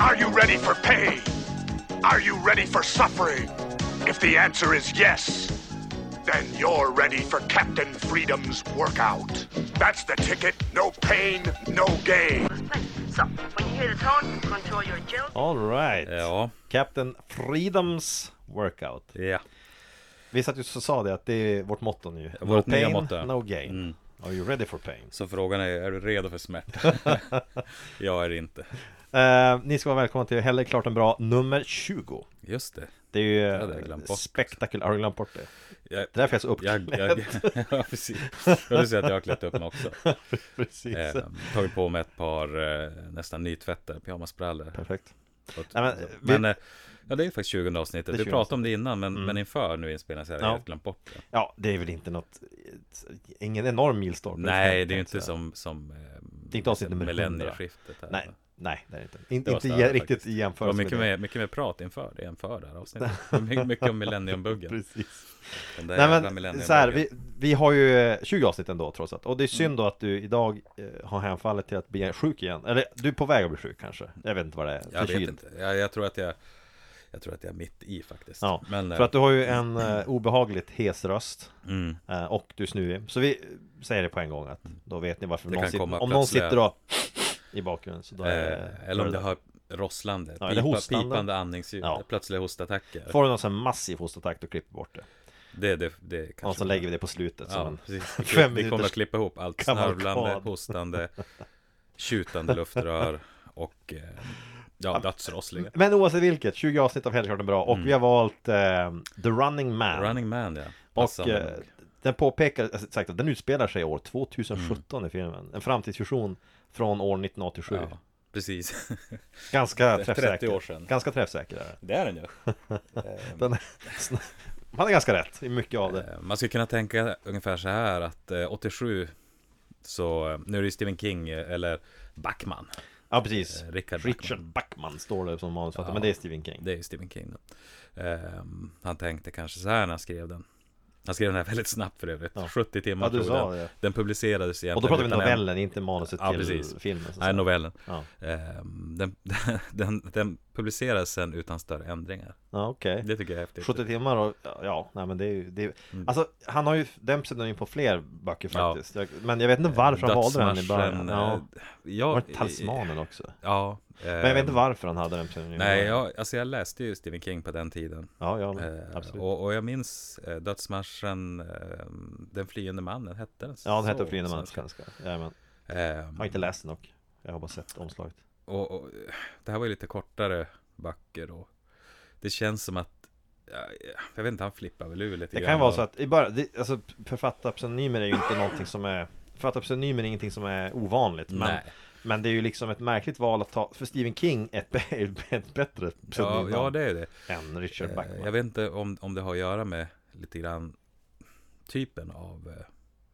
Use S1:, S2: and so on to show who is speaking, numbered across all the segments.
S1: Are you ready for pain? Are you ready for suffering? If the answer is yes, then you're ready for Captain Freedom's workout. That's the ticket. No pain, no gain.
S2: So, when you hear the tone, control your jilt.
S3: Alright!
S4: Ja,
S3: Captain Freedoms workout.
S4: ja.
S3: Vi satt ju och sa det att det är vårt motto nu. No
S4: Vårt nya
S3: pain,
S4: motto, ja.
S3: no gain.
S4: Mm.
S3: Are you ready for pain?
S4: Så frågan är, är du redo för smärta? jag är inte.
S3: Eh, ni ska vara välkomna till Hellre klart än bra nummer 20.
S4: Just det.
S3: Det är ju
S4: hade jag glömt bort.
S3: spektakulärt. Har du glömt bort det?
S4: Jag,
S3: Det är därför jag är så
S4: jag,
S3: uppklädd.
S4: jag, ja, precis. Jag vill säga att jag har klätt upp mig också.
S3: Precis.
S4: Eh, tagit på mig ett par eh, nästan nytvättade pyjamasbrallor.
S3: Perfekt.
S4: Och-
S3: Nej, men, vi-
S4: Men eh, ja, det är ju faktiskt 20 avsnittet.
S3: Det är
S4: Vi
S3: 20.
S4: pratade om det innan, men, men inför nu inspelningen så hade jag
S3: Ja.
S4: helt glömt bort det.
S3: Ja, det är väl inte något... Ingen enorm milstolpe.
S4: Nej, det är ju inte
S3: Så-
S4: som, som eh,
S3: är inte avsnitt nummer 100.
S4: millennieskiftet. här.
S3: Nej, nej, det är det inte. In,
S4: Det var
S3: inte
S4: större
S3: i- riktigt
S4: faktiskt.
S3: i
S4: Det var
S3: jämförelse
S4: mycket
S3: med
S4: mer, mycket mer prat inför det än för det här avsnittet. Det var mycket- Mycket om
S3: det.
S4: millenniumbuggen.
S3: Precis.
S4: Den där jävla
S3: Nej men
S4: millenniumbuggen.
S3: så här, vi, vi har ju eh, 20 avsnitt ändå trots allt. Och
S4: Mm.
S3: det är synd då att du idag eh, har hänfallit till att bli sjuk igen. Eller du är på väg att bli sjuk kanske. Jag vet inte vad det är.
S4: Jag vet
S3: Förkyld.
S4: inte. Jag, jag tror att jag jag tror att jag är mitt i faktiskt.
S3: Ja,
S4: men,
S3: för att du har ju en eh, obehagligt hes röst.
S4: mm,
S3: Eh, Och du är snuvig. Så vi säger det på en gång att då vet ni varför
S4: Det
S3: någon
S4: kan komma
S3: sitter, om någon
S4: plötsliga-
S3: sitter då i bakgrunden så då är det,
S4: eh, eller om det har rosslande,
S3: Ja, eller
S4: pipa,
S3: hostande.
S4: pipande andningsljud,
S3: Ja.
S4: plötsliga hostattacker.
S3: Får du någon sån här massiv hostattack då klipper vi bort det
S4: Det, det, det kanske
S3: Och så lägger vi det på slutet som
S4: Ja,
S3: en
S4: precis. Vi,
S3: fem
S4: vi kommer
S3: minuters-
S4: att klippa ihop allt
S3: kavalkad.
S4: snörvlande, hostande, tjutande luftrör och eh, ja, dödsrosslingar.
S3: Men oavsett vilket, 20 avsnitt av Hellskarten bra och vi har valt eh, The Running Man
S4: Mm. Running Man alltså, ja.
S3: Och
S4: Passande
S3: eh,
S4: nog.
S3: den påpekar, alltså, sagt att den utspelar sig år 2017 i filmen En framtidsvision från år 1987
S4: Mm. ja, precis.
S3: Ganska
S4: 30
S3: träffsäker
S4: år sedan.
S3: Ganska träffsäker är den.
S4: Det är den ju.
S3: den Man är ganska rätt i mycket av det
S4: Eh, Man skulle kunna tänka ungefär så här att eh, 87 så, eh, nu är det ju Stephen King eh, eller Backman.
S3: Ja precis
S4: eh, Richard
S3: Richard
S4: Bachman.
S3: Backman står det som manusförfattare
S4: Ja.
S3: Men det är Stephen King
S4: Det är ju Stephen King. då. Eh, Han tänkte kanske så här när han skrev den. Han skrev den här väldigt snabbt för övrigt.
S3: Ja.
S4: 70 timmar
S3: Ja, du
S4: tror
S3: sa
S4: den.
S3: det.
S4: Den publicerades
S3: Och då pratar vi
S4: utan en-
S3: novellen, inte manuset
S4: Ja,
S3: till
S4: precis.
S3: filmen så att
S4: Nej,
S3: säga.
S4: novellen.
S3: Ja,
S4: Ehm, den, den, den publiceras sen utan större ändringar.
S3: ja okej
S4: Det tycker jag är häftigt.
S3: 70 timmar och ja, nej men det är ju det är, Alltså han har ju den pseudonym på fler böcker
S4: Mm. Ja.
S3: faktiskt jag, Men jag vet inte varför han valde den i början
S4: Dödsmarschen,
S3: ja.
S4: eh,
S3: Det
S4: jag,
S3: var talismanen också
S4: Ja. eh,
S3: Men jag vet inte varför han hade den pseudonymen
S4: Nej, jag, alltså jag läste ju Stephen King på den tiden.
S3: Ja, ja men,
S4: Eh,
S3: absolut
S4: och, och jag minns eh, dödsmarschen eh, Den flyende mannen, hette den
S3: Ja, den
S4: så
S3: hette
S4: på
S3: Flyende man
S4: svenska?
S3: svenska Jajamän
S4: Ehm,
S3: Jag har inte läst den dock Jag har bara sett omslaget
S4: och, och eh, det här var ju lite kortare böcker då. Det känns som att, ja, jag vet inte, han flippar väl ur lite
S3: Det
S4: grann.
S3: kan ju vara
S4: då.
S3: så att i början, det, alltså författarpseudonymer är ju inte någonting som är Författarpseudonymer är ingenting som är ovanligt men,
S4: Nej.
S3: men det är ju liksom ett märkligt val att ta För Stephen King är ett, b- ett bättre
S4: Ja,
S3: pseudonym
S4: ja, det är ju det.
S3: än Richard
S4: Eh,
S3: Backman
S4: Jag vet inte om, om det har att göra med lite grann typen av eh,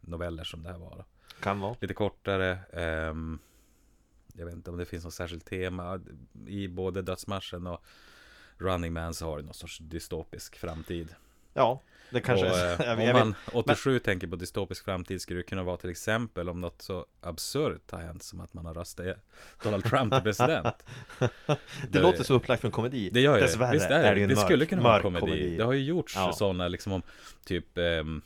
S4: noveller som det här var.
S3: Kan vara
S4: Lite kortare. ehm, jag vet inte om det finns något särskilt tema. I både Dödsmarschen och Running Man så har det någon sorts dystopisk framtid.
S3: Ja, det kanske
S4: och,
S3: är
S4: eh,
S3: så. jag,
S4: om
S3: jag
S4: man
S3: vet,
S4: 87 tänker på dystopisk framtid skulle det kunna vara till exempel om något så absurt har hänt som att man har röstat Donald Trump till president.
S3: Det låter så upplagt för en komedi
S4: Det gör ju
S3: Dessvärre
S4: det. Visst är det.
S3: ju en
S4: det
S3: mörk,
S4: skulle kunna vara en
S3: mörk
S4: komedi. Det har ju gjorts
S3: Ja.
S4: sådana liksom om typ ehm,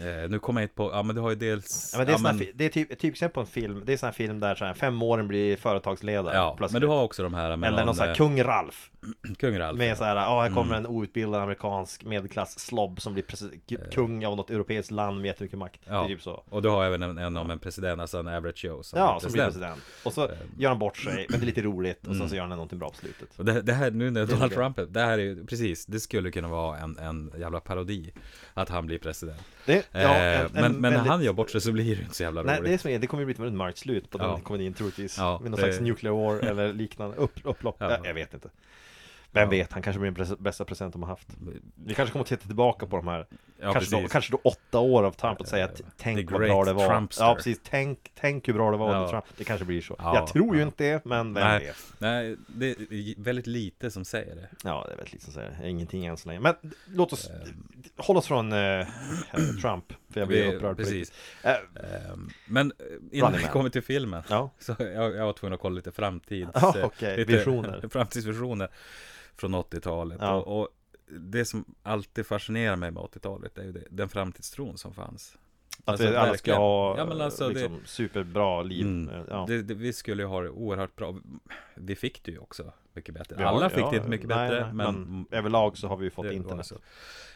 S4: eh, nu kommer jag inte på, ja men det har ju dels
S3: ja, men det, är
S4: ja,
S3: sån här fi- det är typ, ett typexempel på en film Det är sån här film där så här, femåren blir företagsledare
S4: ja,
S3: plötsligt.
S4: men du har också de här med
S3: Eller någon sån här
S4: eh, Mm.
S3: kung Ralf
S4: kung Ralf
S3: Med så här, ja här kommer en outbildad amerikansk medelklass slob Som blir presi- k- kung av något europeiskt land med jättemycket makt Det är
S4: Eh. ja.
S3: typ så
S4: Och du har även en, en om en president, alltså en average Joe som Eh.
S3: Ja, som blir president Och så gör han bort sig, men det är lite roligt Och
S4: Mm.
S3: sen så gör han någonting bra på slutet
S4: Och det, det här, nu när Donald
S3: det.
S4: Trump, är- det här är ju, precis, det skulle kunna vara en, en jävla parodi Att han blir president
S3: det, ja,
S4: eh,
S3: en- en
S4: Men, men när
S3: väldigt-
S4: han gör bort sig så blir det ju inte så jävla
S3: Nej,
S4: roligt
S3: det är som är, det kommer ju bli ett väldigt mörkt slut på den
S4: Ja.
S3: komedin troligtvis.
S4: Ja,
S3: Med någon
S4: det-
S3: slags nuclear war eller liknande. Upp, upplopp,
S4: Ja.
S3: Äh, jag vet inte. Vem vet, han kanske blir den pres- bästa present de har haft. Vi kanske kommer att titta tillbaka på de här
S4: Mm. Ja,
S3: kanske, då,
S4: precis.
S3: kanske då åtta år av Trump att säga att tänk
S4: The
S3: vad
S4: great
S3: bra det var.
S4: Trumpster.
S3: Ja, precis. Tänk, tänk hur bra det var under
S4: Ja.
S3: Trump. Det kanske blir så.
S4: Ja,
S3: jag tror ju
S4: ja.
S3: inte det, men vem
S4: Nej,
S3: vet.
S4: nej, det är väldigt lite som säger det.
S3: Ja, det är väl liksom så här. Ingenting än så länge. Men låt oss
S4: Ehm.
S3: hålla oss från eh, Trump, för jag blir
S4: Det-
S3: upprörd. på
S4: precis.
S3: riktigt. Eh,
S4: Ehm, Men eh, innan
S3: Running
S4: vi
S3: Man.
S4: kommer till filmen
S3: Ja.
S4: så jag, jag var tvungen att kolla lite framtids...
S3: Ja,
S4: eh,
S3: okej,
S4: lite
S3: visioner.
S4: framtidsvisioner från 80-talet.
S3: Ja.
S4: Och, och det som alltid fascinerar mig med 80-talet är ju det, den framtidstron som fanns.
S3: att
S4: Alltså,
S3: vi alla ska
S4: verkligen.
S3: ha
S4: Ja, men alltså, det-
S3: liksom, superbra liv. Eh,
S4: Mm.
S3: Ja.
S4: Det, det, vi skulle ju ha det oerhört bra. Vi fick det ju också mycket bättre.
S3: Vi har-
S4: Alla fick
S3: ja,
S4: det inte mycket
S3: nej,
S4: bättre,
S3: nej,
S4: men...
S3: överlag så har vi ju fått
S4: det var
S3: internet.
S4: så.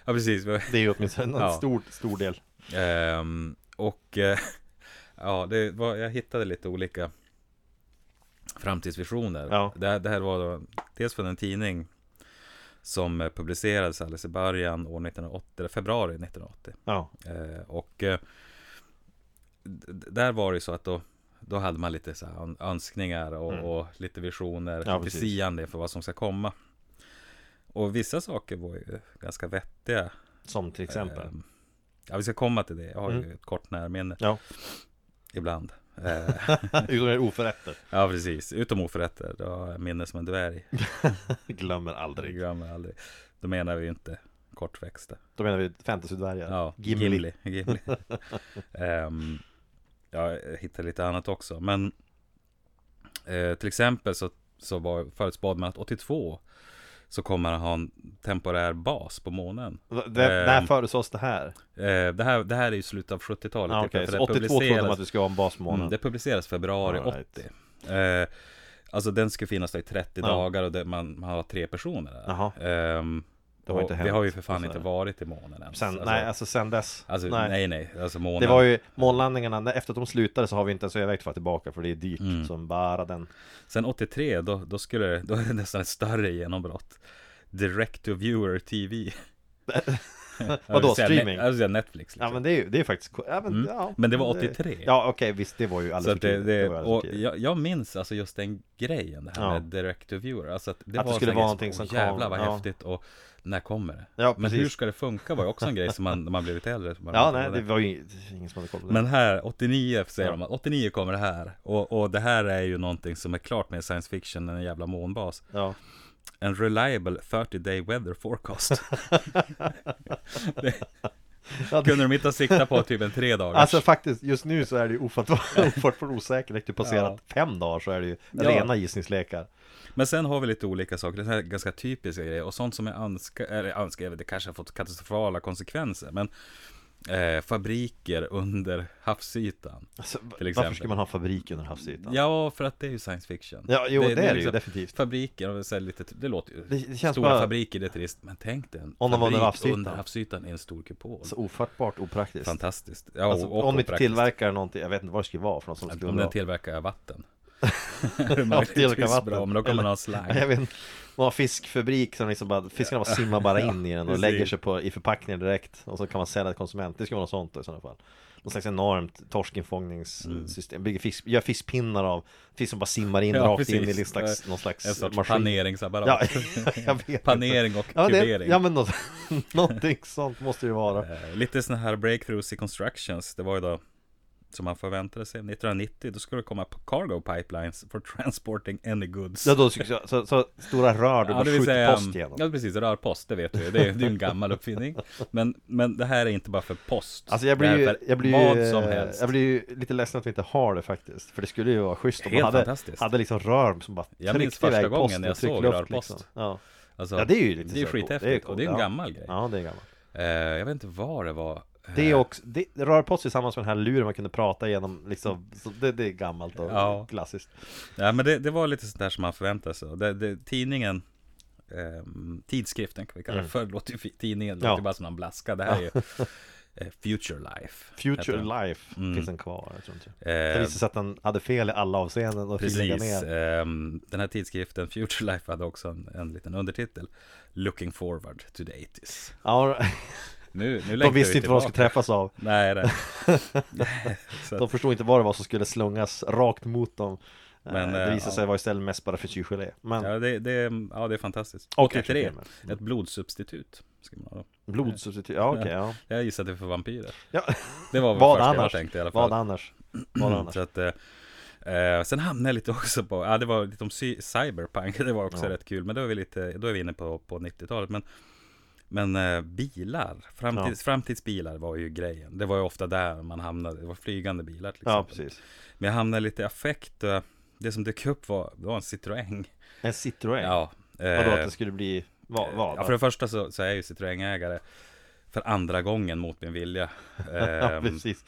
S4: Ja, precis. Vi-
S3: Det är ju åtminstone en
S4: Ja.
S3: stor, stor del.
S4: Ehm, och eh, ja, det var, jag hittade lite olika framtidsvisioner.
S3: Ja.
S4: Det, här- det här var då, dels från en tidning som eh, publicerades alldeles i början år 1980, eller februari 1980.
S3: Ja,
S4: Eh, och eh, d- d- där var det ju så att då, då hade man lite så här ön- önskningar och,
S3: Mm.
S4: och lite visioner,
S3: Ja,
S4: lite
S3: precis.
S4: siande för vad som ska komma. Och vissa saker var ju eh, ganska vettiga.
S3: som till exempel.
S4: Ehm, Ja, vi ska komma till det. Jag har
S3: Mm.
S4: ju ett kort närminne
S3: Ja,
S4: ibland. Eh,
S3: utom det är oförrätter.
S4: ja, precis. Utom oförrätter. Då har jag minne som en dvärg.
S3: Glömmer
S4: Det
S3: aldrig.
S4: glömmer jag aldrig. Då menar vi ju inte kortväxta.
S3: Då menar vi fantasydvärgar.
S4: Ja,
S3: Gimli.
S4: Gimli. Gimli. Ehm, ja, jag hittade lite annat också. Men eh, till exempel så, så var förutspådd man att 82 så kommer han ha en temporär bas på månen.
S3: Det, när
S4: Ehm,
S3: förutsågs det här?
S4: Eh, det, här det här är ju slutet av 70-talet.
S3: Ah,
S4: typ,
S3: Okej,
S4: för
S3: så
S4: det
S3: 82 trodde man
S4: publicerades-
S3: att det skulle vara en basmånad.
S4: Mm, det publiceras februari
S3: All right.
S4: 80. Eh, alltså den skulle finnas då i 30
S3: Ja.
S4: dagar och det, man, man har tre personer där.
S3: Jaha.
S4: Ehm,
S3: Det har
S4: och
S3: inte
S4: Vi
S3: hänt,
S4: har ju för fan
S3: så
S4: inte
S3: här.
S4: varit i månen ens.
S3: Sen, nej, alltså sen dess.
S4: alltså,
S3: nej.
S4: nej. nej, alltså månen.
S3: Det var ju månlandningarna, när- efter att de slutade så har vi inte ens övervägt att vara tillbaka för det är dyrt
S4: Mm.
S3: som bara den.
S4: Sen 83, då, då, skulle, det- då är det nästan ett större genombrott. Direct to viewer TV. Jag vill säga
S3: streaming?
S4: Ne- jag vill säga Netflix. Liksom.
S3: Ja men det är ju, det är faktiskt, ja, men,
S4: Mm.
S3: ja,
S4: Men det var 83.
S3: Ja okej, visst det var ju
S4: Så
S3: alldeles
S4: att
S3: för
S4: det,
S3: tidigt.
S4: det,
S3: var alldeles
S4: och
S3: för tidigt.
S4: jag, jag minns alltså just den grejen, det här
S3: Ja.
S4: med direct to viewer. Alltså att det,
S3: Att det
S4: var
S3: skulle
S4: en
S3: vara
S4: grej
S3: någonting som
S4: "Åh, jävlar
S3: kom",
S4: vad
S3: ja.
S4: häftigt och när kommer det?
S3: Ja,
S4: Men hur
S3: precis.
S4: ska det funka var ju också en grej som man, när man blev lite äldre. som man
S3: Ja
S4: inte
S3: nej,
S4: hade.
S3: det var ju ingen som hade koll på det.
S4: Men här, 89 säger
S3: Ja.
S4: de att 89 kommer det här. Och, och det här är ju någonting som är klart mer science fiction än en jävla månbas.
S3: ja.
S4: En reliable 30 day weather forecast. det,
S3: Ja, det-
S4: kunde de inte sikta på typ en tre dagars?
S3: Alltså faktiskt, just nu så är det ju ofattbart- ofattbart osäkert. Det passerat fem dagar så är det ju
S4: Ja.
S3: rena gissningslekar.
S4: Men sen har vi lite olika saker, det här är ganska typiska grejer och sånt som är önska, eller önska, jag vet, det kanske har fått katastrofala konsekvenser, men eh, fabriker under havsytan.
S3: Alltså, va-
S4: Till
S3: varför
S4: exempel.
S3: ska man ha fabrik under havsytan?
S4: Ja, för att det är ju science fiction.
S3: Ja, jo, det är det ju,
S4: liksom
S3: definitivt.
S4: Fabriker, och så här lite, det låter ju,
S3: Det- det känns
S4: stora
S3: bara-
S4: fabriker, det är trist, men tänk dig en
S3: Om de var under
S4: fabrik
S3: havsytan.
S4: under havsytan i en stor kupol.
S3: Så ofattbart opraktiskt.
S4: Fantastiskt. Ja,
S3: Alltså,
S4: och- och
S3: om inte
S4: opraktiskt.
S3: tillverkar någonting, jag vet inte vad det skulle vara för något som skulle
S4: Om
S3: vara
S4: den
S3: bra.
S4: tillverkar vatten. Det är
S3: Ja,
S4: möjligtvis
S3: tillverkar vatten.
S4: Bra, men då kommer
S3: Eller-
S4: man ha slang.
S3: Jag vet inte, man har fiskfabrik som liksom bara, fiskarna bara simmar bara in i den och
S4: precis.
S3: lägger sig på, i förpackningar direkt Och så kan man sälja till konsument, det ska vara något sånt då i sådana fall Någon slags enormt torskinfångningssystem, bygger fisk, gör fiskpinnar av fisk som bara simmar in
S4: Mm. Ja,
S3: rakt in i
S4: precis. Eh,
S3: någon slags, någon slags
S4: En sorts
S3: maskin. Ja,
S4: paneringsapparat.
S3: jag vet inte.
S4: Panering och
S3: ja, det,
S4: kubering.
S3: ja men något, någonting sånt måste det vara
S4: Eh, Lite sådana här breakthroughs i constructions, det var ju då som man förväntade sig. 1990, då skulle det komma p- cargo pipelines for transporting any goods.
S3: Ja, då, så, så, så stora rör du bara skjuter post
S4: ja
S3: igenom
S4: precis, rörpost, det vet du Det är det är ju en gammal uppfinning. Men, men det här är inte bara för post.
S3: Alltså jag
S4: det
S3: blir,
S4: här är
S3: ju,
S4: för
S3: jag, blir
S4: vad
S3: ju,
S4: som
S3: eh,
S4: helst.
S3: jag blir ju lite ledsen att vi inte har det faktiskt För det skulle ju vara schysst om man
S4: Helt
S3: hade,
S4: fantastiskt.
S3: hade liksom rör som bara
S4: Jag minns
S3: tryckte iväg
S4: första
S3: posten
S4: gången jag
S3: och tryckte
S4: såg
S3: luft,
S4: rörpost.
S3: liksom. ja.
S4: Alltså,
S3: ja, det är ju lite
S4: Det
S3: så här
S4: är
S3: coolt.
S4: skithäftigt och
S3: coolt,
S4: det är en
S3: ja.
S4: gammal grej.
S3: Ja, det är gammalt
S4: Eh, jag vet inte vad det var. eh,
S3: Det är också, det, rörpost tillsammans med den här luren man kunde prata genom liksom så det, det är gammalt och
S4: Ja.
S3: klassiskt
S4: Ja, men det, det var lite sånt där som man förväntade sig. Och Det, det, tidningen, ehm, tidskriften kan vi kalla det för, låter ju fi- tidningen,
S3: Mm. Ja.
S4: låter ju bara som någon blaska. Det här är ju eh, Future Life. heter den.
S3: Future Life
S4: Mm.
S3: finns den kvar, jag tror inte
S4: Eh,
S3: Det visade sig att den hade fel i alla avseenden och fick lägga
S4: Precis.
S3: ner
S4: ehm, den här tidskriften Future Life hade också en, en liten undertitel. Looking forward to the 80s.
S3: ja,
S4: Nu, nu
S3: De visste inte vad de skulle
S4: träffa.
S3: träffas av
S4: Nej, nej. Så att-
S3: De förstod inte vad det var som skulle slungas rakt mot dem
S4: Men,
S3: Eh, det
S4: eh,
S3: visar
S4: ja.
S3: sig vara istället mest bara frityrgelé. Men
S4: Ja det, det, ja, det är fantastiskt.
S3: Och
S4: 33.
S3: actionfilmer. Mm.
S4: Ett blodsubstitut. Ska man ha då.
S3: blodsubstitut, ja okej ja.
S4: Jag gissade för vampyrer.
S3: ja.
S4: Det var väl
S3: Vad
S4: första jag
S3: annars?
S4: tänkte i alla fall.
S3: Vad annars? Vad annars?
S4: Mm, Så att, eh, eh, sen hamnade jag lite också på, ja det var lite om cy- cyberpunk, det var också
S3: Ja.
S4: rätt kul, men då är vi lite, då är vi inne på, på 90-talet. Men, men eh, bilar, framtids, framtidsbilar var ju grejen. Det var ju ofta där man hamnade, det var flygande bilar till
S3: Ja
S4: exempel.
S3: precis.
S4: men jag hamnade lite i affekt, eh, det som dök upp var, det var en Citroën.
S3: En Citroën?
S4: Ja, eh,
S3: Vadå att det skulle bli, vad? vad
S4: ja, för det första så, så är jag ju Citroën-ägare för andra gången mot min vilja.
S3: ja
S4: Ehm,
S3: precis.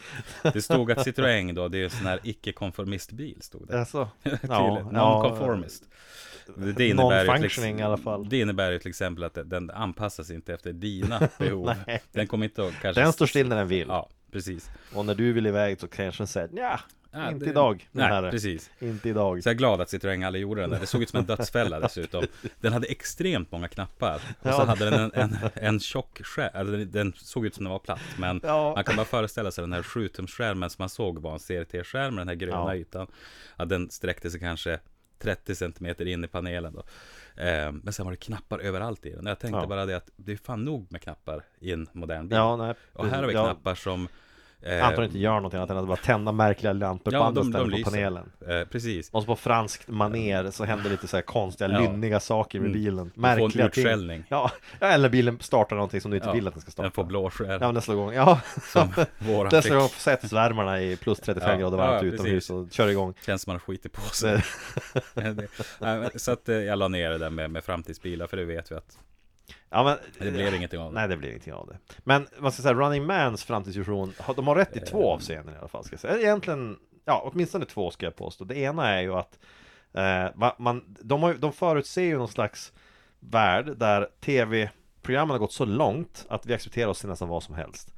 S4: det stod att Citroën då, det är en sån här icke-konformistbil stod det.
S3: Alltså,
S4: Ja, Non-conformist. Det, det innebär ju till ex-
S3: Non-functioning i alla fall.
S4: Det innebär ju till exempel att den anpassas inte efter dina behov.
S3: Nej.
S4: den kommer inte att kanske...
S3: Den står still när den vill.
S4: Ja, precis.
S3: Och när du vill iväg så kanske den säger ja,
S4: Ja,
S3: inte
S4: det-
S3: idag. den
S4: Nej,
S3: här.
S4: precis.
S3: Inte idag.
S4: Så jag är glad att Citroën aldrig gjorde den där. Det såg ut som en dödsfälla dessutom. Den hade extremt många knappar. Och så
S3: Ja.
S4: hade den en, en, en tjock skärm. Alltså, den- den såg ut som den var platt. Men
S3: Ja.
S4: man kan bara föreställa sig den här 7-tumsskärmen som man såg var en CRT-skärm. Den här
S3: Ja.
S4: gröna ytan. Att den sträckte sig kanske 30 centimeter in i panelen då. Ehm, Men sen var det knappar överallt i den. Jag tänkte
S3: Ja.
S4: bara det att det är fan nog med knappar i en modern bil.
S3: Ja, nej.
S4: Och här har vi
S3: Ja,
S4: knappar som... eh,
S3: Antar inte gör någonting annat än att bara tända märkliga lampor på
S4: ja,
S3: andra
S4: de, de
S3: ställen på
S4: lyser.
S3: panelen.
S4: Eh, Precis.
S3: Och så på franskt maner så händer lite så här konstiga,
S4: Ja. Mm.
S3: lynniga saker med bilen.
S4: en
S3: Märkliga
S4: utskällning.
S3: ting. Ja, Ja, eller bilen startar någonting som du inte
S4: Ja,
S3: vill att den ska starta.
S4: Den får blå skärm.
S3: Ja, nästa gång. Ja,
S4: Som våran
S3: nästa
S4: fick.
S3: gång sätts värmarna i plus 35
S4: Ja,
S3: grader varmt
S4: ja,
S3: utomhus
S4: precis.
S3: och kör igång.
S4: Känns som man skiter på sig. Det- Nej, men- så att eh, jag la ner det där med, med framtidsbilar, för det vet vi att
S3: Ja, men,
S4: det blev ingenting av det.
S3: Nej, det blev ingenting av det. Men man ska säga, Running Mans framtidsvision, har- de har rätt i
S4: Eh.
S3: två avseenden i alla fall. Ska jag säga. Egentligen, ja, åtminstone två ska jag påstå. Det ena är ju att eh, va- man, de, har, ju- de förutser ju någon slags värld där tv-programmen har gått så långt att vi accepterar oss till nästan vad som helst.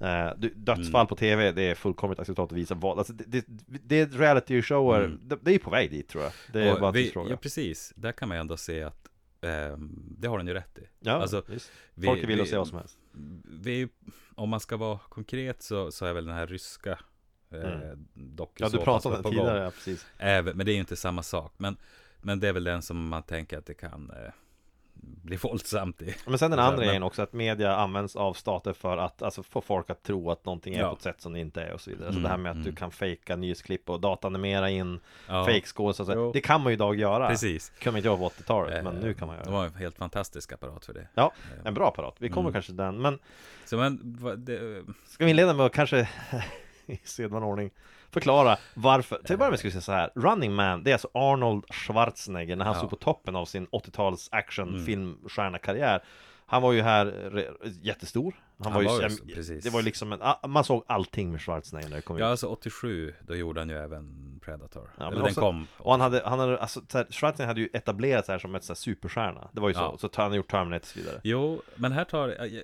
S3: Eh, du- dödsfall
S4: Mm.
S3: på tv, det är fullkomligt acceptabelt att visa vad, alltså det, det, det är reality shower, det, det är på väg dit tror jag. Det är
S4: Mm. Och
S3: bara en
S4: vi,
S3: tidsfråga.
S4: Ja, precis. Där kan man ju ändå se att ehm, det har den ju rätt i.
S3: Ja,
S4: alltså,
S3: visst.
S4: vi-
S3: Folk vill
S4: vi-
S3: vi, se vad som helst.
S4: Vi är ju, om man ska vara konkret så, så är väl den här ryska eh,
S3: Mm. Ja,
S4: dokusåpan
S3: du
S4: som
S3: pratade
S4: är
S3: om
S4: på
S3: det
S4: gång.
S3: tidigare, ja, precis.
S4: Även, men det är ju inte samma sak. Men, men det är väl den som man tänker att det kan eh, bli våldsamt i.
S3: Men sen den
S4: Så här,
S3: andra
S4: men-
S3: grejen också att media används av stater för att alltså, få folk att tro att någonting är
S4: Ja. Mm,
S3: på ett sätt som det inte är och så vidare. så det här med att du kan fejka nyhetsklipp och datanimera in
S4: Ja.
S3: fejkskådisar och så
S4: Jo.
S3: här. Det kan man ju idag göra.
S4: Precis.
S3: Det kunde man inte göra på 80-talet, men
S4: Eh,
S3: nu kan man
S4: Det
S3: göra det.
S4: var Eh. Mm. en helt fantastisk apparat för det.
S3: Ja, en bra apparat. Vi kommer kanske till den. Men
S4: Så men, vad- det,
S3: ska vi inleda med att kanske i sedvanlig ordning förklara varför. Till att börja med ska vi säga så här. Running Man, det är alltså Arnold Schwarzenegger när han
S4: Ja. Mm.
S3: stod på toppen av sin 80-tals actionfilmstjärna-karriär. Han var ju här re- jättestor. Han, var, ju,
S4: så- precis.
S3: Det var ju liksom en, ah, man såg allting med Schwarzenegger när det kom
S4: Ja,
S3: ut.
S4: alltså 87, då gjorde han ju även Predator.
S3: Ja, men
S4: Eller den
S3: också-
S4: kom.
S3: Och han hade, han hade alltså, så här, Schwarzenegger hade ju etablerat sig här som ett så här, superstjärna. Det var ju så.
S4: Ja.
S3: Så han har gjort Terminator och så vidare.
S4: Jo, men här tar jag- jag,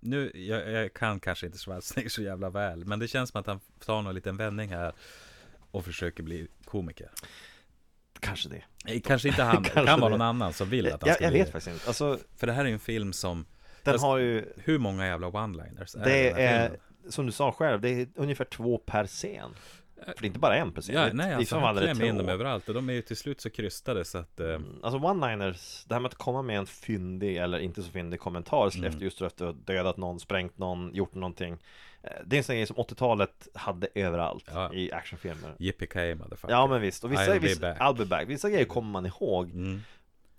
S4: nu, jag, jag kan kanske inte Schwarzenegger så jävla väl, men det känns som att han tar någon liten vändning här och försöker bli komiker.
S3: Kanske det.
S4: Nej, Kanske inte han,
S3: Kanske
S4: det kan vara
S3: det.
S4: någon annan som vill att han
S3: Jag,
S4: ska
S3: jag
S4: bli
S3: vet
S4: det.
S3: faktiskt inte. Alltså,
S4: För det här är ju en film som,
S3: den
S4: Jag-
S3: har ju
S4: hur många jävla one-liners är i den
S3: Det
S4: här
S3: är,
S4: filmen?
S3: som du sa själv, det är ungefär två per scen. För det är inte bara en per scen.
S4: Äh, Ja,
S3: det,
S4: nej,
S3: det är
S4: alltså,
S3: fan
S4: han
S3: aldrig
S4: klämmer in
S3: två.
S4: dem överallt och de är ju till slut så krystade så att... Eh,
S3: Alltså one-liners, det här med att komma med en fyndig eller inte så fyndig kommentar
S4: Mm.
S3: efter just efter att ha dödat någon, sprängt någon, gjort någonting. Eh, Det är en sån grej som 80-talet hade överallt
S4: Ja.
S3: i actionfilmer.
S4: Yippee-ki-yay motherfucker.
S3: Ja men visst, och vissa,
S4: I'll be
S3: vissa,
S4: back.
S3: I'll be back. vissa grejer kommer man ihåg
S4: Mm.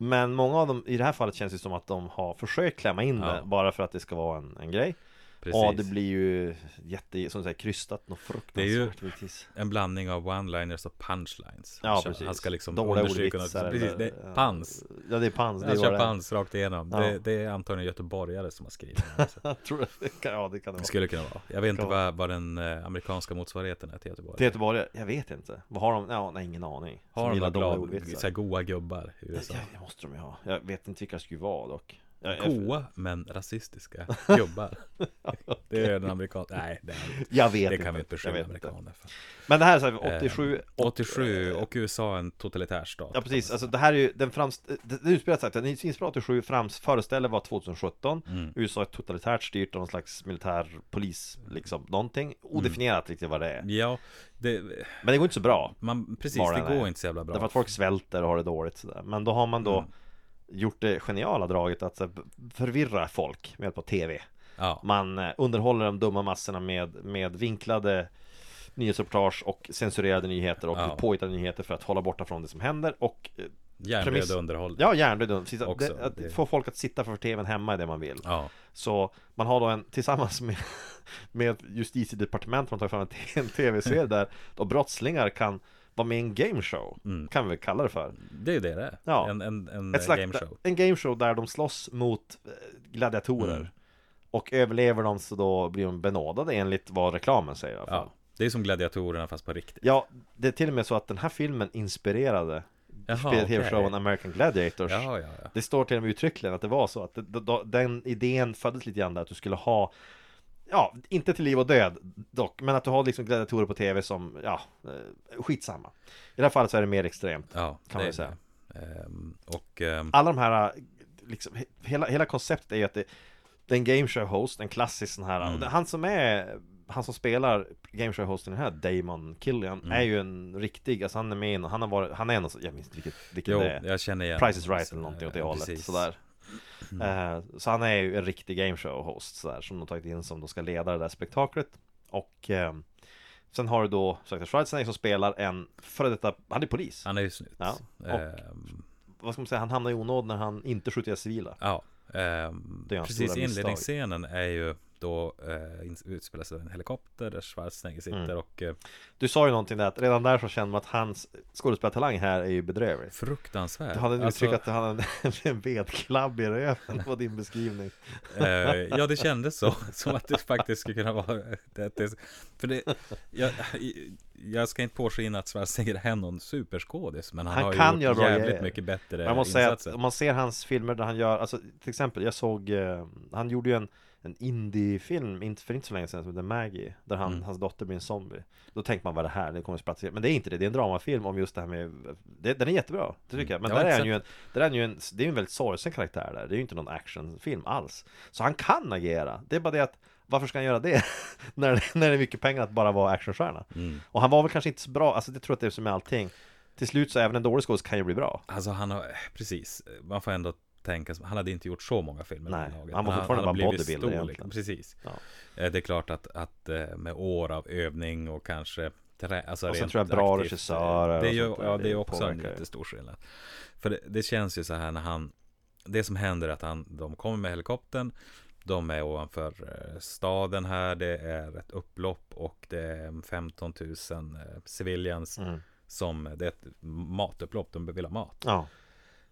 S3: Men många av dem, i det här fallet känns det som att de har försökt klämma in
S4: Ja.
S3: det Bara för att det ska vara en, en grej
S4: Precis.
S3: Ja det blir ju jätte, som du säger, krystat något fruktansvärt givetvis.
S4: En blandning av one-liners och punchlines.
S3: Ja,
S4: han, kör-
S3: precis.
S4: han ska liksom
S3: Dåliga
S4: understryka något.
S3: ordvitsar
S4: Precis,
S3: eller-
S4: det, pans.
S3: Ja det är pans, det
S4: Han
S3: är
S4: kör
S3: vad
S4: pans rakt igenom.
S3: Ja.
S4: Det, det är antagligen göteborgare som har skrivit den. Alltså.
S3: det är Tror du? det kan- Ja det kan det
S4: Det
S3: vara
S4: skulle kunna vara. Jag vet inte
S3: Kan vara.
S4: vad, vad den eh, amerikanska motsvarigheten är till Göteborg.
S3: Till Göteborg, jag vet inte Vad har de? Ja, nej ingen aning Som
S4: har de
S3: gillar
S4: några
S3: dåliga
S4: glada,
S3: ordvitsar.
S4: så här goa gubbar i USA?
S3: Ja, det måste de ju ha Jag vet inte vilka det skulle vara dock Jag- jag-
S4: Goa men rasistiska gubbar. Det är en amerikan. Nej, det, är det inte.
S3: Jag vet
S4: det kan
S3: inte.
S4: vi inte beskylla
S3: Jag vet inte.
S4: amerikaner för.
S3: Men det här är så här, 87
S4: Eh, 87 och USA är en totalitär stat.
S3: Ja precis, alltså det här är ju den frams... Det det utspelar sig att den inspelade 87 frams föreställer var 2017
S4: Mm.
S3: USA är totalitärt styrt av någon slags militär polis liksom någonting Odefinierat riktigt vad det är
S4: Mm. Ja, det,
S3: Men det går inte så bra
S4: man, precis,
S3: Bara
S4: det
S3: nej.
S4: går inte så jävla bra. Mm.
S3: Därför att folk svälter och har det dåligt sådär. Men då har man då gjort det geniala draget att så här, förvirra folk med hjälp av TV
S4: ja.
S3: Man eh, underhåller de dumma massorna med, med vinklade nyhetsreportage och censurerade nyheter och
S4: Ja.
S3: påhittade nyheter för att hålla borta från det som händer och eh,
S4: Järnbredd
S3: premiss-
S4: underhållning.
S3: Ja, hjärndöd Precis, att-
S4: Också,
S3: det, att
S4: det-
S3: få folk att sitta för tvn hemma är det man vill
S4: Ja.
S3: Så man har då en, tillsammans med, med justitiedepartementet, man tar fram en t- en tv-serie där då brottslingar kan vara med i en gameshow Kan vi väl kalla det för
S4: Det är ju det det är.
S3: Ja.
S4: En, en, Mm. en eh,
S3: Ett slags,
S4: gameshow.
S3: En gameshow där de slåss mot eh, gladiatorer
S4: Mm.
S3: Och överlever de så då blir de benådade enligt vad reklamen säger i alla fall.
S4: Ja. Det är som gladiatorerna fast på riktigt.
S3: Ja, det är till och med så att den här filmen inspirerade
S4: Jaha,
S3: TV-showen
S4: okej.
S3: American Gladiators
S4: Ja, ja, ja.
S3: Det står till och med uttryckligen att det var så att det, då- då, den idén föddes lite grann där att du skulle ha Ja, inte till liv och död dock, men att du har liksom gladiatorer på TV som, ja, eh, skitsamma I det här fallet så är det mer extremt
S4: Ja,
S3: Kan man
S4: det
S3: ju
S4: är
S3: säga.
S4: det. Ehm, och ehm,
S3: alla de här, eh, liksom, he- hela, hela konceptet är ju att det, det är en gameshow-host, en klassisk sån här och det- Han som är, han som spelar gameshow-hosten i den här, Damon Killian Är ju en riktig, alltså han är med i någon- han har varit, han är någon, sån- jag minns inte vilket, vilken
S4: jo,
S3: det är
S4: jag känner igen.
S3: Price is right
S4: Så-
S3: eller någonting åt det
S4: ja,
S3: hållet
S4: precis. Mm.
S3: sådär. Eh, Så han är ju en riktig gameshow-host sådär Som de tagit in som de ska leda det där spektaklet Och eh, Sen har du då Sökta Schwarzenegger som spelar en före detta Han är polis
S4: Han är ju snut.
S3: Ja, och-
S4: Ehm,
S3: Vad ska man säga? Han hamnar i onåd när han inte skjuter ihjäl civila
S4: Ja, ehm,
S3: Det är hans
S4: precis
S3: stora misstag.
S4: inledningsscenen är ju då eh, ins- utspelar sig en helikopter där Schwarzenegger sitter
S3: Mm.
S4: och eh,
S3: Du sa ju någonting där att redan där så känner man att hans skådespelartalang här är ju bedrövlig
S4: fruktansvärd.
S3: Du hade en
S4: Alltså,
S3: uttryck att han hade en, en vedklabb i röven på din beskrivning
S4: eh, ja, det kändes så. Som att det faktiskt skulle kunna vara... Det, det, för det, jag, jag ska inte påskina att Schwarzenegger är någon superskådis, men han,
S3: Han
S4: har
S3: kan
S4: gjort
S3: göra bra
S4: jävligt
S3: grejer.
S4: mycket bättre
S3: Jag måste säga att
S4: insatser.
S3: om man ser hans filmer där han gör, alltså till exempel, jag såg, eh, han gjorde ju en, en indiefilm inte, för inte så länge sedan som heter Maggie, där han, hans dotter blir en zombie. Då tänkte man vad är det här, det kommer att spela till." Men det är inte det, det är en dramafilm om just det här med, det, den är jättebra, det tycker jag. Men
S4: Jag har
S3: där är
S4: inte
S3: han ju en,
S4: sett
S3: där är han ju en, det är ju en väldigt sorgsen karaktär där, det är ju inte någon actionfilm alls. Så han kan agera, det är bara det att varför ska han göra det? när, när det är mycket pengar att bara vara actionstjärna. Och han var väl kanske inte så bra, alltså det tror jag att det är som med allting. Till slut så även en dålig skådis kan ju bli bra.
S4: Alltså han har, precis, man får ändå tänka, som- han hade inte gjort så många filmer
S3: Nej,
S4: vid det laget.
S3: han var
S4: Men
S3: fortfarande bara
S4: har blivit
S3: bodybuilder
S4: stor, liksom.
S3: egentligen.
S4: Precis.
S3: Ja.
S4: Eh, Det är klart att, att eh, med år av övning och kanske trä, alltså
S3: Och sen
S4: rent
S3: tror jag bra
S4: aktivt,
S3: regissörer
S4: Det är
S3: och
S4: ju,
S3: sånt där,
S4: ja, det
S3: det
S4: är också en
S3: påverkar ju.
S4: jättestor skillnad. För det, det känns ju så här när han, det som händer är att han, de kommer med helikoptern, de är ovanför eh, staden här, det är ett upplopp och det är 15 000 eh, civilians
S3: Mm.
S4: som, det är ett matupplopp, de vill ha mat.
S3: Ja.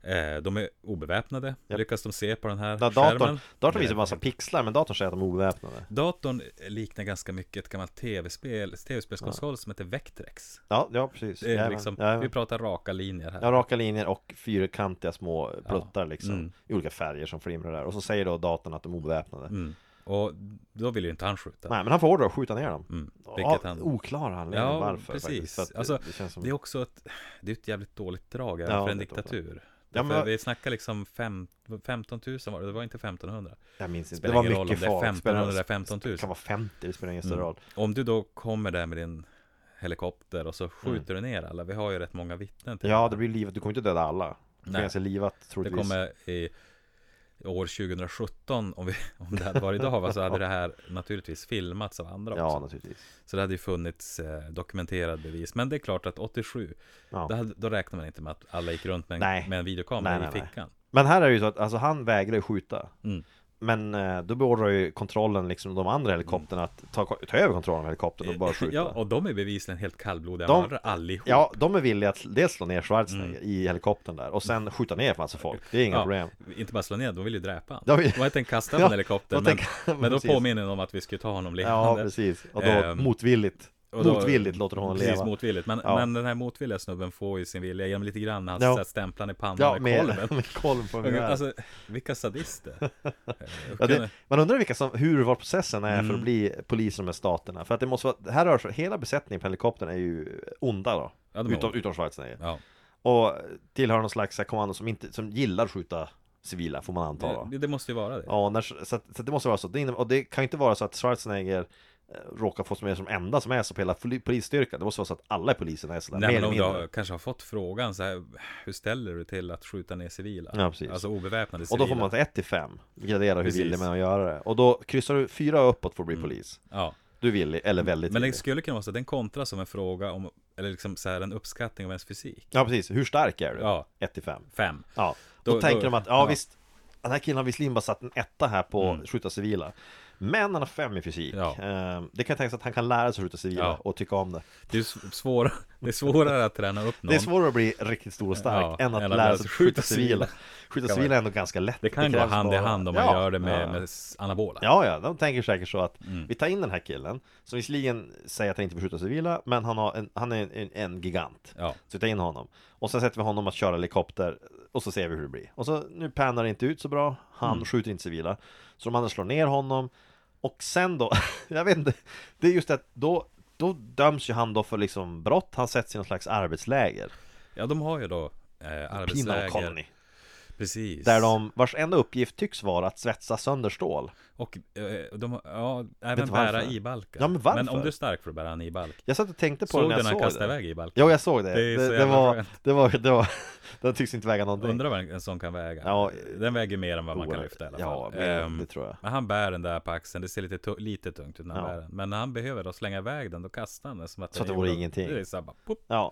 S4: Eh, de är obeväpnade,
S3: Japp.
S4: lyckas de se på den här
S3: Ja,
S4: skärmen.
S3: datorn, datorn
S4: Det-
S3: visar massa pixlar men datorn säger att de är obeväpnade
S4: Datorn liknar ganska mycket ett gammalt tv-spel, tv-spelskonsol som heter Vectrex.
S3: Ja, ja precis
S4: Det är
S3: Jajamän,
S4: liksom,
S3: jajamän.
S4: vi pratar raka linjer här.
S3: Ja, raka linjer och fyrkantiga små pluttar liksom I olika färger som flimrar där Och så säger då datorn att de är obeväpnade
S4: Mm. Och då vill ju inte han skjuta.
S3: Nej men han får order att skjuta ner dem
S4: Mm.
S3: ja,
S4: Vilket han...
S3: Oklar anledning
S4: Ja,
S3: varför
S4: precis.
S3: faktiskt, så att det-
S4: Alltså,
S3: det, känns som...
S4: Det är också ett, det är ett jävligt dåligt drag även
S3: Ja,
S4: för en
S3: det är dåligt.
S4: diktatur.
S3: Ja, men-
S4: För Vi snackar liksom fem, 15 000 var det, det var inte 1500.
S3: Jag minns inte,
S4: spelar
S3: det var
S4: ingen roll om
S3: mycket
S4: det är
S3: folk
S4: 15 eller Mm.
S3: Spelar-
S4: 15 000.
S3: Det kan vara 50, det spelar ingen större roll
S4: Om du då kommer där med din helikopter och så skjuter du ner alla. Vi har ju rätt många vittnen till
S3: Mm. Ja, det blir livet, du kommer inte döda alla Det blir
S4: Nej.
S3: ganska livat
S4: Det
S3: troligtvis
S4: kommer i år 2017 om, vi, om det hade varit idag va, så hade det här naturligtvis filmats av andra
S3: Ja,
S4: också.
S3: naturligtvis
S4: Så det hade ju funnits eh, dokumenterad bevis. Men det är klart att 87,
S3: Ja.
S4: då, hade, då räknar man inte med att alla gick runt med
S3: Nej.
S4: en, med en videokamera
S3: Nej,
S4: i
S3: nej, nej.
S4: fickan.
S3: Men här är det ju så att alltså, han vägrar ju skjuta
S4: Mm.
S3: Men eh, då beordrar ju kontrollen liksom de andra helikopterna att ta, ta över kontrollen av helikoptern och bara skjuta
S4: Mm. Eh, Ja, och de är bevisligen helt kallblodiga
S3: De-
S4: mördare allihop.
S3: Ja, de är villiga att dels slå ner Schwarzenegger i helikoptern där och sen skjuta ner massa folk. Det är inga
S4: Mm. Ja,
S3: problem.
S4: Inte bara slå ner, de vill ju dräpa han.
S3: De
S4: De
S3: vill-
S4: var inte en kasta
S3: Ja,
S4: från
S3: de
S4: helikoptern, men,
S3: tänker-
S4: men då
S3: precis.
S4: påminner de om att vi skulle ta honom
S3: Ja,
S4: levande.
S3: precis. Och då
S4: Ehm.
S3: motvilligt
S4: Och då-
S3: Motvilligt låter honom
S4: Precis,
S3: leva.
S4: motvilligt. Men,
S3: Ja.
S4: men den här motvilliga snubben får ju sin vilja genom lite grann. Han
S3: Ja.
S4: ja. stämplar i pannan
S3: ja,
S4: med
S3: med,
S4: kolven.
S3: med kolv på mig.
S4: Alltså, vilka sadister.
S3: Ja, det, man undrar vilka som, hur var processen är
S4: Mm.
S3: för att bli polis i de här staterna. För att det måste vara, här rör sig, hela besättningen på helikoptern är ju onda då.
S4: Ja, de är
S3: utom,
S4: onda.
S3: utom Schwarzenegger.
S4: ja.
S3: Och tillhör någon slags så här kommando som, inte, som gillar att skjuta civila, får man anta då.
S4: Det, det måste ju vara det.
S3: Ja, när, så, att, så att det måste vara så. Det innebär, och det kan ju inte vara så att Schwarzenegger eh, råkar få som är som enda som är så på hela poli- polisstyrkan. Det måste vara så att alla i polisen är sådär,
S4: Nej,
S3: mer
S4: men
S3: eller
S4: om du
S3: mindre.
S4: har, kanske har fått frågan så här, hur ställer du till att skjuta ner civila?
S3: Ja, precis.
S4: Alltså obeväpnade
S3: Och
S4: civila.
S3: då får man 1 till 5, gradera hur
S4: Precis.
S3: villig man är att göra det. Och då kryssar du fyra uppåt för att bli polis.
S4: Ja.
S3: Du är villig, eller väldigt
S4: Men det
S3: villig.
S4: skulle kunna vara så att den kontrar som en fråga om, eller liksom så här en uppskattning av ens fysik.
S3: Ja precis, hur stark är du?
S4: Ja.
S3: 1 till 5
S4: Fem.
S3: Ja, då,
S4: Då-
S3: tänker
S4: då-
S3: de att ja,
S4: ja. Mm.
S3: visst Den här killen har visserligen bara satt en etta här på att skjuta civila Men han har fem i fysik
S4: Ja.
S3: Ehm, Det kan tänkas att han kan lära sig att skjuta civila
S4: Ja.
S3: och tycka om det
S4: Det är, sv- svåra, det är svårare att träna upp någon.
S3: Det är svårare att bli riktigt stor och stark
S4: Ja,
S3: än att lära sig att skjuta civila Skjuta
S4: Kan
S3: civila
S4: man-
S3: är ändå ganska lätt
S4: Det kan gå
S3: krävs
S4: hand i
S3: bara-
S4: hand om man
S3: Ja,
S4: gör det med,
S3: ja.
S4: med s- anabola.
S3: Ja, ja, de tänker säkert så att
S4: Mm.
S3: vi tar in den här killen Som visserligen säger att han inte vill skjuta civila Men han, har en, han är en, en, en gigant
S4: Ja.
S3: Så vi tar in honom Och sen sätter vi honom att köra helikopter Och så ser vi hur det blir Och så nu pannar det inte ut så bra Han
S4: Mm.
S3: skjuter inte civila Så de andra slår ner honom Och sen då Jag vet inte Det är just det att då då döms ju han då för liksom brott, han sätts i någon slags arbetsläger
S4: Ja, de har ju då eh,
S3: Penal
S4: arbetsläger.
S3: colony
S4: Precis.
S3: Där de, vars enda uppgift tycks vara att svetsa sönder stål
S4: Och eh, de har, ja,
S3: Vet
S4: även
S3: du varför?
S4: bära i-balkar.
S3: Ja, men varför?
S4: om du är stark får du bära en i-balk.
S3: Jag satt och tänkte på
S4: Såg
S3: det
S4: du
S3: när jag
S4: när han
S3: såg
S4: kastade
S3: det
S4: iväg i-balken?
S3: Jo jag såg det,
S4: Det är
S3: det,
S4: så
S3: det,
S4: jävla
S3: var,
S4: skönt.
S3: det var, det var Den tycks inte väga någonting
S4: Undrar vad en en sån kan väga.
S3: Ja,
S4: den väger mer än vad man kan lyfta i alla fall.
S3: Ja, men
S4: Ehm,
S3: det tror jag
S4: Men han bär den där på axeln, det ser lite, tu- lite tungt ut när
S3: Ja.
S4: han bär den. Men när han behöver då slänga iväg den, då kastar han den som att
S3: Så att det
S4: gjorde-
S3: vore ingenting.
S4: Det är så här bara, pop.
S3: Ja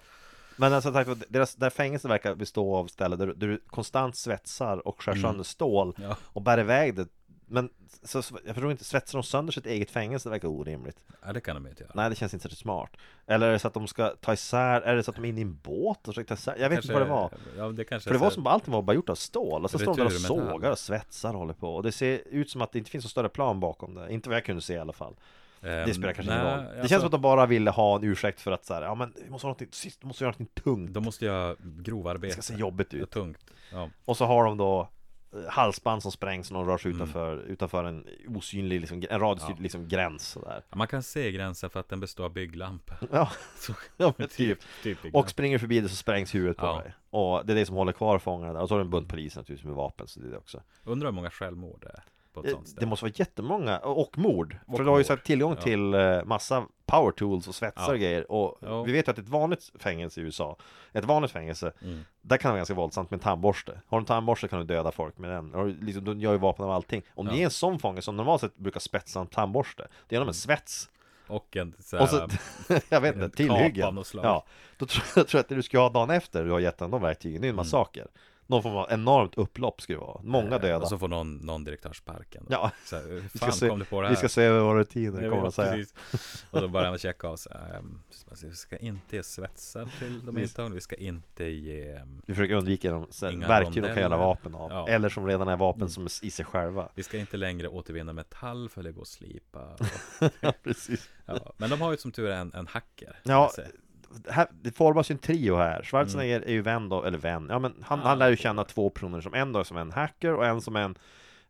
S3: Men alltså tack vare deras, där fängelset verkar bestå av ställen där du, där du konstant svetsar och skär sönder stål
S4: Mm. Ja.
S3: och bär iväg det Men så, så, jag förstår inte, svetsar de sönder sitt eget fängelse? Det verkar orimligt
S4: Ja, det kan de ju inte göra.
S3: Nej det känns inte särskilt smart Eller är det så att de ska ta isär, är det så att de är inne i en båt och försöker ta isär? Jag vet inte vad det var
S4: Ja, det kanske
S3: För det
S4: är så
S3: var
S4: här-
S3: som bara allting var bara gjort av stål och så står de där och
S4: Returmetall.
S3: sågar och svetsar och håller på Och det ser ut som att det inte finns någon större plan bakom det Inte vad jag kunde se i alla fall
S4: ehm,
S3: Det spelar kanske ingen
S4: nej,
S3: roll Det
S4: alltså,
S3: känns som att de bara ville ha en ursäkt för att så här, Ja men vi måste ha någonting, sist måste vi göra någonting tungt
S4: De måste göra
S3: Det
S4: grovarbete.
S3: ska se jobbigt
S4: Ja,
S3: ut
S4: tungt. Ja.
S3: Och så har de då eh, halsband som sprängs när de rör sig utanför, utanför en osynlig, liksom, gr- en radiostyrd
S4: Mm. Ja.
S3: liksom, gräns sådär.
S4: Ja, Man kan se gränsen för att den består av bygglampor.
S3: Ja,
S4: Så-
S3: ja men typ.
S4: typ bygglampor.
S3: Och springer förbi det så sprängs huvudet på
S4: Ja.
S3: dig. Och det är det som håller kvar fångarna där. Och så har du en bunt poliser naturligtvis med vapen, så det är det också.
S4: Undrar hur många självmord det är på ett
S3: Eh,
S4: sånt
S3: Det
S4: ställe.
S3: måste vara jättemånga, och och mord.
S4: Och
S3: För du har ju
S4: mord.
S3: så här tillgång till eh, massa power tools och svetsar
S4: Ja.
S3: och grejer. Och
S4: Ja.
S3: vi vet ju att ett vanligt fängelse i USA, ett vanligt fängelse,
S4: Mm.
S3: där kan det vara ganska våldsamt med en tandborste. Har du en tandborste kan du döda folk med den. Har du liksom, du gör ju vapen av allting. Om det är en sån fånge som normalt sett brukar spetsa en tandborste, det är genom en svets.
S4: Och en så
S3: Och så,
S4: Mm. här,
S3: jag vet inte,
S4: ett kap av
S3: tillhyggen.
S4: något slag.
S3: Ja, då tror jag, tror jag att det du ska ha dagen efter du har gett den de verktygen,
S4: Mm.
S3: det är en massaker. Någon form av enormt upplopp ska det vara. Många döda.
S4: Och så får någon, någon direktörsparken. då.
S3: Ja.
S4: Så här, hur
S3: Vi
S4: fan
S3: se,
S4: kom du på det här?
S3: Vi ska se över våra rutiner,
S4: Jag
S3: kommer
S4: vet,
S3: att säga.
S4: precis. Och då börjar man checka av så här, ehm, Vi ska inte ge svetsar till de intagna Vi ska inte ge ehm,
S3: Vi försöker undvika de så här
S4: Inga
S3: verktyg de kan
S4: rondeller.
S3: göra vapen av.
S4: Ja. Mm.
S3: Eller som redan är vapen som är i sig själva.
S4: Vi ska inte längre återvinna metall för det går att slipa
S3: ja, precis.
S4: ja. Men de har ju som tur är en, en hacker kan
S3: Ja,
S4: jag säga.
S3: här, det formas ju en trio här. Schwarzenegger
S4: Mm.
S3: är ju vän då, eller vän. Ja, men han, han lär ju känna två personer som en då som är en hacker och en som är en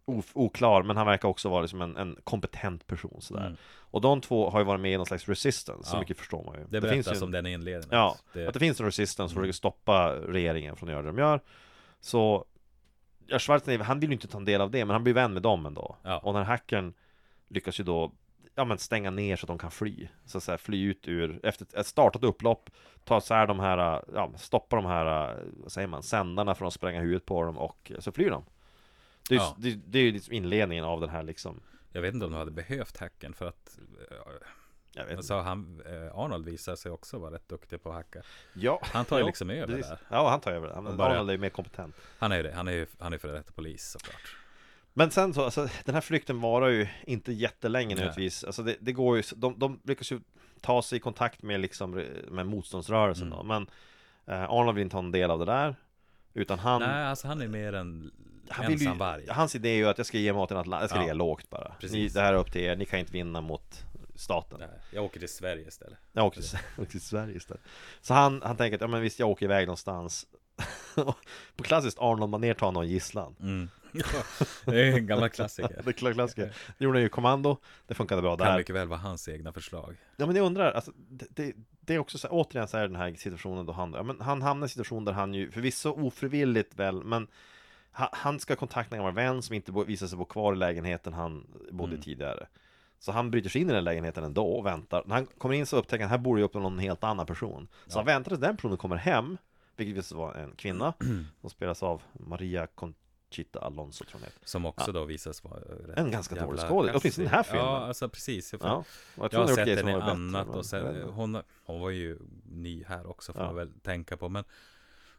S3: of, oklar, men han verkar också vara liksom en, en kompetent person sådär. Och de två har ju varit med i någon slags resistance, så
S4: Mm. Ja.
S3: mycket förstår man ju.
S4: Det
S3: finns ju
S4: berättas
S3: en-
S4: om den i inledningen
S3: Ja,
S4: det, Mm.
S3: att det finns en resistance som försöker stoppa regeringen från att göra det de gör Så ja, Schwarzenegger, han vill ju inte ta en del av det, men han blir vän med dem ändå
S4: Ja.
S3: Och när hackern lyckas ju då Ja men stänga ner så att de kan fly Så att säga fly ut ur, efter ett startat upplopp Ta så här de här, ja stoppa de här, vad säger man, sändarna från att spränga huvudet på dem och så flyr de Det är ju
S4: Ja.
S3: det, är- det är ju liksom inledningen av den här liksom
S4: Jag vet inte om de hade behövt hacken för att
S3: jag vet
S4: eh,
S3: inte.
S4: alltså, han, eh, Arnold visar sig också vara rätt duktig på att hacka
S3: Ja,
S4: han tar ju
S3: jo,
S4: liksom över
S3: precis.
S4: där.
S3: Ja, han tar över det. Han,
S4: bara-
S3: Arnold är ju mer kompetent
S4: Han är ju det, han är ju han är ju före detta polis såklart
S3: Men sen så, alltså, den här flykten varar ju inte jättelänge
S4: Nej.
S3: nödvändigtvis Alltså det, det går ju, de, de lyckas ju ta sig i kontakt med liksom, med motståndsrörelsen
S4: Mm.
S3: då Men eh, Arnold vill inte ha en del av det där Utan han,
S4: Nej, alltså han är mer en
S3: han vill ju,
S4: ensam varg
S3: hans idé är ju att jag ska ge mat i något land, jag ska
S4: Ja.
S3: ligga lågt bara ni,
S4: Precis.
S3: Det här är upp till er, ni kan inte vinna mot staten.
S4: Nej, jag åker till Sverige istället.
S3: Jag åkte till, åkte till Sverige istället. Så han, han tänker att, ja men visst jag åker iväg någonstans. På klassiskt Arnold-manér tar han någon gisslan.
S4: Mm. det är en gammal klassiker.
S3: Det är kla- klassiker. Det gjorde han ju i Kommando. Det funkade bra
S4: Kan
S3: där.
S4: mycket väl vara hans egna förslag.
S3: Ja men jag undrar, alltså, det, det, det är också så här, återigen så här den här situationen då han, ja, men han hamnar i en situation där han ju förvisso ofrivilligt väl, men ha, han ska kontakta en gammal vän som inte bo, visar sig bo kvar i lägenheten han bodde i tidigare. Så han bryter sig in i den lägenheten ändå och väntar. När han kommer in så upptäcker han, här bor ju upp någon helt annan person. Så han väntar tills den personen kommer hem, vilket visst var en kvinna, som spelas av Maria Conchita Alonso tror jag hon heter.
S4: Som också då visas vara eh, rätt
S3: En ganska
S4: jävla
S3: dålig skådis, åtminstone i den här
S4: kass. Ja,
S3: filmen.
S4: alltså precis. Jag,
S3: Ja,
S4: ja,
S3: och jag
S4: jag,
S3: tror
S4: har
S3: hon har
S4: sett
S3: gjort
S4: den i
S3: det som var bättre,
S4: annat
S3: men-
S4: och sen, hon, hon var ju ny här också får
S3: Ja.
S4: man väl tänka på. Men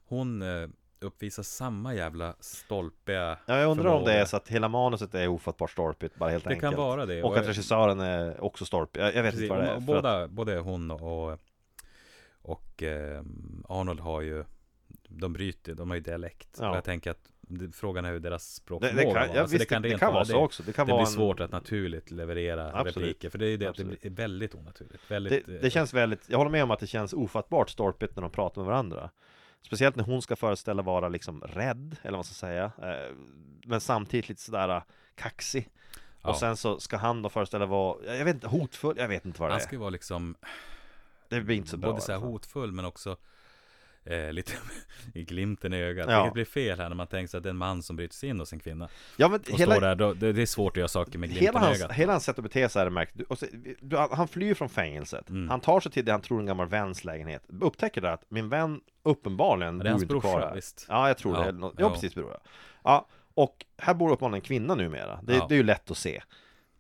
S4: hon eh, uppvisar samma jävla stolpiga
S3: Ja, jag undrar om det
S4: förmåga.
S3: är så att hela manuset är ofattbart stolpigt bara helt
S4: Det
S3: enkelt.
S4: kan vara det.
S3: Och
S4: Och-
S3: att regissören är också stolpig. Jag, jag vet
S4: Precis,
S3: inte vad det är.
S4: och
S3: för att-
S4: båda, både hon och, och eh, Arnold har ju De bryter, de har ju dialekt
S3: Ja.
S4: och Jag tänker att det- Frågan är hur
S3: det, det
S4: deras språkförmåga
S3: kan,
S4: var.
S3: ja,
S4: Alltså,
S3: visst, det kan,
S4: rent
S3: det kan vara så också. Det
S4: Det
S3: kan
S4: blir
S3: vara en-
S4: svårt att naturligt leverera
S3: Absolut.
S4: repliker För det är ju det att det
S3: Absolut.
S4: blir väldigt onaturligt
S3: Det,
S4: väldigt,
S3: det känns väldigt, jag håller med om att det känns ofattbart stolpigt när de pratar med varandra. Speciellt när hon ska föreställa vara liksom rädd, eller vad man ska säga. Eh, Men samtidigt lite sådär eh, kaxig.
S4: eh, Ja.
S3: Och sen så ska han då föreställa vara, jag vet inte, hotfull, jag vet inte vad det
S4: Han
S3: är.
S4: ska ju vara liksom
S3: Det blir inte så Typ bra. alltså.
S4: Både så här
S3: i alla fall.
S4: hotfull men också eh, Lite i glimten i ögat
S3: Ja.
S4: Vilket blir fel här när man tänker sig att det är en man som bryter sig in hos en kvinna
S3: Ja, men
S4: Och
S3: hela,
S4: står där, då, det, det är svårt att göra saker med
S3: Hela
S4: glimten i
S3: hans,
S4: ögat
S3: hela hans sätt att bete sig är märkt. Du- och så- du- han- Han flyr från fängelset.
S4: Mm.
S3: Han tar sig till det han tror är en gammal väns lägenhet. Upptäcker där att min vän uppenbarligen
S4: Ja, det
S3: bor
S4: är hans
S3: inte kvar
S4: brorsa,
S3: här.
S4: visst.
S3: Ja, jag tror
S4: Ja,
S3: det. Eller något- Ja,
S4: ja.
S3: precis bror. jag. Ja, och här bor uppenbarligen en kvinna numera. Det,
S4: Ja.
S3: det är ju lätt att se.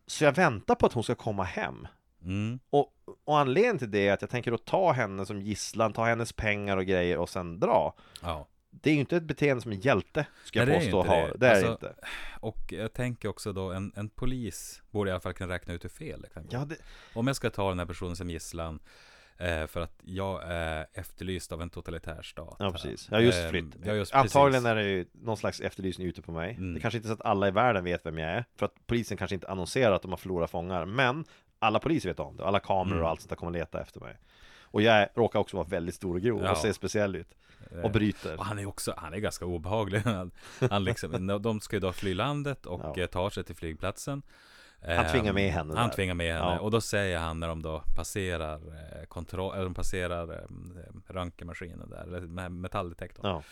S3: Så jag väntar på att hon ska komma hem.
S4: mm.
S3: Och, och anledningen till det är att jag tänker då ta henne som gisslan, ta hennes pengar och grejer och sen dra.
S4: ja.
S3: Det är ju inte ett beteende som en hjälte, ska jag
S4: Nej, det är ju
S3: påstå,
S4: inte
S3: har.
S4: det.
S3: Det är det
S4: Alltså,
S3: inte.
S4: Och jag tänker också då, en, en polis borde i alla fall kunna räkna ut hur fel det kan gå.
S3: Ja, det,
S4: Om jag ska ta den här personen som gisslan eh, för att jag är efterlyst av en totalitär stat.
S3: Ja precis, ja just
S4: Ehm,
S3: fritt
S4: ja, just
S3: Antagligen
S4: precis.
S3: är det ju någon slags efterlysning ute på mig
S4: Mm.
S3: Det kanske inte är så att alla i världen vet vem jag är För att polisen kanske inte annonserar att de har förlorat fångar Men alla poliser vet om det, alla kameror
S4: Mm.
S3: och allt sånt där kommer leta efter mig Och jag råkar också vara väldigt stor och grov
S4: Ja.
S3: och ser speciell ut Och
S4: Eh,
S3: bryter
S4: Och han är också, han är ganska obehaglig. Han, han liksom, de ska ju då fly landet och
S3: Ja.
S4: eh, tar sig till flygplatsen. Ehm,
S3: Han tvingar med henne
S4: Han
S3: där.
S4: tvingar med henne.
S3: Ja.
S4: Och då säger han när de då passerar eh, kontroll, eller de passerar eh, röntgenmaskinen där, eller den här metalldetektorn.
S3: Ja,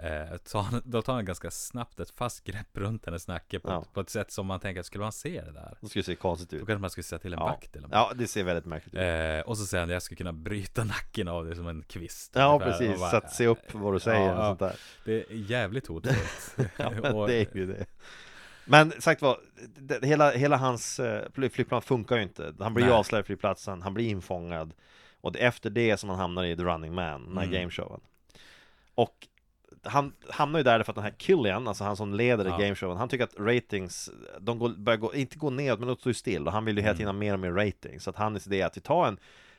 S4: Eh, så han, då tar han ganska snabbt ett fast grepp runt hennes nacke på,
S3: Ja.
S4: ett, på ett sätt som man tänker, skulle man se det där?
S3: då skulle det se konstigt
S4: Då
S3: ut
S4: kanske man skulle säga till en
S3: ja.
S4: vakt eller något.
S3: ja, det ser väldigt märkligt ut
S4: Eh, och så säger han, jag skulle kunna bryta nacken av dig som en kvist.
S3: Ja
S4: ungefär. Och
S3: precis,
S4: bara,
S3: så att se upp vad du säger
S4: Ja,
S3: och
S4: ja.
S3: sånt där
S4: Det är jävligt hotfullt.
S3: Ja, men
S4: Och-
S3: det är ju det. Men sagt var, det, det- hela, hela hans eh, fly- flygplan funkar ju inte. Han blir ju
S4: Nej.
S3: avslöjad på flygplatsen, han blir infångad. Och det är efter det som han hamnar i The Running Man, den här
S4: Mm.
S3: gameshowen. Och han hamnar ju där för att den här Killian, alltså han som leder
S4: Ja.
S3: gameshowen, han tycker att ratings, de går, börjar gå, inte gå neråt, men de står ju still. Och han vill ju
S4: Mm.
S3: hela tiden ha mer och mer rating. Så att hans idé är att vi tar en,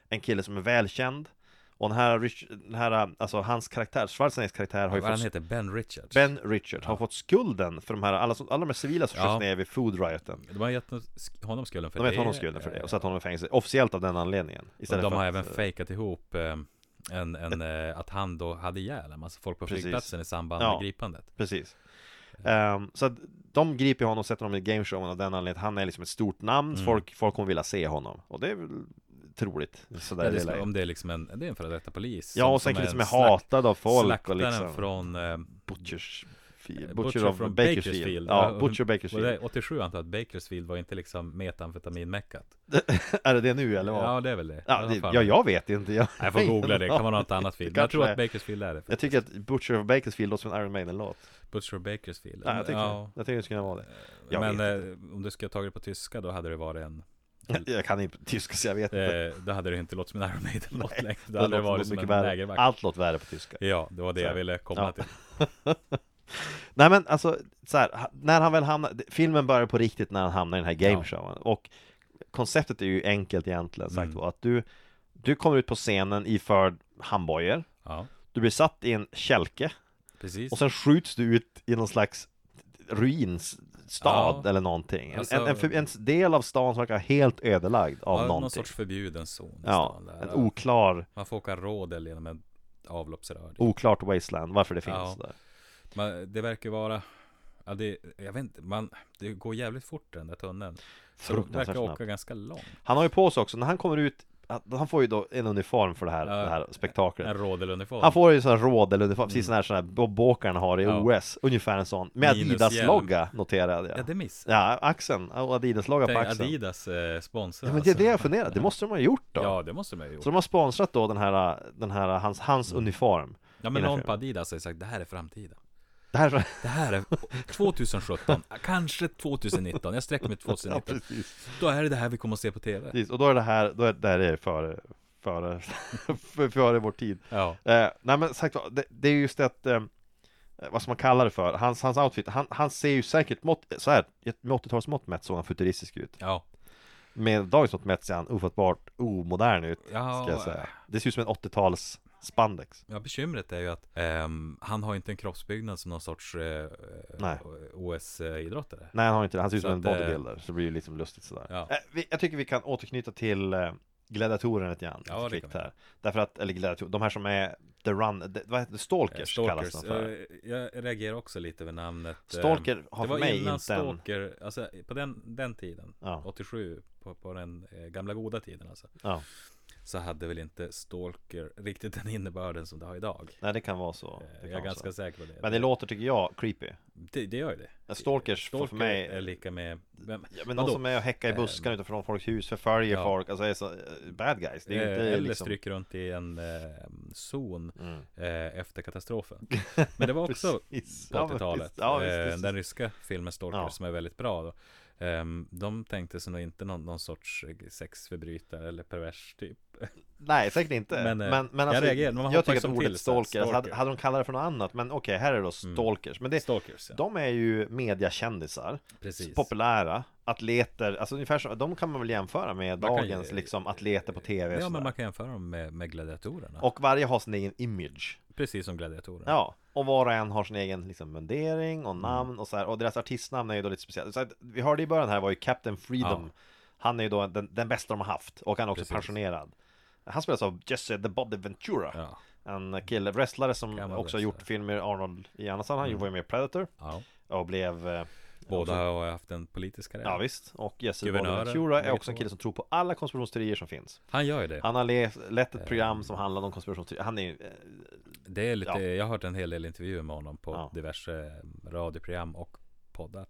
S3: en kille som är välkänd, och den här, Rich- den här alltså hans karaktär, Schwarzeneggers karaktär har ju
S4: Vad
S3: fått
S4: han heter? Ben Richards.
S3: Ben Richard har fått skulden för de här, alla, som- alla de här civila som
S4: Ja.
S3: sköts ner vid food rioten
S4: De har gett sk- honom skulden för
S3: De har
S4: det.
S3: gett honom skulden för det och satt honom i fängelse, officiellt av den anledningen
S4: Och
S3: Istället
S4: de
S3: för
S4: har
S3: att,
S4: även fejkat ihop eh, en, en, eh, att han då hade ihjäl en massa folk på
S3: Precis.
S4: flygplatsen i samband
S3: Ja.
S4: med gripandet.
S3: Precis Ehm, Så att de griper honom och sätter honom i gameshowen av den anledningen att han är liksom ett stort namn,
S4: Mm.
S3: folk, folk kommer vilja se honom Och det är väl troligt sådär
S4: Ja,
S3: i det
S4: det är som-
S3: läget.
S4: om det är liksom en, det är en före detta polis.
S3: Ja, och sen killen som är
S4: en
S3: hatad av folk och
S4: slaktaren
S3: liksom
S4: från eh,
S3: Butchers Butcher,
S4: Butcher
S3: of
S4: från
S3: Bakersfield, Ja,
S4: och-
S3: Butcher
S4: och det
S3: Bakersfield
S4: är 87 antar jag att Bakersfield var inte liksom metamfetaminmeckat.
S3: Är det det nu eller vad?
S4: Ja, det är väl det.
S3: Ja,
S4: Jag har
S3: det,
S4: fan-
S3: ja jag vet inte jag,
S4: Jag får googla det, kan vara något annat film. Men
S3: kanske
S4: jag tror
S3: är.
S4: att Bakersfield är det.
S3: Jag tycker att Butcher of Bakersfield låter som en Iron Maiden-låt
S4: Butcher of Bakersfield.
S3: Ja, jag tycker,
S4: Ja.
S3: jag tycker det skulle kunna vara det. Jag
S4: men
S3: vet
S4: eh, om du skulle ha tagit det på tyska då hade det varit en
S3: Jag kan inte tyska så jag vet inte.
S4: eh, Då hade eh, det inte låtit som en Iron Maiden-låt längre Då
S3: Det
S4: hade det
S3: låter
S4: varit
S3: något
S4: som en
S3: mycket värre.
S4: lägervakt
S3: Allt låter värre på tyska.
S4: Ja, det var det
S3: Så.
S4: jag ville komma
S3: Ja.
S4: till
S3: Nej men alltså, så här, ha- när han väl hamnar, det- filmen börjar på riktigt när han hamnar i den här
S4: Ja.
S3: gameshowen. Och konceptet är ju enkelt egentligen sagt
S4: Mm.
S3: var att du, du kommer ut på scenen iförd handbojor,
S4: Ja,
S3: du blir satt i en kälke
S4: precis
S3: och sen skjuts du ut i någon slags ruins stad
S4: Ja.
S3: eller någonting. En,
S4: Alltså-
S3: en, en, för, en del av stan som verkar helt ödelagd av
S4: Ja, någon
S3: någonting.
S4: sorts förbjuden zon. i
S3: ja,
S4: stan där.
S3: en oklar,
S4: Man får åka rodel genom en avloppsrör.
S3: oklart wasteland, varför det finns
S4: Ja.
S3: där.
S4: Men det verkar vara... Ja, det, jag vet inte, man, det går jävligt fort den där tunneln. Så de
S3: Fruktansvärt
S4: verkar åka
S3: snabbt.
S4: ganska långt.
S3: Han har ju på sig också, när han kommer ut, han får ju då en uniform för det här,
S4: Ja,
S3: det här spektaklet.
S4: En rodeluniform.
S3: Han får ju sån här rådeluniform, precis sån här sån här bobbåkaren har i
S4: Ja.
S3: OS, ungefär en sån Med
S4: Minus
S3: Adidas-logga noterade
S4: Ja,
S3: jag
S4: det missar
S3: Ja, axeln, och Adidas-logga på
S4: jag.
S3: axeln
S4: Adidas eh, sponsrar.
S3: Ja men det är det jag
S4: alltså.
S3: funderar, det måste de ha gjort då
S4: Ja, det måste de ha gjort.
S3: Så de har sponsrat då den här, den här hans, hans uniform
S4: Ja, men
S3: Innan
S4: någon
S3: film.
S4: på Adidas har ju sagt det här är framtiden.
S3: Det här är
S4: Det här är 2017, kanske 2019. Jag sträcker mig till
S3: ja,
S4: 2019.
S3: precis.
S4: Då är det det här vi kommer att se på TV.
S3: precis, och då är det här, då är det här är före, före, före vår tid
S4: Ja,
S3: Eh, nej men sagt var, det, det är just att eh, vad ska man kalla det för? Hans, hans outfit, han, han ser ju säkert mått, så här, i ett- med 80-talsmått mätt såg han futuristisk ut
S4: ja.
S3: Med dagens mått mätt ser han ofattbart omodern ut
S4: Ja,
S3: Ska jag säga Det ser ut som en 80-tals spandex
S4: Ja, bekymret är ju att ehm, han har ju inte en kroppsbyggnad som någon sorts eh,
S3: Nej.
S4: OS-idrottare.
S3: Nej han har inte det, han ser ut
S4: Så
S3: som en
S4: att, eh,
S3: bodybuilder Så det blir ju liksom lustigt sådär
S4: Ja.
S3: eh, vi, Jag tycker vi kan återknyta till eh, Gladiatorerna lite grann
S4: Ja, det kan
S3: kvickt
S4: vi.
S3: här. Därför att, eller gladiatorer, de här som är The Run, the, vad heter det?
S4: Eh,
S3: Stalkers, kallas
S4: Stalkers.
S3: de för
S4: Eh, Jag reagerar också lite över namnet. eh,
S3: Stalker har
S4: Det
S3: för
S4: var
S3: mig
S4: innan
S3: inte en...
S4: Stalker, alltså på den, den tiden,
S3: Ja.
S4: 87, på, på den eh, gamla goda tiden alltså,
S3: Ja.
S4: så hade väl inte Stalker riktigt den innebörden som det har idag.
S3: Nej det kan vara så
S4: Eh,
S3: Det kan
S4: Jag är
S3: vara så.
S4: ganska säker på det.
S3: Men det låter, tycker jag, creepy
S4: det, det gör ju det.
S3: Stalkers får
S4: Stalker
S3: för mig-
S4: är lika med... Vem?
S3: ja, Men någon
S4: Vadå? Eh,
S3: som är och häckar i buskarna utanför folks hus, förföljer
S4: Ja.
S3: folk, alltså är så, eh, bad guys Det är ju
S4: Eh,
S3: inte
S4: Eller
S3: liksom...
S4: stryker runt i en eh, zon
S3: Mm.
S4: eh, efter katastrofen. Men det var också
S3: Precis.
S4: på
S3: Ja, men
S4: 80-talet.
S3: visst. Ja, visst,
S4: eh,
S3: visst,
S4: den
S3: visst.
S4: ryska filmen Stalker
S3: Ja.
S4: som är väldigt bra. Då. Ehm, de tänkte sig nog inte någon, någon sorts eh, sexförbrytare eller pervers typ.
S3: Nej, säkert inte. Men,
S4: Men, eh,
S3: men,
S4: jag
S3: alltså,
S4: reagerar. Man hoppar
S3: jag tycker att
S4: som
S3: ordet
S4: till, så här,
S3: stalkers, Hade,
S4: stalker. Mm.
S3: hade de kallat det för något annat, men okej, här är det då stalkers. Men det,
S4: Stalkers, ja.
S3: de är ju mediakändisar,
S4: Precis.
S3: populära, atleter, alltså ungefär som, de kan man väl jämföra med
S4: Man kan ju- eh,
S3: dagens liksom atleter på tv och
S4: ja, men
S3: sådär.
S4: man kan jämföra dem med, med gladiatorerna.
S3: Och varje har sin egen image.
S4: Precis som gladiatorerna.
S3: Ja, och var och en har sin egen liksom mundering
S4: Mm.
S3: och namn och så här. Och deras artistnamn är ju då lite speciellt. Så att, vi hörde i början här var ju Captain Freedom. Han är ju då den, den bästa de har haft och han är också
S4: Precis.
S3: pensionerad. Han spelas av Jesse the Body Ventura.
S4: Ja.
S3: En kille, wrestlare som
S4: Gammal
S3: också har
S4: wrestlare.
S3: gjort filmer, Arnold i andra sammanhang. Han var ju med i Predator
S4: Ja.
S3: och blev... eh,
S4: Båda
S3: också-
S4: har haft en politisk karriär.
S3: Ja visst, och Jesse the Body
S4: Guvernörer,
S3: Ventura är
S4: bägge
S3: också en
S4: två.
S3: kille som tror på alla konspirationsteorier som finns.
S4: Han gör ju det.
S3: Han har le- lett
S4: Eh.
S3: ett program som handlar om konspirationsteorier. Han är ju... eh,
S4: Det är lite,
S3: Ja.
S4: jag har hört en hel del intervjuer med honom på
S3: Ja.
S4: diverse eh, radioprogram och poddar.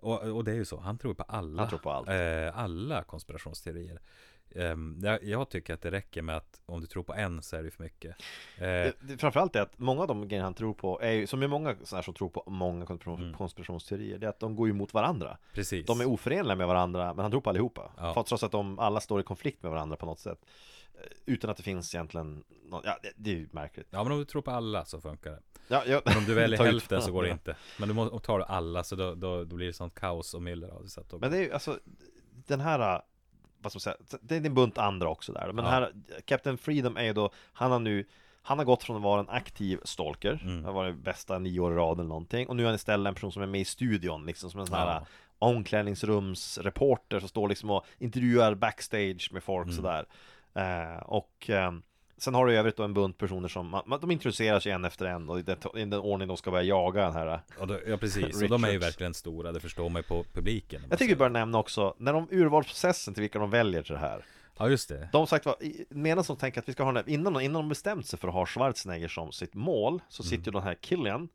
S4: Och, och det är ju så, han tror på alla,
S3: Han tror på allt.
S4: eh, alla konspirationsteorier. Ehm, jag, jag tycker att det räcker med att om du tror på en så är det för mycket. Eh,
S3: Det- det- Framförallt är att många av de grejer han tror på är ju, som är många sådana här som tror på många konspiration-
S4: Mm.
S3: konspirationsteorier, det är att de går ju mot varandra.
S4: precis.
S3: De är oförenliga med varandra, men han tror på allihopa.
S4: Ja.
S3: För att trots att de alla står i konflikt med varandra på något sätt. Eh, Utan att det finns egentligen, nå- ja det, det är ju märkligt.
S4: ja, men om du tror på alla så funkar det.
S3: Ja, jag,
S4: Men om du väljer
S3: tar ut-
S4: hälften så går det inte. Men du måste, om du tar alla så då, då, då blir det sånt kaos och myller av det. Så att då,
S3: Men det är ju alltså, den här, äh, vad ska man säga, det är en bunt andra också där. Men
S4: Ja.
S3: här, Captain Freedom är ju då, han har nu han har gått från att vara en aktiv stalker,
S4: Mm.
S3: har varit bästa nio år i rad eller någonting Och nu är han istället en person som är med i studion liksom som en sån här
S4: Ja.
S3: omklädningsrumsreporter som står liksom och intervjuar backstage med folk
S4: Mm.
S3: sådär eh, Och eh, sen har du i övrigt då en bunt personer som, man- man- de introducerar sig en efter en och i den, i den ordning de ska börja jaga den här äh.
S4: och då, ja, precis. och de är ju
S3: Richards.
S4: verkligen stora, det förstår man ju på publiken.
S3: Jag tycker vi bör nämna också, när de urvalsprocessen till vilka de väljer till det här
S4: Ja, just det.
S3: De sagt var, i- medan de tänker att vi ska ha den här, innan, de- innan de bestämt sig för att ha Schwarzenegger som sitt mål Så sitter ju den här killen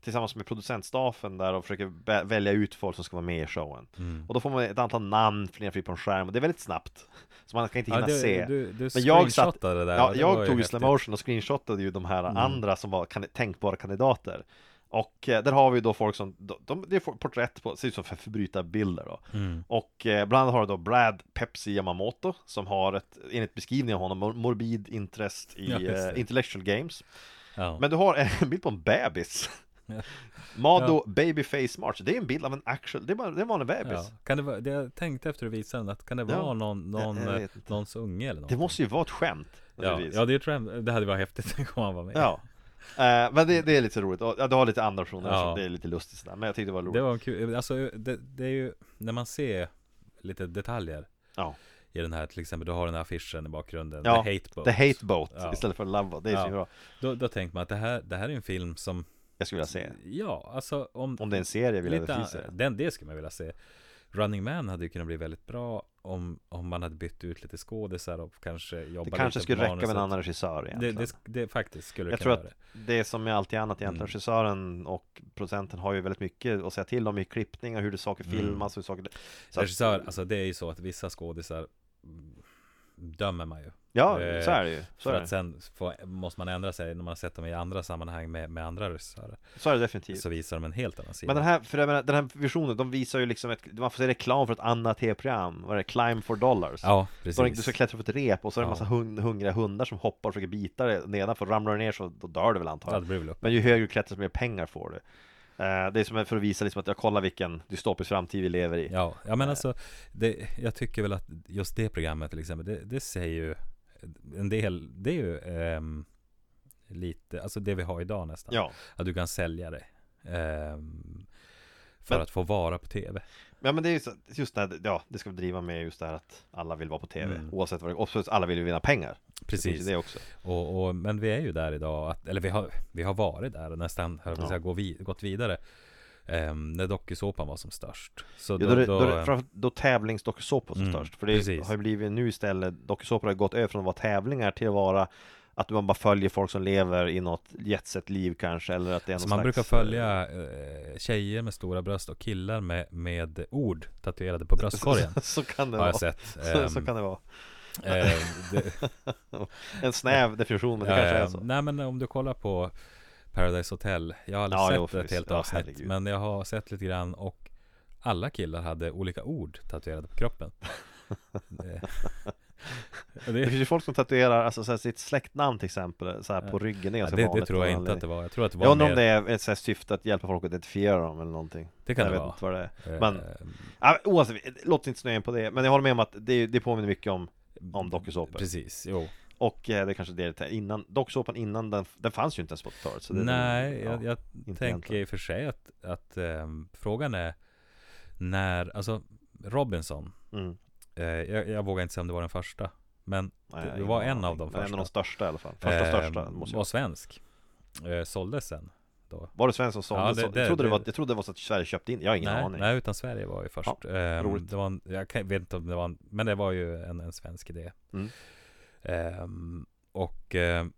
S3: Tillsammans med producentstaffen där och försöker bä- välja ut folk som ska vara med i showen Och då får man ett antal namn flera fritt på en skärm och det är väldigt snabbt Så man kan inte
S4: Ja,
S3: hinna
S4: du-
S3: se
S4: du- du screenshotade det där,
S3: Ja,
S4: det var
S3: jag
S4: ju
S3: tog ju
S4: häftigt. Mm.
S3: slow motion och screenshotade ju de här andra som var kan, tänkbara kandidater och eh, där har vi då folk som, de, de, det är folk- porträtt på, ser ut som för- förbrytarbilder då
S4: Mm.
S3: Och eh, bland annat har du då Brad Pepsi Yamamoto Som har ett, enligt beskrivning av honom, mor- morbid interest i
S4: Ja, just det.
S3: eh, intellectual games
S4: Ja.
S3: Men du har en bild på en bebis Mado Babyface March, det är en bild av en actual, det är bara det är en vanlig bebis
S4: Ja. Kan det vara, det jag tänkte efter att visa den, att kan det vara
S3: Ja.
S4: någon, någon,
S3: Jag- jag
S4: eh,
S3: vet inte.
S4: någons unge eller något?
S3: Det måste ju vara ett skämt
S4: ja,
S3: naturligtvis.
S4: ja, det tror jag, det hade varit häftigt om han var med.
S3: Ja, Eh, men det, det är lite roligt, och, ja, du har lite andra personer
S4: Ja.
S3: som det är lite lustigt sådär, men jag tyckte det var roligt
S4: Det var en kul, alltså det, det är ju när man ser lite detaljer
S3: Ja.
S4: i den här till exempel, du har den här affischen i bakgrunden,
S3: Ja,
S4: The Hate Boat.
S3: The Hate Boat
S4: Ja.
S3: istället för Love Boat, det är
S4: Ja.
S3: så bra
S4: Då, då tänkte man att det här, det här är en film som,
S3: Jag skulle vilja se
S4: ja, alltså om,
S3: Om det är en serie vill jag
S4: lite, eh,
S3: definitivt se det.
S4: den, det skulle man vilja se. Running Man hade ju kunnat bli väldigt bra om, om man hade bytt ut lite skådisar och kanske jobbat
S3: Det kanske
S4: lite
S3: skulle räcka
S4: på
S3: med en
S4: manuset.
S3: annan regissör
S4: det,
S3: egentligen
S4: det, sk- det faktiskt skulle
S3: Jag
S4: jag
S3: tror
S4: kunna
S3: att
S4: göra det.
S3: det är som med allt annat egentligen,
S4: Mm.
S3: regissören och producenten har ju väldigt mycket att säga till om i klippning och hur det saker
S4: Mm.
S3: filmas och hur saker så att-
S4: Regissör, alltså det är ju så att vissa skådisar mm, dömer man ju.
S3: Ja,
S4: eh,
S3: så är det ju så
S4: För
S3: är det.
S4: att sen få, måste man ändra sig när man har sett dem i andra sammanhang med, med andra regissörer.
S3: så är det definitivt
S4: Så visar de en helt annan sida.
S3: Men den här, för jag menar, den här visionen, de visar ju liksom ett, man får se reklam för ett annat tv-program, vad är det, Climb for Dollars?
S4: Ja,
S3: Så du
S4: precis.
S3: ska klättra på ett rep och så är det en massa
S4: Ja.
S3: hung, hungriga hundar som hoppar och försöker bita dig nedanför, ramlar du ner så då dör du väl
S4: Ja,
S3: antagligen
S4: det blir väl upp.
S3: Men ju högre du klättrar desto mer pengar får du Eh, Det är som för att visa liksom att jag kollar vilken dystopisk framtid vi lever i
S4: Ja, ja men alltså, det, jag tycker väl att just det programmet till exempel, det, det säger ju en del, det är ju ehm, lite, alltså det vi har idag nästan.
S3: Ja,
S4: Att du kan sälja det. ehm, för
S3: Men-
S4: att få vara på tv.
S3: ja men det är ju så, just det här, ja, det ska vi driva med just det här att alla vill vara på tv
S4: Mm.
S3: Oavsett vad det och så alla vill ju vinna pengar Det finns
S4: Precis.
S3: ju det också
S4: Och, och, men vi är ju där idag, att, eller vi har, vi har varit där och nästan höll jag på att
S3: Ja.
S4: säga, gå vi, gått vidare. ehm, när dokusåpan var som störst. Så
S3: Ja, då, då, då, då, då tävlingsdokusåpor som
S4: Mm,
S3: störst För det
S4: precis.
S3: har ju blivit nu istället Dokusåpor har ju gått över från att vara tävlingar till att vara Att man bara följer folk som lever i något jetset-liv kanske Eller att det är
S4: Så
S3: någon
S4: man
S3: slags,
S4: brukar följa eh, tjejer med stora bröst och killar med, med ord tatuerade på bröstkorgen.
S3: eh, Så kan det
S4: Har
S3: vara
S4: jag sett.
S3: så, så
S4: Ehm,
S3: kan det vara
S4: eh, det,
S3: En snäv definition men det
S4: ja,
S3: kanske
S4: ja.
S3: är så
S4: eh, Nej men om du kollar på Paradise Hotel. Jag har aldrig
S3: Ja,
S4: sett
S3: jo,
S4: ett
S3: förvisso.
S4: helt
S3: Ja,
S4: avsnitt.
S3: herregud.
S4: Men jag har sett lite grann och alla killar hade olika ord tatuerade på kroppen. Eh, och
S3: Det
S4: det,
S3: finns ju folk som tatuerar alltså, så här, sitt släktnamn till exempel så här, på
S4: Ja.
S3: ryggen, det är
S4: ja,
S3: ganska
S4: det,
S3: vanligt
S4: det tror
S3: av
S4: jag
S3: någon
S4: inte att
S3: anledning.
S4: det var. Jag tror att det
S3: Jag
S4: var
S3: undrar om
S4: mer.
S3: det är ett så här, syfte att hjälpa folk att identifiera dem eller någonting
S4: Det kan
S3: Jag
S4: det
S3: vet
S4: vara.
S3: inte vad det är
S4: Eh,
S3: men- ja, men Oavsett, låt oss inte snöa in på det Men jag håller med om att det, det påminner mycket om om dokusåpor.
S4: Precis, jo.
S3: Och eh, det kanske är det det är innan, dokusåpan innan den, den fanns ju inte ens på 80-talet så det,
S4: Nej,
S3: ja,
S4: jag, jag tänker
S3: egentligen.
S4: i och för sig att, att ehm, frågan är när, alltså Robinson,
S3: mm,
S4: eh, jag, jag vågar inte säga om det var den första, men
S3: nej,
S4: det
S3: ingen
S4: var en
S3: aning.
S4: av de
S3: Men En av de
S4: första.
S3: största i alla fall, första
S4: ehm,
S3: största måste jag.
S4: var svensk. Eh, såldes sen.
S3: Var det Svensson som
S4: Ja,
S3: sålde?
S4: det-
S3: så- jag,
S4: det-
S3: trodde det
S4: det-
S3: var, jag trodde det var så att Sverige köpte in, jag har ingen
S4: nej,
S3: aning
S4: nej, utan Sverige var ju först. Ehm,
S3: roligt.
S4: det var en, jag kan, vet inte om det var en, men det var ju en, en svensk idé.
S3: Mm.
S4: Ehm, och ehm,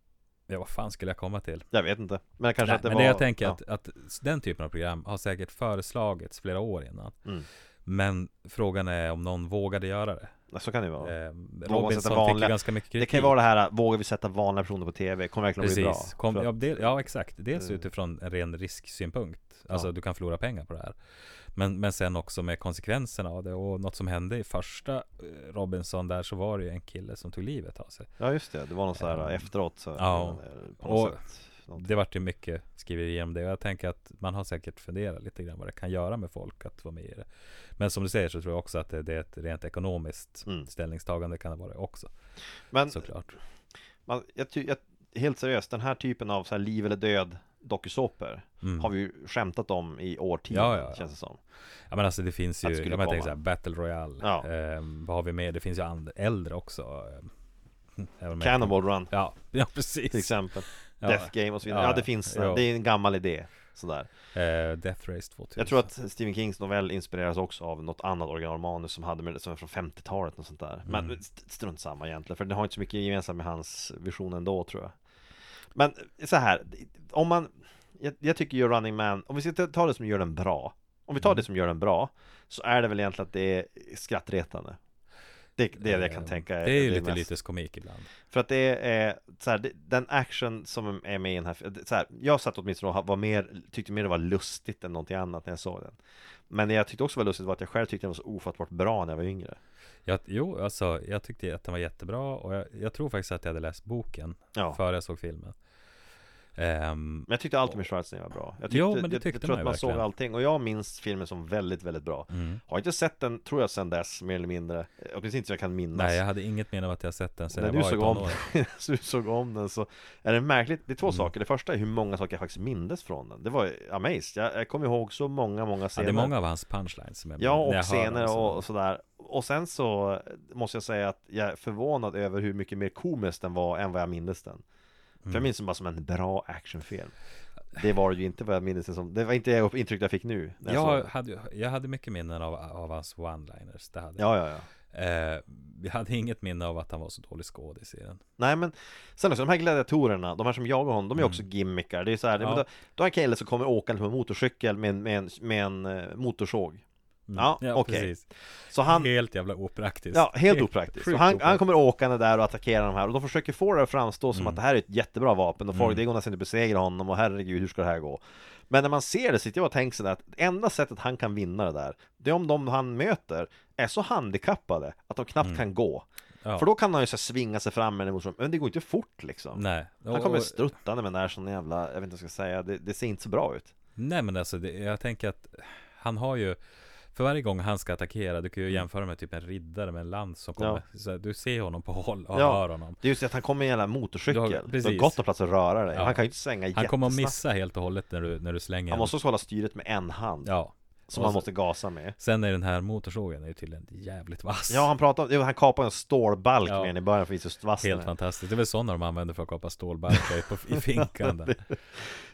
S4: Ja, vad fan skulle jag komma till?
S3: Jag vet inte, men kanske
S4: Nej,
S3: att det
S4: men
S3: var
S4: det jag tänker
S3: ja.
S4: att, att den typen av program har säkert föreslagits flera år innan.
S3: Mm.
S4: Men frågan är om någon vågade göra det.
S3: Nej, Så kan det ju vara
S4: Eh,
S3: sätta
S4: Robinson fick
S3: vanliga-
S4: ju ganska mycket kritik.
S3: Det kan ju vara det här, vågar vi sätta vanliga personer på TV? Kommer verkligen bli bra?
S4: Precis. Kom,
S3: För att-
S4: ja, det, ja, exakt. Dels
S3: Eh.
S4: utifrån en ren risksynpunkt. Alltså
S3: Ja.
S4: du kan förlora pengar på det här. Men, men sen också med konsekvenserna av det. Och något som hände i första eh, Robinson där så var det ju en kille som tog livet av sig.
S3: Ja just det, det var någon sån här
S4: Ehm,
S3: efteråt så,
S4: ja.
S3: eh, på något
S4: Och-
S3: sätt någonting.
S4: Det vart ju mycket skriverier om det. Och jag tänker att man har säkert funderat lite grann vad det kan göra med folk att vara med i det. Men som du säger så tror jag också att det, det är ett rent ekonomiskt
S3: Mm.
S4: ställningstagande kan det vara också.
S3: Men
S4: Såklart.
S3: man, jag, ty, jag, helt seriöst, den här typen av så här liv eller död dokusåpor
S4: Mm.
S3: har vi ju skämtat om i årtionden
S4: Ja, ja, ja.
S3: känns det som
S4: Ja men alltså det finns ju,
S3: Att det
S4: jag
S3: skulle
S4: menar, tänker
S3: komma.
S4: såhär, Battle Royale
S3: Ja.
S4: ehm, Vad har vi med? Det finns ju and- äldre också ehm, även om jag-
S3: Cannonball Run
S4: Ja, ja
S3: till
S4: precis
S3: exempel,
S4: ja.
S3: Death Game och så vidare
S4: Ja,
S3: Ja det finns,
S4: ja.
S3: det är en gammal idé sådär
S4: Eh, Death Race 2000
S3: Jag tror att Stephen Kings novell inspireras också av något annat originalmanus som hade med, som är från 50-talet och sånt där Men
S4: Mm.
S3: st- strunt samma egentligen, för den har inte så mycket gemensamt med hans vision ändå tror jag Men så här, om man Jag, jag tycker ju Running Man, om vi ska ta- ta det som gör den bra Om vi tar
S4: Mm.
S3: det som gör den bra Så är det väl egentligen att det är skrattretande Det, det är det jag kan
S4: Ehm,
S3: tänka
S4: Det är ju lite
S3: mest.
S4: lyteskomik ibland
S3: För att det är så här, det, den action som är med i den här så här, Jag satt åtminstone och var mer, tyckte mer det var lustigt än någonting annat när jag såg den Men det jag tyckte också var lustigt var att jag själv tyckte den var så ofattbart bra när jag var yngre
S4: jag, Jo, alltså jag tyckte att den var jättebra och jag, jag tror faktiskt att jag hade läst boken
S3: Ja,
S4: före jag såg filmen Ehm,
S3: Men jag tyckte alltid med Schwarzenegger var bra Jag tyckte,
S4: Jo, men det
S3: jag-
S4: tyckte
S3: jag tror
S4: man
S3: att
S4: ju
S3: man såg
S4: verkligen. Mm.
S3: allting Och jag minns filmen som väldigt, väldigt bra Har inte sett den, tror jag, sen dess mer eller mindre Eh, Åtminstone inte så jag kan minnas
S4: nej, jag hade inget minne av att jag sett den sen
S3: När
S4: jag
S3: du
S4: var i
S3: såg, om,
S4: tonåren.
S3: så du såg om den så är det märkligt Det är
S4: Mm.
S3: två saker, det första är hur många saker jag faktiskt mindes från den Det var amazed, jag, jag kommer ihåg så många, många
S4: Ja,
S3: scener
S4: det är många av hans punchlines som jag
S3: Ja,
S4: när
S3: och
S4: jag hör dem
S3: scener
S4: så-
S3: och, och sådär Och sen så måste jag säga att jag är förvånad över hur mycket mer komisk den var än vad jag mindes den För
S4: Mm.
S3: jag minns den bara som en bra actionfilm Det var det ju inte vad jag minns den som Det var inte det intryck jag fick nu när jag såg
S4: Jag
S3: den.
S4: hade, ju- jag hade mycket minnen av, av hans one-liners. Det hade. jag.
S3: Ja, ja, ja
S4: Eh, jag hade inget minne av att han var så dålig skådis i den.
S3: Nej men Sen också, de här gladiatorerna, de här som jagar honom, de är också gimmickar Det är så här,
S4: Mm. Ja.
S3: men då, då är en kille som kommer åka liksom på en motorcykel med en, med en, med en eh, motorsåg
S4: Mm.
S3: Ja, okej.
S4: precis.
S3: Så han,
S4: Helt jävla opraktiskt.
S3: Ja, helt opraktiskt. Så
S4: sjukt
S3: han, han
S4: opraktiskt. Mm.
S3: kommer åkande där och attackera de här och de försöker få det att framstå som att det här är ett jättebra vapen och folk, det går nästan inte att besegra honom och herregud, hur ska det här gå? Men när man ser det sitter jag och tänker sådär att enda sättet han kan vinna det där, det är om de han möter är så handikappade att de knappt kan gå.
S4: Mm. Ja.
S3: För då kan han ju så här svinga sig fram med en motståndare, men det går inte fort liksom.
S4: Nej.
S3: Han
S4: Och-
S3: kommer
S4: och-
S3: struttande med den här sån jävla, jag vet inte vad jag ska säga, det, det ser inte så bra ut.
S4: Nej men alltså, det, jag tänker att han har ju för varje gång han ska attackera, du kan
S3: Mm.
S4: ju jämföra med typ en riddare med en lans som kommer. Så här, du ser honom på håll och
S3: Ja.
S4: hör honom.
S3: Det är just det att han kommer med en jävla motorcykel,
S4: Ja,
S3: du har,
S4: precis.
S3: gott om plats att röra dig,
S4: Ja.
S3: han kan ju inte svänga
S4: Han kommer att
S3: jättesnabbt.
S4: missa helt och hållet när du, när du slänger
S3: Han
S4: honom.
S3: måste också hålla styret med en hand
S4: Ja.
S3: Som
S4: Och
S3: han
S4: så-
S3: måste gasa med
S4: Sen är den här motorsågen är ju tydligen jävligt vass.
S3: Ja han pratar om, jo, han kapar en stålbalk
S4: Ja.
S3: med den i början för att visa hur vass den
S4: Helt
S3: är.
S4: fantastiskt. Det är väl sådana de använder för att kapa stålbalkar i, på- i finkan där.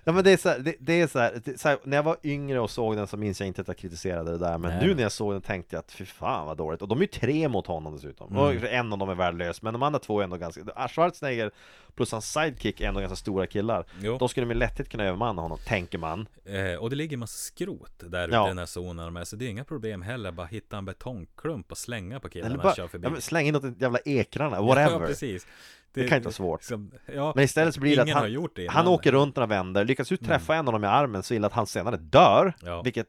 S3: Ja men det är så här, det, det är så här, det, så här, när jag var yngre och såg den så minns jag inte att jag kritiserade det där Men
S4: Nej.
S3: nu när jag såg den tänkte jag att fy fan vad dåligt Och de är ju tre mot honom dessutom
S4: Mm.
S3: Och en av dem är värdelös Men de andra två är ändå ganska Ah, Schwarzenegger plus hans sidekick är ändå ganska stora killar
S4: Jo.
S3: De skulle med lätthet kunna övermanna honom, tänker man
S4: Eh, och det ligger en massa skrot där ute
S3: Ja.
S4: i den här zonen. Men Så det är inga problem heller. Bara hitta en betongklump och slänga på killarna
S3: Eller
S4: när
S3: bara,
S4: man kör förbi.
S3: ja, men släng in något i jävla ekrarna, whatever
S4: Ja, precis.
S3: Det kan inte vara svårt.
S4: liksom, ja,
S3: Men istället så blir det
S4: ingen
S3: att han,
S4: har gjort det
S3: han
S4: innan. Mm.
S3: åker runt några vänder, lyckas ju träffa en av dem i armen så illa att han senare dör
S4: Ja.
S3: Vilket,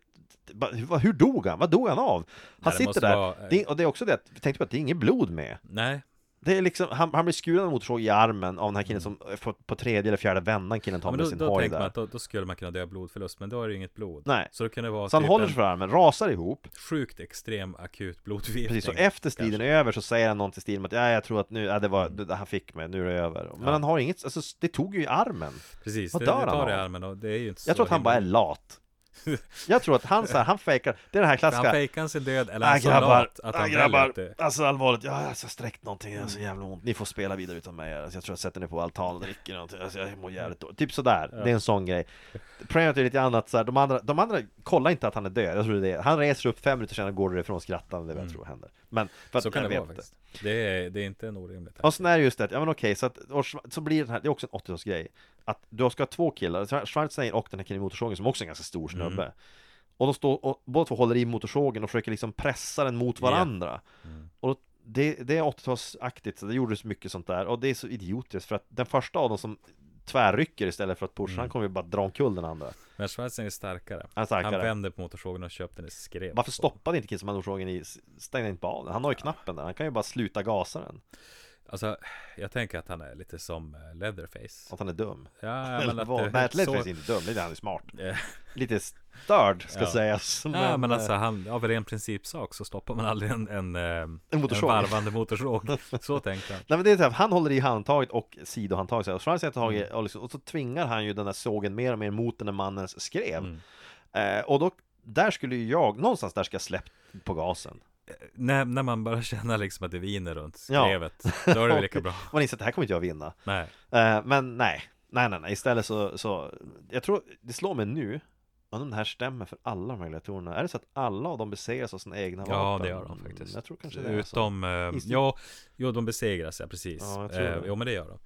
S3: ba- hur, hur dog han? Vad dog han av? Han
S4: det
S3: sitter
S4: måste
S3: där,
S4: vara-
S3: det, och det är också det att, tänk på att det är inget blod med
S4: Nej,
S3: det är liksom, han, han blir skuren av en motorsåg i armen av den här killen som eh, på, på tredje eller fjärde vändan killen tar
S4: Mm. men
S3: med
S4: då,
S3: sin
S4: då
S3: hoj
S4: tänker man
S3: där
S4: att då, då skulle man kunna dö av blodförlust, men då är det ju inget blod.
S3: Nej.
S4: Så det kunde vara
S3: Så han
S4: typ
S3: håller
S4: en
S3: sig för armen, rasar ihop
S4: sjukt extrem akut blodförgiftning.
S3: Precis, och efter striden är över så säger han någonting i stil med att ja, jag tror att nu, ja, det var, det, han fick mig, nu är det över Men han har inget, alltså det tog ju i armen
S4: Precis,
S3: Vad
S4: det, det
S3: dör han
S4: tar i
S3: av?
S4: armen och det är ju inte
S3: Jag tror att han bara är lat Jag tror att han så här, han fejkar Det är den här
S4: Han
S3: klassiska
S4: fejkar sin död, eller han
S3: Nej
S4: är så
S3: grabbar,
S4: lat att
S3: nej,
S4: han väljer Mm.
S3: grabbar.
S4: att det.
S3: Alltså allvarligt, jag har alltså sträckt någonting, jag har så jävla ont Ni får spela vidare utan mig, alltså, jag tror jag sätter ner på altan och dricker någonting alltså, Jag mår jävligt dåligt, typ sådär, det är en sån grej Problemet är lite annat så här, de andra, de andra kollar inte att han är död, jag tror det är Han reser upp fem minuter senare och går därifrån skrattande, det är vad jag tror händer Men, för att
S4: Mm. Så kan
S3: jag
S4: det vara
S3: vet inte.
S4: faktiskt. Det är, det är inte en orimlig tanke.
S3: Och sen är det just det, att, ja men okej, så, att, och Schwa- så blir det här, det är också en 80-talsgrej Att du ska ha två killar, Schwar- Schwarzenegger och den här killen i motorsågen som också är en ganska stor snubbe Och de står, och båda två håller i motorsågen och försöker liksom pressa den mot varandra Och då- det, det är 80-talsaktigt, så det gjordes mycket sånt där Och det är så idiotiskt för att den första av dem som tvärrycker istället för att pusha, han kommer ju bara dra omkull den andra
S4: Men Schwarzenegger är starkare.
S3: Han är starkare.
S4: vänder på motorsågen och köper den i skrev.
S3: Varför stoppade inte killen som hade motorsågen i, stängde inte bara av den? Han har ju knappen där, han kan ju bara sluta gasa den
S4: Alltså, jag tänker att han är lite som eh, Leatherface.
S3: Att han är dum
S4: Ja, men
S3: Eller
S4: att
S3: vad?
S4: det-
S3: Matt Ledford
S4: så-
S3: är inte dum, det är han är smart
S4: Eh,
S3: lite störd ska sägas
S4: Ja men
S3: eh,
S4: alltså han, av ren principsak så stoppar man aldrig en, en, en,
S3: motorsåg.
S4: en varvande motorsåg Så tänkte han
S3: Nej men det är så här, han håller i handtaget och sidohandtaget så här, och Schwarzenegger tar tag
S4: Mm.
S3: i, och, liksom, och så tvingar han ju den här sågen mer och mer mot den här mannens skrev
S4: Mm.
S3: eh, Och då, där skulle ju jag, någonstans där ska jag släppt på gasen
S4: när, när man börjar känna liksom att det viner runt
S3: Ja.
S4: skrevet Då är det väl lika
S3: Och
S4: bra
S3: Man inser att det här kommer inte jag vinna
S4: Nej
S3: eh, Men nej, nej nej nej, istället så, så Jag tror, det slår mig nu Undrar om det här stämmer för alla de här gladiatorerna Är det så att alla av dem besegras av sina egna
S4: Ja
S3: vapen?
S4: det gör de faktiskt
S3: Jag tror kanske det är så
S4: Utom, eh,
S3: Is-
S4: ja, jo de besegras ja precis
S3: Ja, jag tror
S4: eh,
S3: det.
S4: Jo men det gör de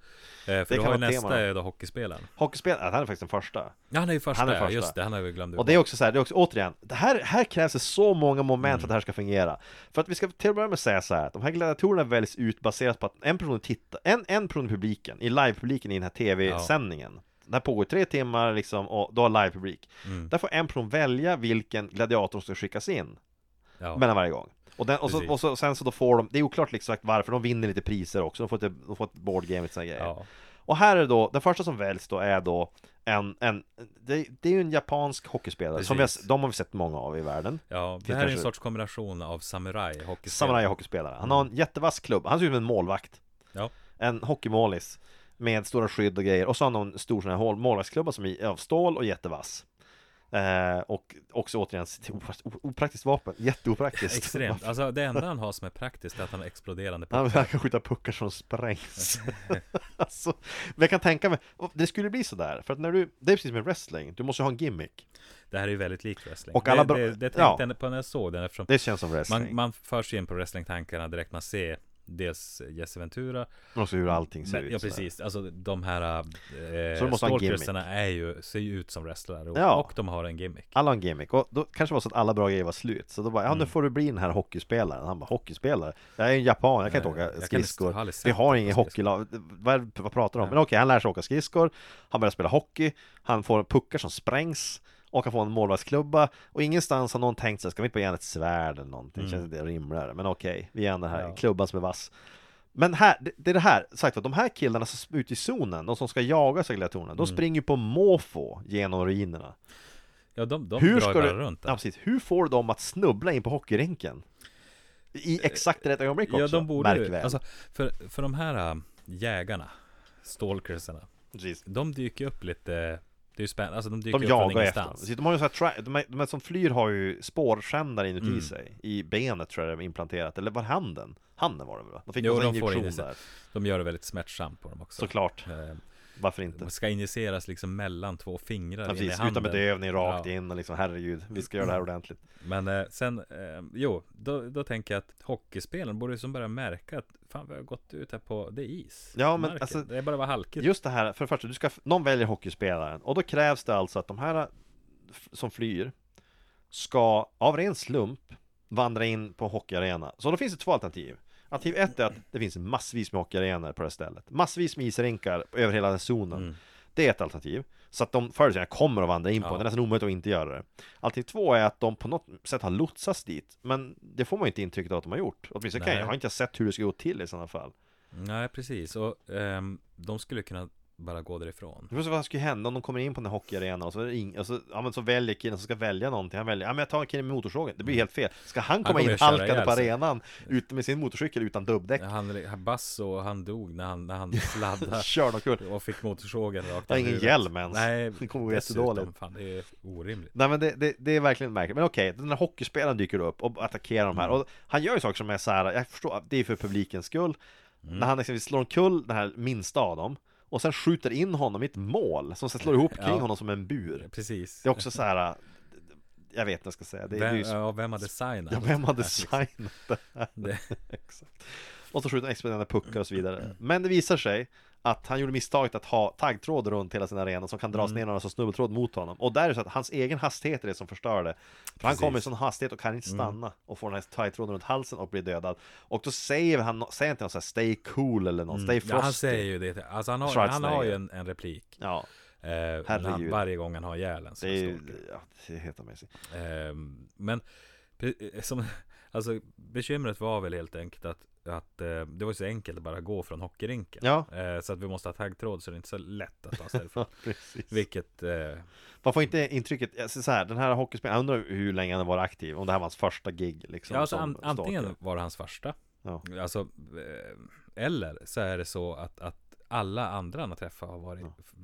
S4: eh, För
S3: kan
S4: då har ju
S3: vara ett tema.
S4: nästa är då hockeyspelaren
S3: Hockeyspelaren, han är faktiskt den första
S4: Ja han är ju första,
S3: Han är första.
S4: Ja, just det, han har vi glömt
S3: Och det är också så här, det är också återigen, det här, här krävs det så många moment för att det här ska fungera. För att vi ska till att börja med säga så här, att de här gladiatorerna väljs ut baserat på att en person tittar, en, en person i publiken, i livepubliken i den här tv-sändningen. Det här pågår i tre timmar liksom, och då har livepublik.
S4: Mm.
S3: Där får en person välja vilken gladiator som ska skickas in,
S4: ja.
S3: mellan varje gång. Och, den, och, så,
S4: Precis.
S3: och så, sen så då får de, det är oklart liksom exakt varför, de vinner lite priser också, de får, ett- de får ett boardgame och sådana grejer.
S4: ja.
S3: Och här är då, den första som väljs då är då en, en det, det är ju en japansk hockeyspelare som vi
S4: Precis.
S3: har, de har vi sett många av i världen
S4: Ja, det
S3: Det
S4: här är en
S3: kanske-
S4: sorts kombination av samurai, hockey
S3: Samurai-hockeyspelare Han har en
S4: Mm.
S3: jättevass klubb, han ser ut som en målvakt
S4: Ja.
S3: En hockeymålis Med stora skydd och grejer och så har han en stor sån här hål- målvaktsklubba som är av stål och jättevass eh, Och också återigen ett opra- o- opraktiskt vapen, jätteopraktiskt
S4: Extremt, alltså det enda han har som är praktiskt är att han har exploderande
S3: Han
S4: puckar.
S3: han kan skjuta puckar som sprängs alltså, Men jag kan tänka mig, och det skulle bli sådär För att när du, det är precis som med wrestling, du måste ju ha en gimmick
S4: Det här är ju väldigt likt wrestling.
S3: Och alla
S4: det,
S3: bra-
S4: det, det tänkte
S3: ja.
S4: jag på när jag såg den eftersom
S3: Det känns som wrestling
S4: man, man förs in på wrestlingtankarna direkt man ser dels Jesse Ventura,
S3: Men också hur allting ser
S4: men,
S3: ut
S4: ja
S3: sådär.
S4: precis, alltså de här
S3: Så
S4: eh,
S3: de måste ha en gimmick.
S4: stalkersarna är ju, ser ju ut som wrestlare och,
S3: Ja.
S4: och de har en gimmick. Mm.
S3: Alla har en gimmick och då kanske det var så att alla bra grejer var slut Så då bara, ja nu får du bli den här hockeyspelaren Han bara, hockeyspelare? Jag är en japan, jag kan inte
S4: Nej, jag
S3: åka
S4: kan
S3: skridskor
S4: inte- har aldrig sett
S3: Vi har
S4: honom
S3: ingen
S4: på skridskor."
S3: hockeylag, vad, vad pratar de om? Men okej, han lär sig åka skridskor Han börjar spela hockey Han får puckar som sprängs Och han får en målvaktsklubba Och ingenstans har någon tänkt sig, ska vi inte bara ge han ett svärd eller någonting?
S4: Mm.
S3: Känns inte det rimligare? Men okej, vi ger han den här klubban som är vass men här, det, det är det här, sagt att de här killarna som är ute i zonen, de som ska jaga seglatorerna,
S4: Mm.
S3: de springer ju på måfå genom ruinerna.
S4: Ja, de, de
S3: Hur
S4: drar ju
S3: ska
S4: bara
S3: du,
S4: runt där.
S3: ja, precis. Hur får du dem att snubbla in på hockeyrinken? I exakt rätt ögonblick också,
S4: Eh, Ja, de borde
S3: märk
S4: ju,
S3: väl.
S4: alltså, för, för de här äh, jägarna, stalkersarna,
S3: Precis.
S4: de dyker ju upp lite, det är ju spännande, alltså de dyker
S3: De
S4: upp från
S3: jagar efter dem.
S4: ingenstans.
S3: Precis, De har ju så här, tra- de, är, de är som flyr har ju spårskändare inuti
S4: Mm.
S3: sig I benet tror jag det är implanterat, eller var det handen? Handen var det väl? va? De fick
S4: Jo,
S3: en sån
S4: de får
S3: injektion
S4: in i sig.
S3: där
S4: De gör det väldigt smärtsamt på dem också.
S3: Såklart,
S4: Eh,
S3: varför inte?
S4: De ska injiceras liksom mellan två fingrar
S3: Ja,
S4: in i
S3: precis,
S4: handen.
S3: utan bedövning rakt
S4: Ja.
S3: in och liksom herregud, vi ska göra det här ordentligt
S4: Men eh, sen, eh, jo, då, då tänker jag att hockeyspelaren borde ju som börja märka att fan vi har gått ut här på, det är is.
S3: Ja,
S4: på
S3: men
S4: marken.
S3: alltså-
S4: Det är bara var halkigt.
S3: Just det här, för det första, du ska, någon väljer hockeyspelaren och då krävs det alltså att de här f- som flyr ska av ren slump vandra in på en hockeyarena. Så då finns det två alternativ. Alternativ ett är att det finns massvis med hockeyarenor på det här stället. Massvis med isrinkar över hela den zonen. Det är ett alternativ. Så att de förr eller senare kommer att vandra in på
S4: Mm.
S3: den.
S4: Ja.
S3: Det är nästan omöjligt att inte göra det. Alternativ två är att de på något sätt har lotsats dit. Men det får man ju inte intrycket av att de har gjort. Åtminstone kan
S4: Nej.
S3: jag, jag har inte sett hur det ska gå till i sådana fall.
S4: Nej, precis. Och ehm, de skulle kunna bara gå därifrån.
S3: Det beror på vad som skulle hända om de kommer in på en hockeyarenan och så, är det ing- och så, ja, men så väljer killen som ska välja någonting, han väljer, ja men jag tar en kille med motorsågen, det blir helt fel Ska han komma
S4: Mm. kommer
S3: in
S4: att köra
S3: halkande
S4: ihjäl
S3: på
S4: sig.
S3: arenan ut med sin motorcykel utan dubbdäck?
S4: Han, han- Basso, han dog när han, när han sladdade
S3: Kör de kul!
S4: och fick motorsågen rakt
S3: Jag har
S4: i
S3: ingen
S4: huvudet.
S3: hjälm ens.
S4: Nej,
S3: Det kommer gå
S4: dessutom.
S3: jättedåligt.
S4: Fan, det är orimligt.
S3: Nej men det, det, det är verkligen märkligt, men okej, den här hockeyspelaren dyker upp och attackerar de
S4: Mm.
S3: här och han gör ju saker som är så här, jag förstår, att det är för publikens skull
S4: Mm.
S3: När han exempelvis slår omkull den här minsta av dem och sen skjuter in honom i ett mål som sen slår ihop kring
S4: Ja.
S3: honom som en bur
S4: Precis.
S3: Det är också så här. jag vet inte vad jag ska säga, det, det är
S4: Vem,
S3: ju
S4: ja, vem har designat?
S3: Ja, vem har
S4: det här, liksom?
S3: designat det här?
S4: Det-
S3: Exakt. Och så skjuter han exploderande puckar och så
S4: Mm.
S3: vidare. Men det visar sig att han gjorde misstaget att ha taggtråd runt hela sin arena som kan dras
S4: Mm.
S3: ner några som snubbeltråd mot honom. Och där är det så att hans egen hastighet är det som förstör det. För han
S4: Precis. Mm.
S3: kommer i sån hastighet och kan inte stanna och får den här taggtråden runt halsen och blir dödad. Och då säger han, säger inte någon så här stay cool eller någon, stay frosty.
S4: Mm. Ja, han säger ju det. Alltså han har, han
S3: Schwarzenegger.
S4: har ju en, en replik.
S3: Ja,
S4: Eh, när han,
S3: Herregud.
S4: varje gång han har ihjäl en
S3: det
S4: sån
S3: är ju,
S4: stalker.
S3: ja, det är helt amazing.
S4: Eh, men pre- eh, som, alltså, bekymret var väl helt enkelt att, att eh, det var ju så enkelt att bara gå från hockeyrinken.
S3: Ja.
S4: Eh, så att vi måste ha taggtråd så det är inte så lätt att ta sig därifrån.
S3: Ja, precis.
S4: Vilket, eh,
S3: Man får inte intrycket, alltså så här, den här hockeyspelaren, jag undrar hur länge han har varit aktiv, om det här var hans första gig liksom
S4: ja, alltså,
S3: som
S4: an, antingen
S3: stalker.
S4: var det hans första.
S3: Ja.
S4: Alltså, eh, eller så är det så att, att alla andra han har träffat har varit f-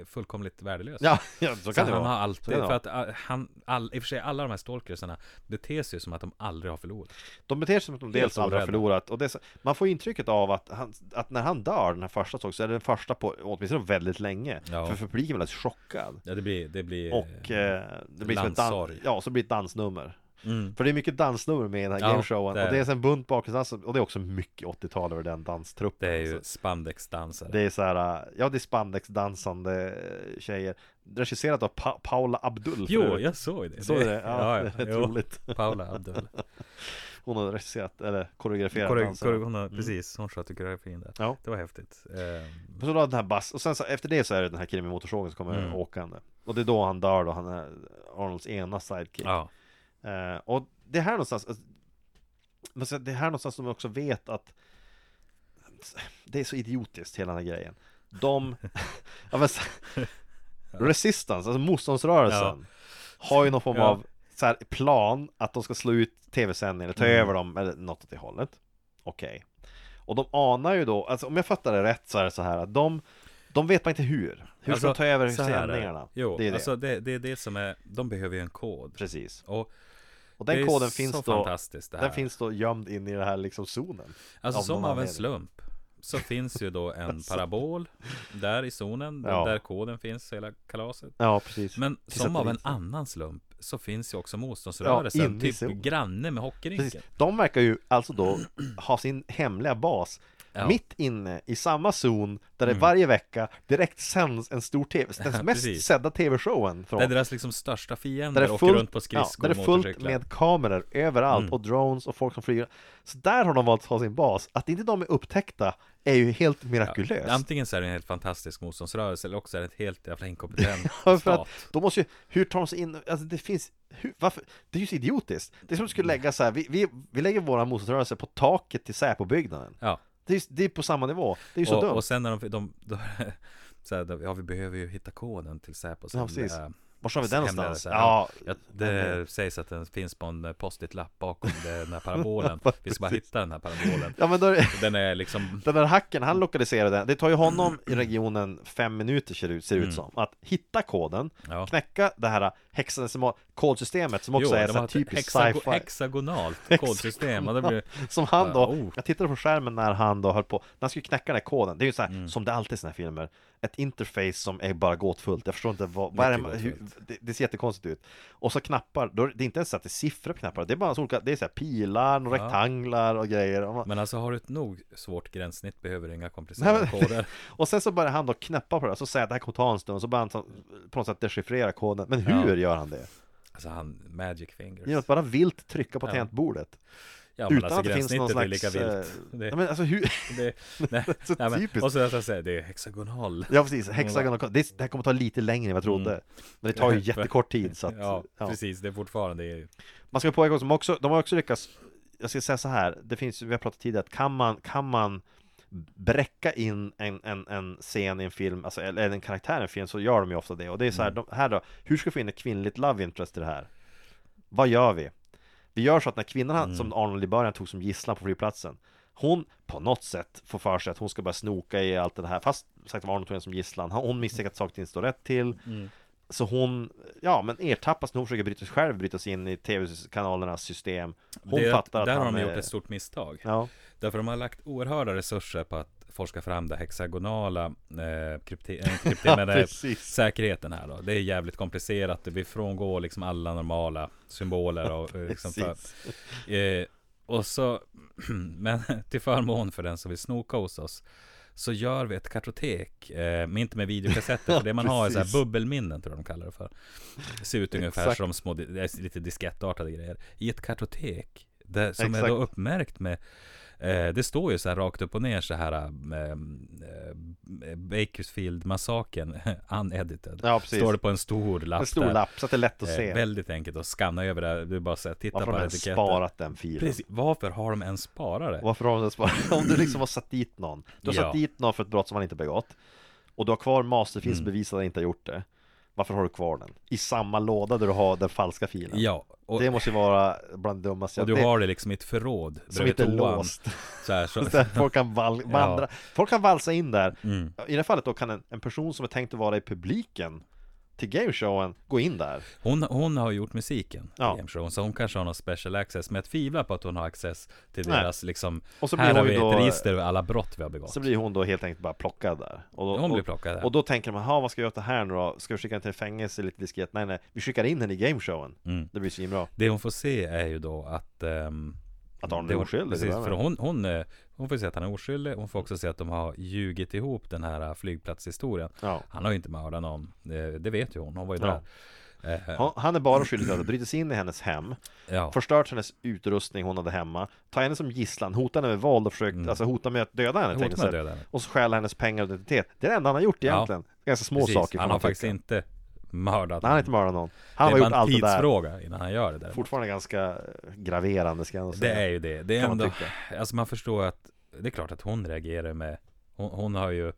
S4: eh, fullkomligt värdelösa.
S3: Ja, ja, så
S4: Så
S3: kan det
S4: han
S3: vara
S4: har
S3: Så
S4: alltid,
S3: kan det
S4: för
S3: vara.
S4: att ah, han, all, i och för sig alla de här stalkersarna beter sig som att de aldrig har förlorat.
S3: De beter sig som att de dels aldrig har
S4: orädda.
S3: förlorat och det är så, Man får intrycket av att, han, att när han dör, den här första såg, så är det den första på åtminstone väldigt länge
S4: Ja.
S3: För publiken blev alldeles chockad
S4: Ja, det blir, det blir...
S3: Och eh, det blir som ett
S4: Landssorg. Mm.
S3: dan- ja, så blir det ett dansnummer För det är mycket dansnummer med i den här
S4: Ja,
S3: gameshowen
S4: det är
S3: Och
S4: det.
S3: det är så en bunt bakgrundsdans och det är också mycket 80-tal över den danstruppen
S4: det är ju
S3: alltså.
S4: spandexdansare.
S3: Det är så här, äh, ja det är spandexdansande tjejer Regisserat av pa- Paula Abdul
S4: Jo,
S3: förut.
S4: jag såg det.
S3: Såg du det? Ja, det är rätt
S4: Jo,
S3: roligt.
S4: Paula Abdul.
S3: Hon har regisserat, eller koreograferat
S4: Korre,
S3: dansen.
S4: korre, hon har, precis, hon skötte koreografin där.
S3: Mm. Ja.
S4: Det var häftigt. Ehm,
S3: Men så då den här bass, och sen så efter det så är det den här killen med motorsågen som kommer
S4: Mm.
S3: åkande Och det är då han dör då, han är Arnolds ena sidekick
S4: ja.
S3: eh, Och det är här någonstans alltså, man ska säga, Det är här någonstans som jag också vet att Det är så idiotiskt hela den här grejen de... ja, men, så- resistance, alltså motståndsrörelsen Har ju någon form
S4: Ja.
S3: av så här, plan att de ska slå ut tv-sändningar eller ta
S4: Mm.
S3: över dem eller något åt det hållet Okej Och de anar ju då, alltså om jag fattar det rätt så är det så här att de De vet man inte hur Hur ska de ta över
S4: Alltså, så här är det.
S3: sändningarna?
S4: Jo,
S3: det är det
S4: alltså det, det är det som är, de behöver ju en kod.
S3: Precis
S4: Och
S3: Och
S4: det
S3: den
S4: är
S3: koden
S4: så
S3: finns då
S4: fantastiskt det här.
S3: Den finns då gömd in i den här liksom zonen
S4: Alltså
S3: av
S4: som
S3: någon
S4: av
S3: anledning.
S4: en
S3: Alltså.
S4: slump Så finns ju då en parabol Där i zonen,
S3: Ja.
S4: där koden finns hela kalaset
S3: Ja precis
S4: Men
S3: Till
S4: som av en
S3: satelliten.
S4: annan slump Så finns ju också
S3: Ja,
S4: motståndsrörelsen
S3: inne i
S4: Typ
S3: zonen.
S4: granne med hockeyrinken
S3: Precis. De verkar ju alltså då ha sin hemliga bas
S4: Ja. Mm.
S3: mitt inne i samma zon där det varje vecka direkt sänds en stor tv, den mest
S4: Precis.
S3: sedda tv-showen från.
S4: Där deras liksom största
S3: där
S4: fiender
S3: det är
S4: åker runt på
S3: ja,
S4: skridskor
S3: där det är
S4: och
S3: fullt
S4: motorcyklar Mm.
S3: med kameror överallt och drones och folk som flyger. Så där har de valt att ha sin bas. Att inte de är upptäckta är ju helt mirakulöst.
S4: Antingen så är det en helt fantastisk motståndsrörelse Eller också är det ett helt jävla inkompetent
S3: Ja, för att
S4: stat
S3: de måste ju, hur tar de sig in, alltså det finns, hur, varför, det är ju så idiotiskt Det är som att
S4: Mm.
S3: skulle lägga så här, vi, vi, vi lägger våra motståndsrörelser på taket till Säpo-byggnaden
S4: Ja
S3: det, är, det är på samma nivå, det är ju så
S4: och,
S3: dumt
S4: och sen när de, de, de så här, de, ja vi behöver ju hitta koden till Säpo sen,
S3: Ja, precis.
S4: eh,
S3: Var har vi den
S4: hemliga
S3: någonstans?
S4: så här,
S3: Ja,
S4: Ja, det sägs att den finns på en eh, post-it-lapp bakom den här parabolen. Vi ska bara
S3: Precis.
S4: hitta den här parabolen.
S3: ja men då är det,
S4: Den är liksom...
S3: den där hacken, han lokaliserade den Det tar ju honom i regionen fem minuter ser det ut, ser det ut som Att hitta koden,
S4: Mm. Ja.
S3: knäcka det här hexadecimal kodsystemet som också är så
S4: de
S3: här
S4: har typ ett
S3: typiskt
S4: hexago-
S3: sci-fi
S4: Hexagonalt kodsystem. Och det blir,
S3: Som han då,
S4: Bara, oh.
S3: jag tittade på skärmen när han då höll på, när han skulle knäcka den här koden Det är ju så här,
S4: Mm.
S3: som det alltid är i såna här filmer Ett interface som är bara gåtfullt Jag förstår inte vad, vad är det, hur,
S4: Jättegåtfullt.
S3: det, det ser jättekonstigt ut Och så knappar, då, är det det är inte ens så att det är siffror på knapparna Det är bara så olika, det är så här pilar, och
S4: Ja.
S3: rektanglar och grejer Och man-
S4: men alltså har du ett nog svårt gränssnitt behöver du inga komplicerade
S3: Nej, men,
S4: koder.
S3: och sen så börjar han då knäppa på det här, så säger att det här kommer ta en stund, så börjar han ta- på något sätt dechiffrera koden Men hur
S4: Ja.
S3: gör han det?
S4: Alltså han, magic fingers.
S3: Genom att bara vilt trycka på tangentbordet
S4: ja, men
S3: Utan
S4: alltså
S3: att det finns någon
S4: gränssnittet
S3: slags...
S4: är lika vilt.
S3: eh,
S4: Det,
S3: ja, men alltså hur...
S4: det, nej,
S3: så
S4: nej, men,
S3: typiskt.
S4: och så att jag säger, det är hexagonal.
S3: Ja precis, hexagon och det, det här kommer ta lite längre än vad jag trodde Men det tar ju jättekort tid så att,
S4: Mm. ja,
S3: ja.
S4: precis. Det är fortfarande... i-
S3: Man ska påpeka också, de har också, de har också lyckats Jag ska säga så här, det finns, vi har pratat tidigare att kan man, kan man bräcka in en, en, en scen i en film, alltså, eller en karaktär i en film så gör de ju ofta det Och det är så här,
S4: Mm.
S3: de, här då, hur ska vi få in ett kvinnligt love interest i det här? Vad gör vi? Vi gör så att när kvinnan han-
S4: Mm.
S3: som Arnold i början tog som gisslan på flygplatsen Hon på något sätt får för sig att hon ska börja snoka i allt det här Fast sagt var Arnold tog henne som gisslan Hon misstänker att saker inte står rätt till
S4: Mm.
S3: Så hon, ja men ertappas när hon försöker bryta sig själv Bryta sig in i tv-kanalernas system Hon
S4: det är att-
S3: fattar att
S4: Där
S3: han
S4: har de
S3: är-
S4: gjort ett stort misstag.
S3: Ja,
S4: Därför de har lagt oerhörda resurser på att forska fram det hexagonala eh, krypte- eh, inte krypte- men, eh,
S3: precis.
S4: säkerheten här då. Det är jävligt komplicerat. Vi frångår liksom alla normala symboler och eh, liksom för,
S3: precis
S4: eh, Och så, men till förmån för den som vill snoka hos oss så gör vi ett kartotek, eh, men inte med videokassetter, för det man har är så här
S3: Precis.
S4: bubbelminnen tror jag de kallar det för. Det ser ut ungefär
S3: Exakt.
S4: som små, di- det är lite diskettartade grejer. I ett kartotek, där, som är
S3: Exakt.
S4: då uppmärkt med Eh, det står ju så här rakt upp och ner så här eh, eh, Bakersfield-massakern unedited.
S3: Ja, precis.
S4: Står det på en stor lapp
S3: En stor
S4: där.
S3: lapp så att det är lätt att
S4: Eh,
S3: se
S4: väldigt enkelt att skanna över det. här. Du bara så här, titta
S3: Varför har
S4: på
S3: de ens sparat den filen?
S4: Precis. Varför har de en sparare?
S3: Varför har de ens bara, om du liksom har satt dit någon Du har
S4: Ja.
S3: satt dit någon för ett brott som han inte begått Och du har kvar masterfils
S4: Mm.
S3: bevis att han inte har gjort det Varför har du kvar den? I samma låda där du har den falska filen
S4: Ja, och,
S3: Det måste ju vara bland det dummaste
S4: och
S3: jag
S4: du
S3: det,
S4: har det liksom i ett förråd
S3: Som
S4: bredvid
S3: inte är
S4: toan.
S3: låst
S4: Så här, så,
S3: Så att folk kan val, vandra Folk kan valsa in där
S4: Mm.
S3: I det här fallet då kan en, en person som är tänkt att vara i publiken Till gameshowen gå in där
S4: hon, hon har gjort musiken
S3: Ja.
S4: ja. show, så hon kanske har någon special access, men jag tvivlar på att hon har access till
S3: Nej.
S4: deras liksom,
S3: Och så blir
S4: här har
S3: hon
S4: vi
S3: ju
S4: ett
S3: då- eh,
S4: register över alla brott vi har begått.
S3: Så blir hon då helt enkelt bara plockad där och då,
S4: Hon blir
S3: och-
S4: plockad där.
S3: Och då tänker man, "Ha, vad ska jag göra åt det här nu då? Ska vi skicka henne till fängelse lite diskret? Nej nej, vi skickar in henne i gameshowen
S4: Mm.
S3: Det blir så himla bra
S4: Det hon får se är ju då att ehm,
S3: Att Arnold
S4: det
S3: är
S4: hon-
S3: oskyldig, det
S4: Precis,
S3: där
S4: för
S3: med.
S4: hon, hon, eh, hon får se att han är oskyldig Hon får också se att de har ljugit ihop den här eh, flygplatshistorien
S3: Ja.
S4: Han har ju inte mördat någon eh, Det vet ju hon, hon var ju
S3: Ja.
S4: där Eh,
S3: Han- Han är bara skyldig till att ha brutit sig in i hennes hem
S4: ja.
S3: Förstört hennes utrustning hon hade hemma Tagit henne som gisslan, hotat henne med våld och försökt Alltså hota med att döda henne
S4: Hotat Mm. med
S3: tänkte jag
S4: att
S3: säga.
S4: döda henne.
S3: Och så stjäla hennes pengar och identitet Det är det enda han har gjort egentligen Ganska små
S4: Precis,
S3: saker får
S4: Han
S3: man
S4: har faktiskt
S3: tycka.
S4: inte
S3: Nej, han
S4: mördat
S3: har
S4: någon.
S3: inte mördat någon
S4: Det
S3: Han har
S4: är
S3: gjort
S4: bara en
S3: allt det där
S4: tidsfråga innan han gör det där
S3: Fortfarande ganska graverande ska jag ändå
S4: Det
S3: säga
S4: är ju det, det är
S3: Kan man
S4: ändå
S3: tycka.
S4: Alltså man förstår att Det är klart att hon reagerar med Hon, hon har ju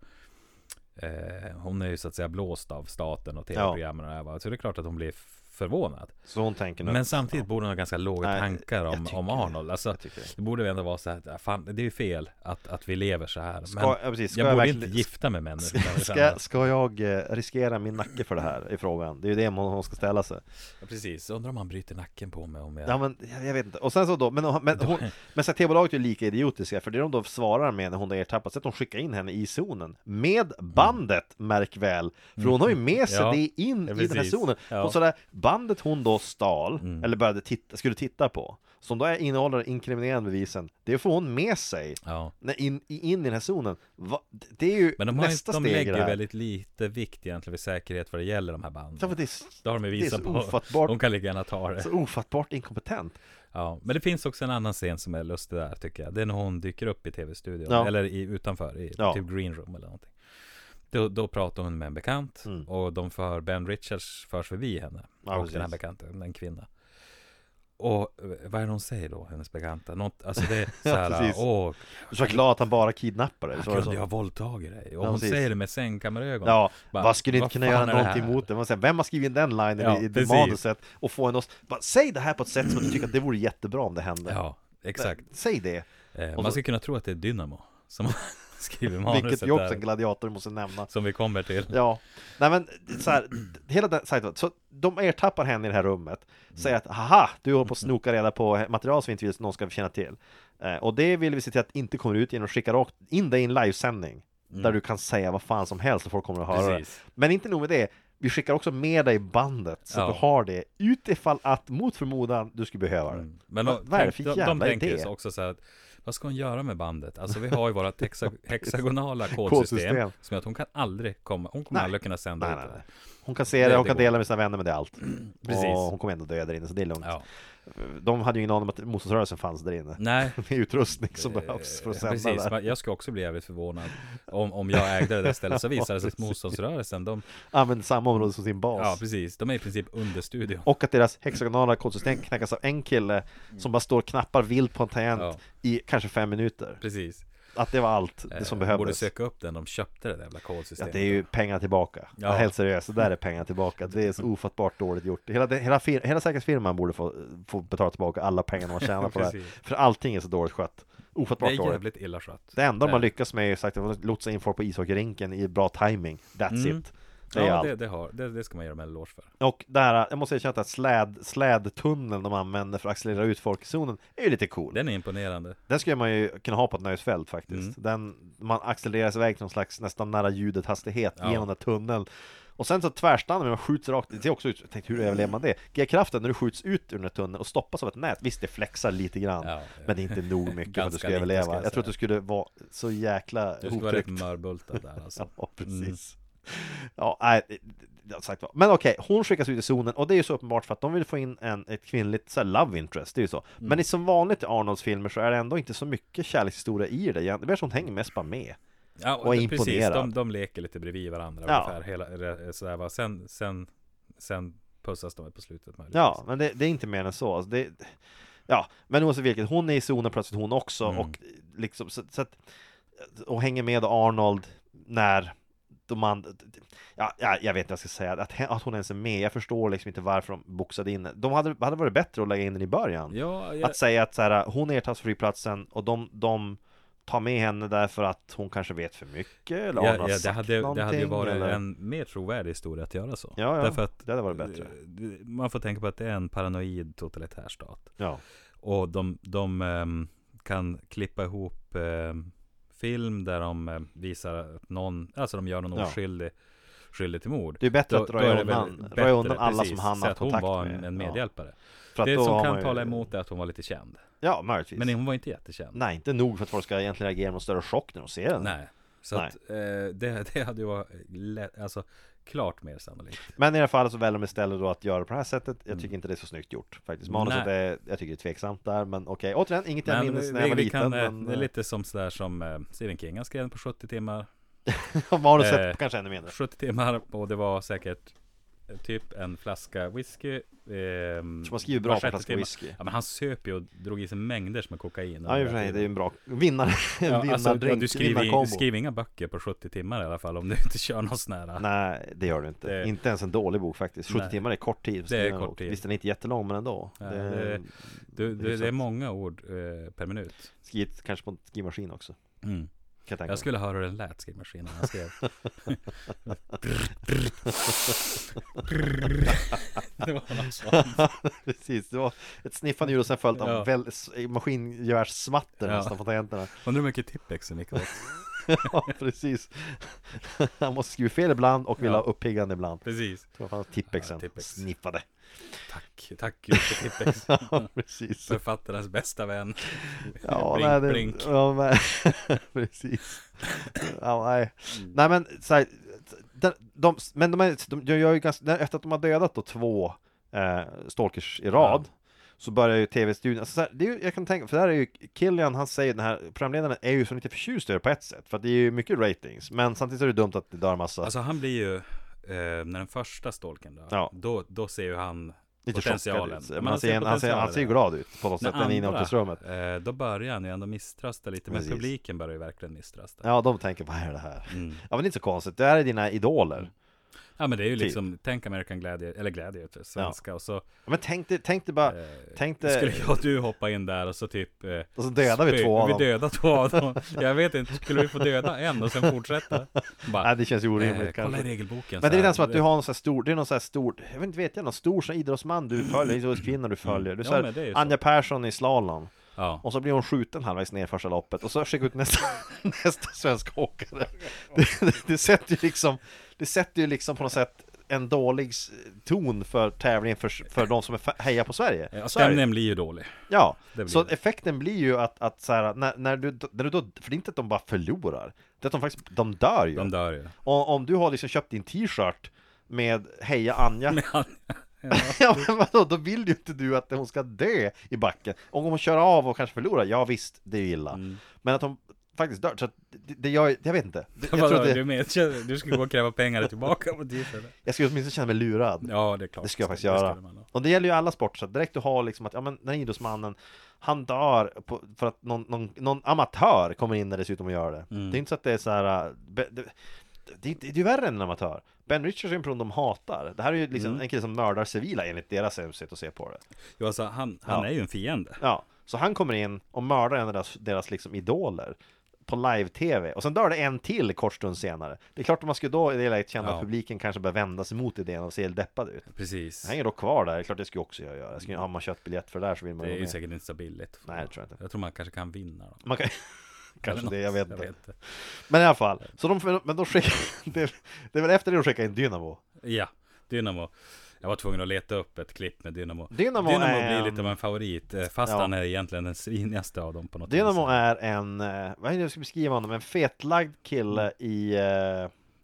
S4: Eh, hon är ju så att säga blåst av staten och tv-programmen och det här, va? Så det är klart att hon blir förvånad.
S3: Så hon tänker nu.
S4: Men samtidigt borde hon ha ganska låga
S3: Nej,
S4: tankar
S3: jag
S4: om,
S3: tycker
S4: om
S3: det.
S4: Arnold. Alltså,
S3: Jag tycker det.
S4: det borde väl ändå vara så här, att, ah, fan, det är ju fel att, att vi lever så här. Men
S3: Ska- ja, precis. Ska
S4: jag,
S3: jag
S4: borde
S3: verkligen-
S4: inte gifta mig med henne. utan jag vill
S3: Ska,
S4: känna-
S3: ska jag eh, riskera min nacke för det här? Är frågan. Det är ju det hon, hon ska ställa sig.
S4: Ja, precis, undrar om han bryter nacken på mig om jag...
S3: Ja men jag, jag vet inte. Och sen så då, men, men, hon, men så här, TV-bolaget är ju lika idiotiska för det de då svarar med när hon är ertappad, så att de skickar in henne i zonen med bandet, märk väl. För hon har ju med sig
S4: Mm. Ja,
S3: det in
S4: ja,
S3: i den här
S4: precis.
S3: zonen.
S4: Ja. Mm.
S3: Och så där, bandet hon då stal, eller började titta, skulle titta på, som då är- innehåller inkriminerande bevisen, det får hon med sig.
S4: Ja.
S3: när In, in i den här zonen. Va? Det är ju
S4: Men de, har ju,
S3: nästa
S4: de
S3: steg i
S4: lägger
S3: det
S4: ju
S3: här.
S4: väldigt lite vikt egentligen vid säkerhet vad det gäller de här
S3: Ja, men
S4: banden.
S3: det är s-
S4: Det har de ju
S3: det är så
S4: visat på.
S3: ofattbart.
S4: De kan lika gärna ta det.
S3: så ofattbart inkompetent.
S4: Ja, men det finns också en annan scen som är lustig där tycker jag. Det är när hon dyker upp i tv-studion,
S3: Ja.
S4: eller i, utanför, i
S3: Ja.
S4: typ green room eller någonting. Då, då pratar hon med en bekant och de för, Ben Richards förs förbi henne.
S3: Mm. Ja,
S4: och
S3: precis.
S4: den här bekanten, en kvinna. Och eh, vad är det hon säger då, hennes bekanta? Något, alltså det är så här,
S3: precis.
S4: åh,
S3: Du var glad att han bara kidnappade dig. så var det
S4: kunde
S3: så.
S4: jag ha våldtagit dig? Och
S3: Ja,
S4: hon
S3: precis.
S4: säger det med sängkammarögon.
S3: Ja,
S4: Bara,
S3: vad skulle inte
S4: "Vad
S3: kunna
S4: fan
S3: göra
S4: är det här?"
S3: någonting mot det? Man säger, vem har skrivit den linen
S4: Ja,
S3: i, i det
S4: precis.
S3: manuset? Och få en oss, bara, säg det här på ett sätt som att du tycker att det vore jättebra om det hände.
S4: Ja, exakt.
S3: Säg det,
S4: Eh,
S3: Och
S4: man
S3: så-
S4: ska kunna tro att det är Dynamo som skriver manuset
S3: vilket jobb
S4: där,
S3: som gladiator måste nämna.
S4: som vi kommer till.
S3: Ja, nej men så här, hela den sajten, så de ertappar henne i det här rummet,
S4: Mm.
S3: säger att haha, du håller på att snoka reda på material som vi inte vill att någon ska känna till. Eh, och det vill vi se till att inte kommer ut genom att skicka rakt in dig i en livesändning, där du kan säga vad fan som helst och folk kommer att höra
S4: Mm. Precis.
S3: det. Men inte nog med det, vi skickar också med dig bandet så
S4: Ja.
S3: att du har det utifall att mot förmodan du skulle behöva det.
S4: Men
S3: Vad-
S4: de,
S3: vad är det för
S4: de, de,
S3: jävla
S4: tänker ju
S3: idé?
S4: så också så här att vad ska hon göra med bandet? Alltså vi har ju våra hexa, hexagonala kodsystem
S3: Kodsystem.
S4: som gör att hon kan aldrig komma, hon kommer
S3: Nej.
S4: aldrig kunna sända
S3: Nej,
S4: ut
S3: nej,
S4: det.
S3: nej. Hon kan se det,
S4: Det-
S3: hon
S4: det
S3: kan
S4: går.
S3: dela med sina vänner, men det är allt.
S4: Precis.
S3: Och hon kommer ändå dö där inne, så det är lugnt.
S4: Ja.
S3: De hade ju ingen aning om att motståndsrörelsen fanns där inne.
S4: Nej,
S3: med utrustning som behövs för att
S4: eh,
S3: sända
S4: precis.
S3: där.
S4: Men Jag skulle också bli jävligt förvånad om, om jag ägde det där stället så visar det sig att motståndsrörelsen, de,
S3: Använder samma område som sin bas.
S4: ja precis, de är i princip under studion.
S3: och att deras hexagonala kodsystem knäckas av en kille som bara står och knappar vilt på en tangent
S4: Ja.
S3: i kanske fem minuter.
S4: Precis.
S3: Att det var allt det som
S4: Eh,
S3: behövdes.
S4: Borde söka upp den, de köpte det där jävla
S3: Ja,
S4: kodsystemet.
S3: det är ju pengar tillbaka.
S4: Ja.
S3: Helt seriöst, det där är pengar tillbaka. Det är så ofattbart dåligt gjort. Hela, det- hela, fir- hela säkerhetsfirman borde få, få betala tillbaka alla pengar man tjänar på det här.
S4: Precis.
S3: För allting är så dåligt skött.
S4: Det
S3: Ofattbart
S4: är
S3: dåligt.
S4: jävligt illa skött. Eh,
S3: Det enda de har
S4: Det-
S3: lyckats med är ju sagt att lotsa in folk på ishockeyrinken i bra timing. That's
S4: Mm.
S3: it. Det är
S4: Ja,
S3: allt.
S4: det, det, har, det, det ska man göra med en eloge för.
S3: Och där, jag måste erkänna att släd, slädtunneln de använder för att accelerera ut folk i zonen är ju lite cool. Den,
S4: Den Mm. är imponerande.
S3: skulle man ju kunna ha på ett nöjesfält faktiskt. Den, man accelereras iväg till någon slags nästan nära ljudet hastighet
S4: Ja.
S3: genom den här tunneln. Och sen så tvärstannar man och skjuts rakt, det är också ut, jag tänkte hur överlever man det? G-kraften när du skjuts ut ur den här tunneln och stoppas av ett nät, visst det flexar lite grann.
S4: Ja.
S3: Men det är inte nog mycket för att du
S4: Ganska
S3: ska
S4: lite,
S3: överleva.
S4: ska jag
S3: jag tror att
S4: säga.
S3: du skulle vara så jäkla
S4: Du ska vara rätt
S3: hotryckt.
S4: mörbultad där alltså.
S3: Ja, precis. Ja, nej, det- det- det har sagt vad. Men okej, hon skickas ut i zonen och det är ju så uppenbart för att de vill få in en, ett kvinnligt så här, love interest, det är ju så. Men i som vanligt i Arnolds filmer så är det ändå inte så mycket kärlekshistoria i det egentligen. Det är som hon hänger mest bara med.
S4: Ja,
S3: Och
S4: och det, precis,
S3: imponerad.
S4: de, de leker lite bredvid varandra
S3: Ja.
S4: ungefär. Hela, re- sådär, va. Sen, sen, sen pussas de på slutet möjligtvis.
S3: Ja, men det, det är inte mer än så. Alltså, det, ja, men oavsett vilket, hon är i zonen plötsligt hon också
S4: Mm.
S3: och liksom så, så att, och hänger med Arnold när de andra, ja, ja, jag vet inte vad jag ska säga, att, he- att hon ens är med, jag förstår liksom inte varför de boxade in De hade, hade varit bättre att lägga in den i början.
S4: Ja, jag,
S3: Att säga att så här, hon ertas flygplatsen och de, de tar med henne därför att hon kanske vet för mycket eller Arnold
S4: ja,
S3: har
S4: ja, det,
S3: sagt
S4: hade, det hade ju
S3: någonting,
S4: varit
S3: eller-
S4: en mer trovärdig historia att göra så.
S3: Ja, ja,
S4: Därför att
S3: det hade varit bättre.
S4: eh, Man får tänka på att det är en paranoid totalitär stat.
S3: Ja,
S4: Och de, de ehm, kan klippa ihop ehm, film där de ehm, visar att någon, alltså de gör någon
S3: Ja.
S4: oskyldig skyldig till mord.
S3: Det är bättre att röja
S4: är det väl
S3: undan-
S4: bättre,
S3: röja undan alla
S4: precis,
S3: som han
S4: så
S3: har
S4: att hon
S3: kontakt
S4: var
S3: med.
S4: en, en
S3: Ja.
S4: medhjälpare.
S3: för att
S4: Det
S3: då
S4: som
S3: har
S4: kan
S3: man ju-
S4: tala emot är att hon var lite känd.
S3: Ja, möjligtvis
S4: Men hon var inte jättekänd.
S3: Nej, inte nog för att folk ska egentligen reagera med någon större chock när de ser den.
S4: Nej. Så
S3: Nej.
S4: Att, eh, det, det hade ju varit lätt, alltså klart mer sannolikt.
S3: Men i alla fall så väljer de istället då att göra det på det här sättet. Jag tycker inte det är så snyggt gjort faktiskt. Manuset
S4: Mm. Nej.
S3: är, jag tycker det är tveksamt där, men okej. Återigen, inget jag
S4: Men
S3: minns
S4: vi,
S3: när jag var
S4: vi
S3: liten.
S4: kan, eh,
S3: men,
S4: det är lite som sådär som eh, Stephen King, han skrev den på 70 timmar.
S3: manuset
S4: eh,
S3: kanske ännu mindre.
S4: 70 timmar och det var säkert eh, typ en flaska whisky. ehm,
S3: Så man skriver bra
S4: var
S3: på en
S4: sjätte
S3: flaska
S4: timme.
S3: whisky.
S4: Ja, men han söp ju och drog i sig mängder som är kokain.
S3: Ja i och för sig, det är ju en bra vinnare, en
S4: Ja, alltså,
S3: vinnardrink,
S4: du, skriver, in- du
S3: vinnarkombo.
S4: skriver inga böcker på 70 timmar i alla fall om du inte kör någon sån här
S3: Nej, det gör du inte.
S4: Det-
S3: Inte ens en dålig bok faktiskt. 70
S4: Nej.
S3: timmar är kort tid. för att
S4: Det är
S3: skriva en
S4: kort
S3: bok.
S4: tid.
S3: Visst, den är inte jättelång, men ändå.
S4: Ja,
S3: det är
S4: det- Du, du, det är
S3: Exakt.
S4: många ord eh, per minut.
S3: skrivet kanske på en skrivmaskin också. Kan
S4: Mm.
S3: jag tänka
S4: Jag
S3: mig.
S4: skulle höra hur den lät skrivmaskinen när jag skrev. det var något sånt.
S3: Precis, det var ett sniffande ljud och sen följt av
S4: Ja.
S3: väl- s- maskingevärssmatter
S4: Ja.
S3: nästan på tangenterna.
S4: Undrar hur mycket Tippexen gick åt.
S3: Ja, precis. Han måste skriva fel ibland och vill
S4: Ja.
S3: ha uppiggande ibland.
S4: Precis.
S3: Det var fan Tippexen,
S4: Ja, Tippex.
S3: sniffade.
S4: Tack, tack Gud för Tippex.
S3: Ja, precis.
S4: Författarens bästa vän.
S3: Ja,
S4: Brink,
S3: nej, det,
S4: brink.
S3: Ja, men, precis. Ja, nej.
S4: Mm.
S3: nej, men så här, de, de, men de, är, de, de gör ju ganska, när- efter att de har dödat då två eh, stalkers i rad Så börjar ju tv-studion, alltså, så här, det är ju, jag kan tänka, för där är ju Killian, han säger den här programledaren är ju så lite förtjust i det på ett sätt För att det är ju mycket ratings, men samtidigt är det dumt att det dör massa
S4: Alltså han blir ju, eh, när den första stalken då,
S3: Ja.
S4: då, då ser ju han
S3: Lite chockad
S4: potentialen.
S3: ut.
S4: Ja,
S3: Men han ser, han, ser, han ser ju
S4: potentialen.
S3: glad ut på något sätt, den inne i
S4: andra,
S3: omklädningsrummet
S4: eh, Då börjar han ju ändå misströsta lite, men
S3: Precis.
S4: publiken börjar ju verkligen misströsta.
S3: Ja, de tänker, vad är det här?
S4: Mm.
S3: Ja, men det är inte så konstigt, det här är dina idoler
S4: Ja men det är ju
S3: Typ.
S4: liksom, tänk American Gladiator, eller Gladiator, svenska och så
S3: Ja, Men tänk dig, tänk dig bara,
S4: eh,
S3: tänk dig,
S4: skulle jag och du hoppa in där och så typ eh,
S3: och så dödar vi
S4: spö-
S3: två av
S4: Vi
S3: dem.
S4: dödar två av dem Jag vet inte, skulle vi få döda en och sen fortsätta?
S3: Nej,
S4: Bara,
S3: det känns ju
S4: eh,
S3: orimligt
S4: kolla i
S3: kanske.
S4: regelboken
S3: Men det
S4: så
S3: är
S4: här,
S3: nästan som att du har någon sån här stor, det är någon sån här stor, jag vet inte vet jag, någon stor sån idrottsman du följer, idrottskvinna du följer. Du
S4: Mm. Ja,
S3: ja,
S4: men det är ju så.
S3: Anja Persson i slalom,
S4: Ja,
S3: och så blir hon skjuten halvvägs ner första loppet, och så skickar ut nästa, nästa svenska åkare. Det, det, det sätter ju liksom, det sätter ju liksom på något sätt en dålig s- ton för tävlingen för, för de som är fa- hejar på Sverige.
S4: Ja,
S3: Så är det ju.
S4: stämningen blir ju dålig
S3: Ja,
S4: Det blir
S3: så
S4: det.
S3: effekten blir ju att, att så här, när, när, du, när du då, för det är inte att de bara förlorar, det är att de faktiskt, de dör ju.
S4: De dör ju
S3: Och, om du har liksom köpt din t-shirt med Heja Anja,
S4: Ja,
S3: ja men vadå, då vill ju inte du att hon ska dö i backen. Om hon kör av och kanske förlorar, ja visst, det är ju illa.
S4: Mm.
S3: Men att de faktiskt dör, så att det, det jag, jag vet inte. Det- Jag, tror
S4: vadå,
S3: att
S4: du,
S3: det,
S4: med, du ska gå och kräva pengar tillbaka på tillfället
S3: jag skulle åtminstone känna mig lurad.
S4: Ja, det är klart
S3: Det ska jag faktiskt
S4: skulle
S3: göra.
S4: man ha.
S3: Och det gäller ju alla sporter, så att direkt du har liksom att, ja men den här idrottsmannen, han dör på, för att någon, någon, någon amatör kommer in dessutom och gör det. Det är inte så att det är så här, äh, be- det, det, det är ju värre än en amatör. Ben Richards är en person de hatar. Det här är ju liksom en kille som mördar civila enligt deras sätt att se på det.
S4: Jo, alltså, han, han
S3: Ja.
S4: är ju en fiende
S3: Ja, så han kommer in och mördar en av deras, deras liksom idoler på live-tv och sen dör det en till kort stund senare. Det är klart att man skulle då i det läget känna
S4: Ja.
S3: att publiken kanske börjar vända sig mot idén och se helt deppad ut.
S4: Precis
S3: Jag hänger dock kvar där, det är klart det skulle också jag göra. Jag skulle, har man köpt biljett för det där så vill man
S4: Mm.
S3: ju
S4: Det
S3: vara
S4: är ju
S3: med.
S4: säkert inte så billigt
S3: Nej, det tror jag inte.
S4: Jag tror man kanske kan vinna då
S3: Man kan... Kanske
S4: Eller
S3: det,
S4: något,
S3: jag vet inte. Men i alla fall, så de, men de skickar, det, är- det är väl efter det de skickar in Dynamo?
S4: Ja, Dynamo. Jag var tvungen att leta upp ett klipp med Dynamo.
S3: Dynamo är-
S4: blir lite av en favorit, eh, fast
S3: Ja.
S4: han är egentligen den svinigaste av dem på något
S3: Dynamo
S4: vis.
S3: är en, eh, vad är det jag ska beskriva honom? En fetlagd kille i eh,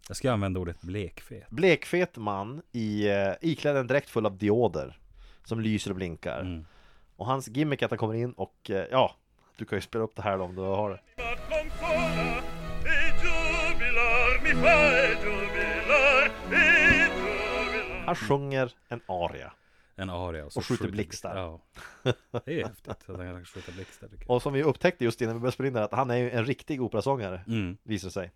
S4: Jag ska använda ordet blekfet.
S3: blekfet man i eh, iklädd en dräkt full av dioder som lyser och blinkar.
S4: Mm.
S3: Och hans gimmick är att han kommer in och eh, ja, du kan ju spela upp det här då om du har det. Han sjunger en aria.
S4: En aria. Och, så
S3: Och skjuter blixtar.
S4: Ja. Det är ju häftigt att han kan skjuta blixtar. tycker jag.
S3: Och som vi upptäckte just innan vi började spela in det här, att han är ju en riktig operasångare,
S4: Mm.
S3: visar det sig.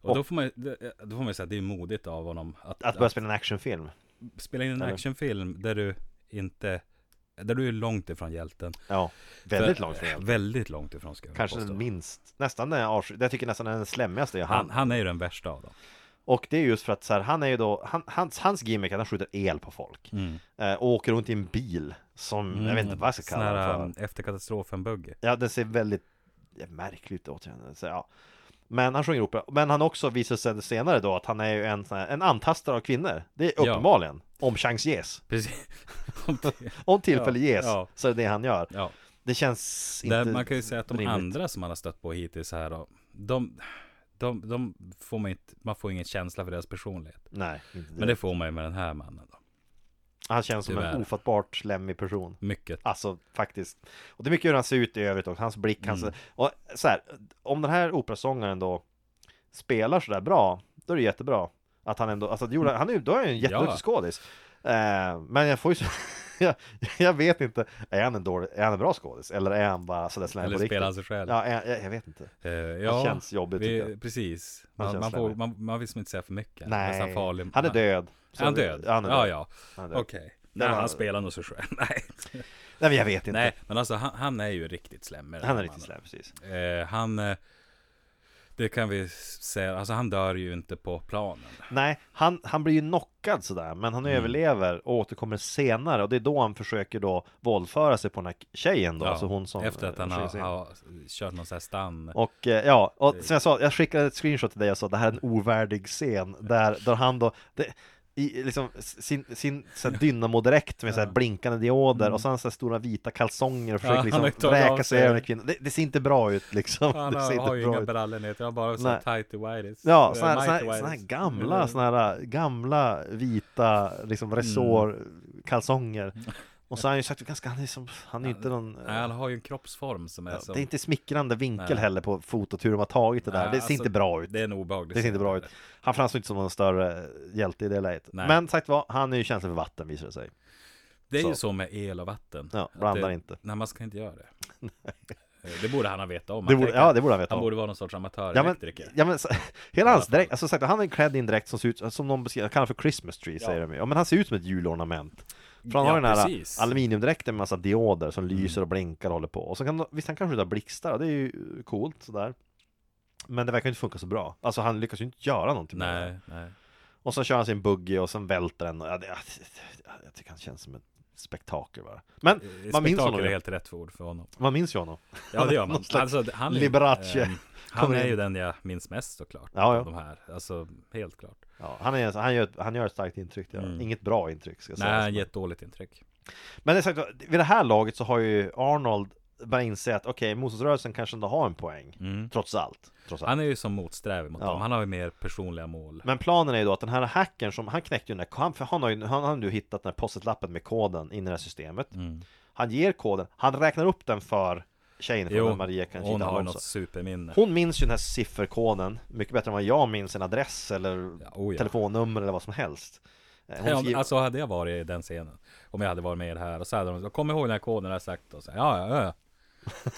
S4: Och då får man ju det- då får man ju säga att det är modigt av honom att,
S3: Att börja spela en actionfilm.
S4: att spela in en
S3: Eller?
S4: actionfilm där du inte där du är långt ifrån hjälten.
S3: Ja, väldigt
S4: För-
S3: långt ner.
S4: Väldigt långt ifrån ska jag
S3: Kanske
S4: påstå.
S3: den minst, nästan den jag avsky- jag tycker nästan den slemmigaste är
S4: han,
S3: han.
S4: han är ju den värsta av dem.
S3: Och det är just för att så här, han är ju då, han, hans, hans gimmick är att han skjuter el på folk.
S4: Mm.
S3: Eh, och åker runt i en bil som, jag vet inte vad jag ska
S4: Sån
S3: kalla
S4: här,
S3: den
S4: um,
S3: för.
S4: Efter katastrofen-bugge.
S3: Ja, den ser väldigt märklig ut återigen. Så, ja. Men han sjunger opera. Men han också visar sig senare då att han är ju en, sån här, en antastare av kvinnor. Det är
S4: Ja.
S3: uppenbarligen. Om chans ges.
S4: Precis. Om det-
S3: Om tillfälle ges
S4: ja.
S3: så är det det han gör.
S4: ja.
S3: Det känns inte
S4: Där man kan ju säga att de
S3: rimligt.
S4: andra som man har stött på hittills här då, de, de, de får man, inte, man får ingen känsla för deras personlighet.
S3: Nej, inte det.
S4: Men det får man ju med den här mannen då.
S3: Han känns som en
S4: Tyvärr.
S3: ofattbart slemmig person.
S4: Mycket.
S3: Alltså faktiskt. Och det är mycket hur han ser ut i övrigt också. Hans blick,
S4: Mm.
S3: hans... Och så här, om den här operasångaren då spelar sådär bra, då är det jättebra. Att han ändå, alltså det gjorde, han- han är ju, då är han ju en jätteduktig
S4: Ja.
S3: skådis. Eh, men jag får ju, jag, jag vet inte, är han en dålig, är han en bra skådis? Eller är han bara sådär släng
S4: Eller
S3: på
S4: spelar han
S3: riktigt?
S4: sig själv.
S3: Ja, jag, jag, jag vet inte.
S4: Eh, ja,
S3: känns jobbigt,
S4: vi,
S3: tycker jag.
S4: Precis.
S3: Han
S4: Man,
S3: känns
S4: man, får,
S3: slarvig.
S4: man, man vill som inte säga för mycket.
S3: Nej,
S4: Nästan farlig.
S3: han är död.
S4: Är han död?
S3: Han är död.
S4: Ja, ja.
S3: Han är död.
S4: Okej. Nej,
S3: var-
S4: han spelar nog sig själv. Nej.
S3: Nej, men jag vet inte.
S4: Nej, men alltså han, han är ju riktigt slemmig. den
S3: Han är
S4: här
S3: riktigt
S4: mannen.
S3: slem, precis.
S4: Eh, han, eh, det kan vi säga, alltså han dör ju inte på planen.
S3: Nej, han, han blir ju knockad sådär, men han
S4: Mm.
S3: överlever och återkommer senare och det är då han försöker då våldföra sig på den här tjejen då,
S4: Ja,
S3: alltså hon som...
S4: efter att han
S3: försöker
S4: har,
S3: sig in.
S4: har kört någon sån här stann.
S3: Och eh, ja, och som jag sa, jag skickade ett screenshot till dig och sa det här är en ovärdig scen där, där han då, det, i liksom sin, sin så här dynamodräkt med så här blinkande dioder och sen så här stora vita kalsonger och försöker
S4: Mm. Ja, han har
S3: liksom
S4: tagit av
S3: vräka sig
S4: sig.
S3: över den här kvinnan. Det, det ser inte bra ut liksom.
S4: Han
S3: det ser
S4: har,
S3: inte
S4: har ju
S3: bra
S4: inga
S3: ut.
S4: brallor ner, han har bara
S3: Nej.
S4: sån tighty whities.
S3: Ja,
S4: Eh,
S3: såna här, såna, här,
S4: mighty
S3: såna här
S4: whities. Mm.
S3: gamla, såna här eh, gamla vita liksom resårkalsonger. Och så har han ju sagt ganska, han är, som, han är ju inte någon...
S4: Nej, han har ju en kroppsform som är
S3: Ja,
S4: som...
S3: Det är inte smickrande vinkel
S4: Nej.
S3: heller på fotot hur de har tagit det där.
S4: Nej,
S3: det ser
S4: alltså,
S3: inte bra ut.
S4: Det är en obehaglig
S3: Det ser inte
S4: scen.
S3: bra ut. Han framstår inte som någon större hjälte i det läget.
S4: Nej.
S3: Men sagt var, han är ju känslig för vatten visar det sig.
S4: Det är ju
S3: Så.
S4: så med el och vatten.
S3: Ja,
S4: Att
S3: blandar
S4: det,
S3: inte.
S4: Nej, man ska inte göra det. Eh, Det borde han ha vetat om.
S3: Det
S4: Han
S3: borde,
S4: tänker-
S3: ja, det borde han veta
S4: han
S3: om.
S4: borde vara någon sorts
S3: Ja men,
S4: amatörelektriker.
S3: ja, men så, hela hans
S4: fall.
S3: dräkt, alltså sagt, han är klädd i en dräkt som ser ut som någon beskriver, kallar för Christmas tree säger de ju. Ja men han ser ut som ett julornament. För han
S4: Ja,
S3: har den här
S4: precis. Mm.
S3: aluminiumdräkten med massa dioder som lyser och blinkar och håller på. Och så kan, visst han kan skjuta blixtar, och det är ju eh, coolt sådär. Men det verkar ju inte funka så bra. Alltså han lyckas ju inte göra någonting med det.
S4: Nej, nej.
S3: Och så kör han sin buggy och sen välter den. Ja, det, jag tycker han känns som ett spektakel bara. Men man
S4: Eh,
S3: minns honom
S4: Spektakel är
S3: ju.
S4: helt rätt för ord för honom.
S3: Man minns ju honom.
S4: Ja, det gör
S3: Någon
S4: man.
S3: slags
S4: Alltså, han är,
S3: Liberace
S4: ehm, han
S3: kommer
S4: är
S3: in.
S4: ju den jag minns mest såklart.
S3: Ja, ja.
S4: av De här. Alltså, helt klart.
S3: Ja, han, är, han, gör ett, han gör ett starkt intryck, det gör han. inget bra intryck ska jag säga.
S4: Mm. Nej, han ger ett dåligt intryck.
S3: Men det är sagt, vid det här laget så har ju Arnold börjat inse att okej, motståndsrörelsen kanske ändå har en poäng. Trots allt. Trots allt.
S4: Mm. Han är ju som motsträvig mot
S3: Ja.
S4: dem. Han har ju mer personliga mål.
S3: Men planen är ju då att den här hackern som, han knäckte ju den där, han, för han har ju, han har ju hittat den här post-it-lappen med koden in i det här systemet.
S4: Mm.
S3: Han ger koden, han räknar upp den för tjejen, för den Maria kan
S4: hon har ju
S3: också.
S4: något superminne.
S3: Hon minns ju den här sifferkoden mycket bättre än vad jag minns en adress eller
S4: Ja, oh ja.
S3: telefonnummer eller vad som helst. Eh, Hon
S4: Ja,
S3: skriver,
S4: alltså hade jag varit i den scenen Om jag hade varit med i det här och så hade de sagt Kom ihåg den här koden jag har sagt och så ja, ja, ja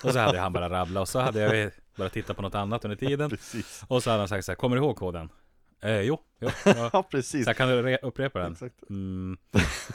S4: Och så hade han bara rabbla och så hade jag börjat titta på något annat under tiden
S3: Precis.
S4: Och så hade han sagt så här Kommer du ihåg koden? Eh, jo, jo ja.
S3: ja, precis.
S4: Så här, kan du re- upprepa den?
S3: Exakt.
S4: Mm.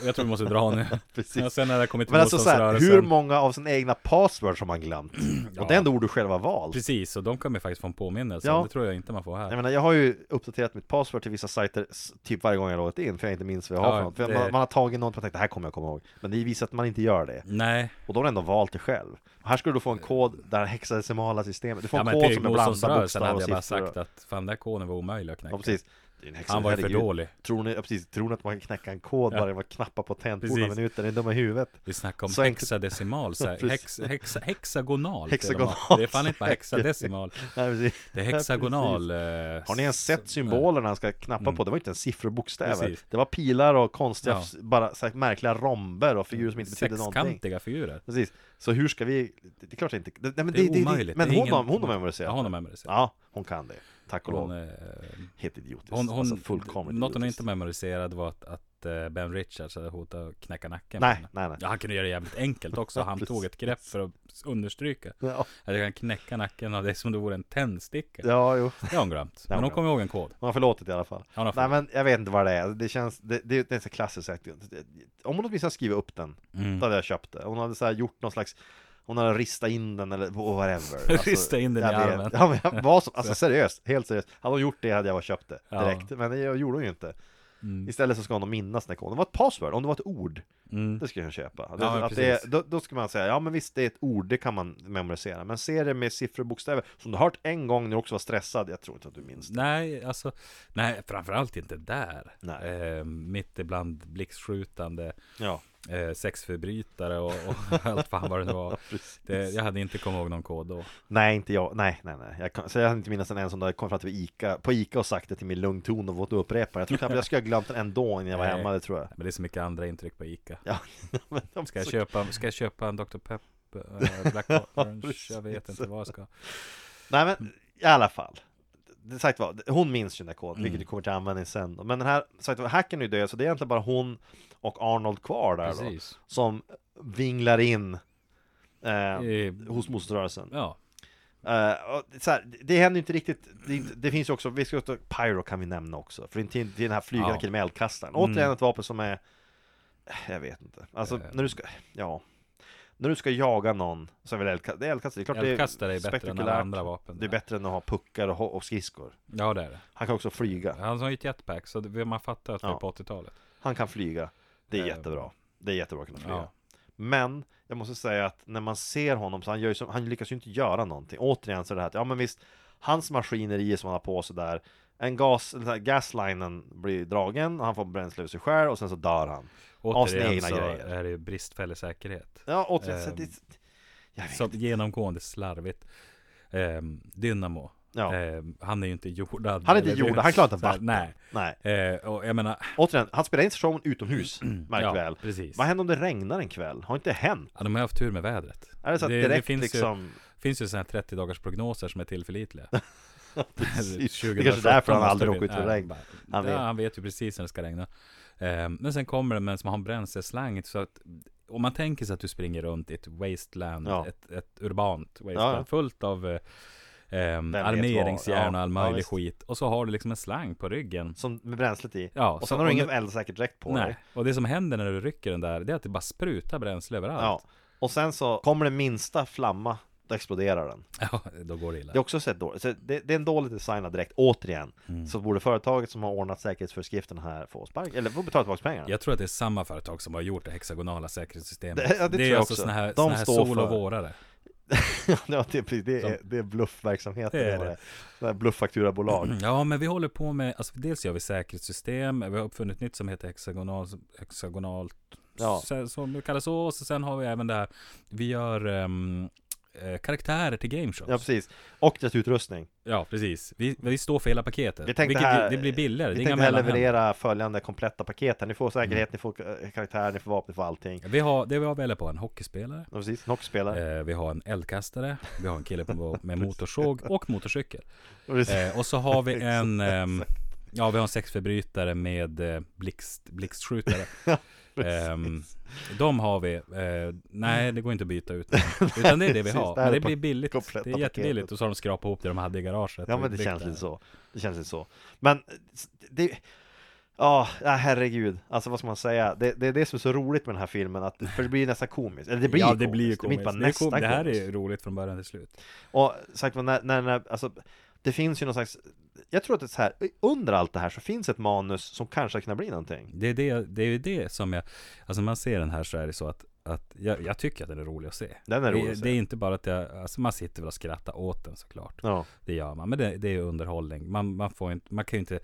S4: Jag tror vi måste dra nu
S3: Precis.
S4: ja, Sen när det kommit till
S3: Men alltså så här, hur
S4: typ motståndsrörelsen
S3: många av sina egna passwords har man glömt? Och det är ändå ord du själv har valt.
S4: Precis, och de kommer ju faktiskt få en påminnelse
S3: Ja.
S4: Det tror jag inte man får här
S3: Jag menar, jag har ju uppdaterat mitt password till vissa sajter s- typ varje gång jag loggat in för jag inte minns vad jag har
S4: Ja,
S3: för något. För
S4: det-
S3: man, man har tagit något och tänkt det här kommer jag komma ihåg. Men det visar att man inte gör det.
S4: Nej,
S3: Och då har du ändå valt det själv. Och här skulle du få en kod där det hexadecimala systemet. Du får
S4: Eh. ja,
S3: en
S4: men
S3: kod
S4: till
S3: som är blandad
S4: motståndsrörelsen
S3: bokstäver
S4: hade
S3: och
S4: jag bara
S3: siffror.
S4: sagt att Fan den där koden var omöjlig att knäcka
S3: Ja, precis. Det är en hexa,
S4: Han var ju för
S3: herregud.
S4: dålig.
S3: Tror ni, ja, precis, tror ni att man kan knäcka en kod bara genom att knappa på tangentbordet några
S4: Precis.
S3: minuter? Är ni dumma i huvudet?
S4: Vi snackar om
S3: Så enkelt-
S4: hexadecimal, så här,
S3: Precis.
S4: hex, hex, hexagonal.
S3: Hexagonal.
S4: Det är, det är fan inte bara hexadecimal.
S3: Nej, precis.
S4: Det är
S3: Ja, precis.
S4: hexagonal. eh,
S3: Har ni ens sett symbolerna han ska knappa på? Det var inte en sifferbokstäver
S4: Mm. Precis.
S3: Det var pilar och konstiga,
S4: Ja.
S3: f- bara så här märkliga romber och figurer som inte betydde någonting
S4: Sexkantiga figurer.
S3: Precis, så hur ska vi Det är klart det inte det, nej, men
S4: Det är omöjligt.
S3: Men
S4: Det är
S3: hon,
S4: ingen-
S3: har, hon har memoriserat
S4: Ja, hon har
S3: det.
S4: memoriserat.
S3: Ja, hon kan det Tack och
S4: Hon,
S3: lov
S4: eh,
S3: Helt idiotiskt
S4: hon, hon,
S3: Alltså fullkomligt
S4: något hon
S3: idiotiskt.
S4: inte memoriserade var att, att eh, Ben Richards hade hotat att knäcka nacken på
S3: Nej,
S4: henne.
S3: nej, nej
S4: Ja, han kunde göra det jävligt enkelt också. Han
S3: Precis.
S4: tog ett grepp för att understryka.
S3: Ja,
S4: Att jag kan knäcka nacken av det som om det vore en tändsticka.
S3: ja jo
S4: Det har hon glömt.
S3: hon
S4: Men hon
S3: glömt.
S4: kommer ihåg en kod.
S3: Hon har förlåtit i alla fall.
S4: Ja, hon har
S3: Nej men jag vet inte vad det är. Det känns, det, det, det är så klassiskt sagt. Om hon åtminstone skrivit upp den,
S4: Mm.
S3: då hade jag köpt det. Hon hade så här gjort någon slags Hon hade ristat in den eller och whatever. Alltså,
S4: Rista in den
S3: jag
S4: i
S3: vet.
S4: armen.
S3: Ja, men jag, vad som, alltså seriöst, helt seriöst. Hade hon gjort det hade jag bara köpt det
S4: Ja. Mm.
S3: direkt. Men det gjorde hon ju inte. Istället så ska hon minnas den här koden. Det var ett password, om det var ett ord. Det skulle jag köpa.
S4: Mm. Ja, men
S3: att det, är-
S4: precis.
S3: då, då ska man säga, ja men visst det är ett ord, det kan man memorisera. Men se det med siffror och bokstäver. Som du har hört en gång när du också var stressad, jag tror inte att du minns det.
S4: Nej, alltså, nej, framförallt inte där.
S3: Nej.
S4: Eh, mitt ibland blixtskjutande
S3: Ja.
S4: eh, sexförbrytare och, och allt fan vad det nu var.
S3: precis.
S4: Det, jag hade inte kommit ihåg någon kod då.
S3: Nej, inte jag. Nej, nej, nej. Jag kan, så jag kan inte minnas en enda som då kom fram till Ica, på Ica och sagt det till min lugn ton och fått upprepa det. Jag tror knappt jag skulle ha glömt den ändå innan jag var
S4: Nej.
S3: hemma, det tror jag.
S4: Men det är så mycket andra intryck på Ica.
S3: Ja, men de
S4: Ska jag
S3: så-
S4: köpa, ska jag köpa en Dr. Pep? eh, Black Orange?
S3: precis.
S4: Jag vet inte vad jag ska.
S3: Nej, men i alla fall. det, sagt var, hon minns ju den där
S4: Mm.
S3: koden, vilket ju kommer till användning sen då. Men den här, sagt var, hacken är ju död, så det är egentligen bara hon och Arnold kvar där
S4: Precis.
S3: då, som vinglar in eh,
S4: Eh,
S3: hos motståndsrörelsen.
S4: Ja,
S3: Eh, och så här, det händer ju inte riktigt, det, är inte- det finns ju också, vi ska ta Pyro kan vi nämna också, för det är till, till den här flygande
S4: Ja. Mm.
S3: killen med eldkastaren. Återigen ett vapen som är, eh, jag vet inte,
S4: Eh.
S3: alltså när du ska, ja, när du ska jaga någon så är väl eldkastare, det är eldkastare, det är klart
S4: eldkastare är
S3: det är
S4: bättre än alla
S3: spektakulärt.
S4: andra vapen.
S3: Det är bättre än att ha puckar och, ho- och skridskor.
S4: Ja, det är det.
S3: Han kan också flyga,
S4: Han har ju ett jetpack, så det, man fattar att vi är
S3: Ja.
S4: på 80-talet.
S3: han kan flyga, det är
S4: Eh.
S3: jättebra, det är jättebra att kunna flyga.
S4: Ja.
S3: Men jag måste säga att när man ser honom så han, gör ju som, han lyckas ju inte göra någonting. Återigen så är det här att, ja men visst, hans maskineri som han har på sig där, en gas, den här gaslinen blir dragen, han får bränsle ur sig själv och sen så dör han. Av sina
S4: Återigen
S3: egna
S4: så
S3: grejer.
S4: är det ju bristfällig säkerhet.
S3: Ja, återigen, så
S4: Ehm,
S3: det, jag vet.
S4: Så genomgående slarvigt. Ehm, Dynamo.
S3: Ja.
S4: Ehm, han är ju inte jordad.
S3: Han är inte
S4: Eller-
S3: jordad, han klarar inte
S4: så här,
S3: vatten.
S4: Nej.
S3: Nej,
S4: Eh, och jag menar,
S3: återigen, han spelar in showen utomhus, märk
S4: ja,
S3: väl.
S4: precis.
S3: Vad händer om det regnar en kväll? Har inte hänt?
S4: Ja, de har haft tur med vädret.
S3: Är det så att
S4: Det- det
S3: direkt
S4: finns ju-
S3: liksom...
S4: finns ju sådana här 30 dagars prognoser som är tillförlitliga.
S3: Precis. Det
S4: 2017
S3: är kanske är därför han
S4: måste
S3: aldrig
S4: vi-
S3: åker ut i
S4: Nej,
S3: regn.
S4: bara-
S3: Han vet.
S4: Ja, han vet ju precis när det ska regna. Eh, Men sen kommer det med som har en bränsleslang. Så att om man tänker sig att du springer runt i ett wasteland,
S3: Ja.
S4: ett, ett urbant
S3: Ja,
S4: wasteland,
S3: ja.
S4: fullt av eh, ehm,
S3: vet
S4: armeringsjärn
S3: vad?
S4: och all
S3: Ja,
S4: möjlig
S3: visst.
S4: skit. Och så har du liksom en slang på ryggen.
S3: Som med bränslet i.
S4: Ja,
S3: och
S4: så
S3: sen har du
S4: om
S3: ingen
S4: du-
S3: eldsäker dräkt på dig.
S4: Nej. Och det som händer när du rycker den där, det är att det bara sprutar
S3: Ja.
S4: bränsle överallt.
S3: Och sen så kommer den minsta flamma, då exploderar den.
S4: Ja, då går det illa.
S3: Det är också sett dåligt. Så det, det är en dålig designad direkt, återigen.
S4: Mm.
S3: Så borde företaget som har ordnat säkerhetsföreskrifterna här få spark, eller få betala tillbaka pengarna.
S4: Jag tror att det är samma företag som har gjort det hexagonala säkerhetssystemet.
S3: Det- ja, det tror
S4: är
S3: jag
S4: alltså
S3: också.
S4: såna här,
S3: De
S4: såna här
S3: står
S4: sol och
S3: för-
S4: vårare.
S3: ja, det, är precis- det, är, det är bluffverksamheten.
S4: Det
S3: Det
S4: är
S3: är
S4: det. Mm.
S3: det. Blufffakturebolag.
S4: Ja, men vi håller på med, alltså dels gör vi säkerhetssystem, vi har uppfunnit nytt som heter hexagonal, hexagonalt,
S3: Ja.
S4: sen, som det kallas så, och sen har vi även det här, vi gör ehm, eh, karaktärer till gameshows.
S3: Ja, precis. Och dess utrustning.
S4: Ja, precis. Vi, vi står för hela paketet,
S3: Vi tänkte
S4: vilket
S3: här,
S4: det blir billigare, det
S3: vi
S4: är inga
S3: tänkte här
S4: mellanhänder. Mm.
S3: leverera följande kompletta paket här. Ni får säkerhet, ni får eh, karaktär, ni får vapen, ni får allting.
S4: Vi har, det vi har väl på en hockeyspelare,
S3: Ja, precis. Knockspelare.
S4: eh, vi har en eldkastare, vi har en kille på, med motorsåg och motorcykel.
S3: Precis.
S4: Eh, och så har vi en ehm, Ja, vi har en sexförbrytare med eh, blixt, blixtskjutare. Ehm, de har vi. Eh, nej, det går inte att byta ut. dem. Utan det är det vi
S3: Precis,
S4: har.
S3: det här
S4: Men
S3: är
S4: det
S3: pa-
S4: blir billigt.
S3: kompletta
S4: Det är jättebilligt.
S3: paketet.
S4: Och så har de skrapat ihop det de hade i garaget.
S3: Ja
S4: och
S3: men det
S4: byggt
S3: känns
S4: här.
S3: lite så Det känns lite så Men eh, det Ja, ah, herregud Alltså vad ska man säga det, det är det som är så roligt med den här filmen att, För det blir nästan komiskt Eller det blir
S4: ja,
S3: komiskt
S4: det blir ju
S3: blir
S4: komiskt.
S3: inte bara
S4: Det, är
S3: nästan
S4: kom, det här är
S3: komiskt.
S4: ju roligt från början till slut.
S3: Och sagt var, när, när, när, alltså Det finns ju någon slags Jag tror att det är så här Under allt det här så finns ett manus som kanske kan bli någonting
S4: Det är det, det är ju det som jag, alltså när man ser den här så är det så att, att jag, jag tycker att den är rolig att se.
S3: Den är rolig
S4: det,
S3: att se.
S4: det är inte bara att jag, alltså man sitter väl och skrattar åt den såklart.
S3: Ja
S4: Det gör man, men det, det är underhållning. Man, man, får inte, man kan ju inte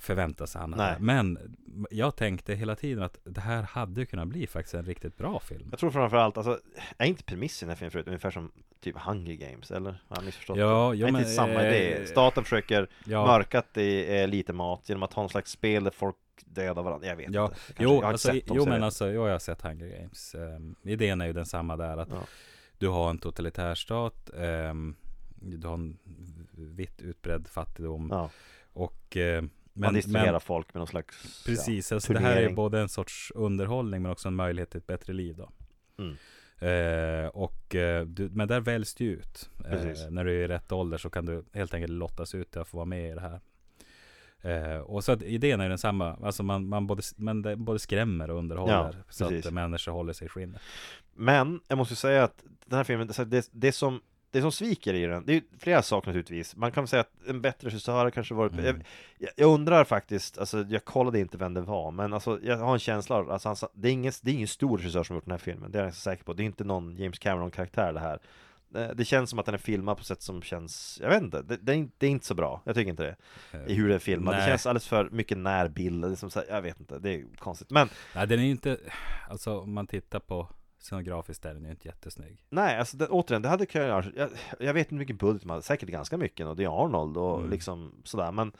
S4: förvänta sig annat.
S3: Nej.
S4: Men jag tänkte hela tiden att det här hade ju kunnat bli faktiskt en riktigt bra film.
S3: Jag tror framförallt alltså Är inte premissen i den här filmen förut ungefär som Typ Hunger Games eller? Har jag missförstått?
S4: Ja, jo,
S3: är inte
S4: men,
S3: samma
S4: eh,
S3: idé. Staten försöker
S4: ja.
S3: mörka att det är eh, lite mat genom att ha en slags spel där folk dödar varandra. Jag vet
S4: Ja,
S3: inte. Kanske-
S4: jo,
S3: jag har
S4: alltså,
S3: inte sett dem,
S4: jo
S3: så jag
S4: men
S3: vet
S4: alltså, jo, jag har sett Hunger Games. Ehm, idén är ju densamma där, att
S3: Ja.
S4: du har en totalitär stat, ehm, du har en vitt utbredd fattigdom
S3: inte. ja.
S4: och... eh,
S3: Man
S4: men,
S3: distraherar
S4: men
S3: folk med någon slags...
S4: precis,
S3: ja,
S4: alltså, det här är ju
S3: turnering.
S4: både en sorts underhållning men också en möjlighet till ett bättre liv då.
S3: Mm.
S4: Eh, och, eh, du, men där väljs du ut.
S3: Precis.
S4: Eh, när du är i rätt ålder så kan du helt enkelt lottas ut till att få vara med i det här. Eh, och så att idén är densamma. Alltså man, man både, men det både skrämmer och underhåller.
S3: Ja,
S4: så att
S3: precis.
S4: eh, människor håller sig i skinnet.
S3: Men jag måste säga att den här filmen, det, det, det som det som sviker i den, det är ju flera saker naturligtvis Man kan säga att en bättre regissör kanske varit jag, jag- jag undrar faktiskt, alltså jag kollade inte vem det var Men alltså jag har en känsla av, alltså, han sa- det, är ingen, det är ingen stor regissör som gjort den här filmen Det är jag ganska säker på, det är inte någon James Cameron-karaktär det här Eh, Det känns som att den är filmad på sätt som känns, jag vet inte Det, det, är, inte- det är inte så bra, jag tycker inte det I hur den är filmad,
S4: nej.
S3: det känns alldeles för mycket närbilder liksom, så här, Jag vet inte, det är konstigt Men
S4: Nej, den är ju inte... Alltså om man tittar på scenografiskt är den ju inte jättesnygg.
S3: Nej, alltså det, återigen, det hade kunnat göras. Jag,
S4: Mm.
S3: jag vet inte hur mycket budget man hade, säkert ganska mycket och det är Arnold och liksom sådär, men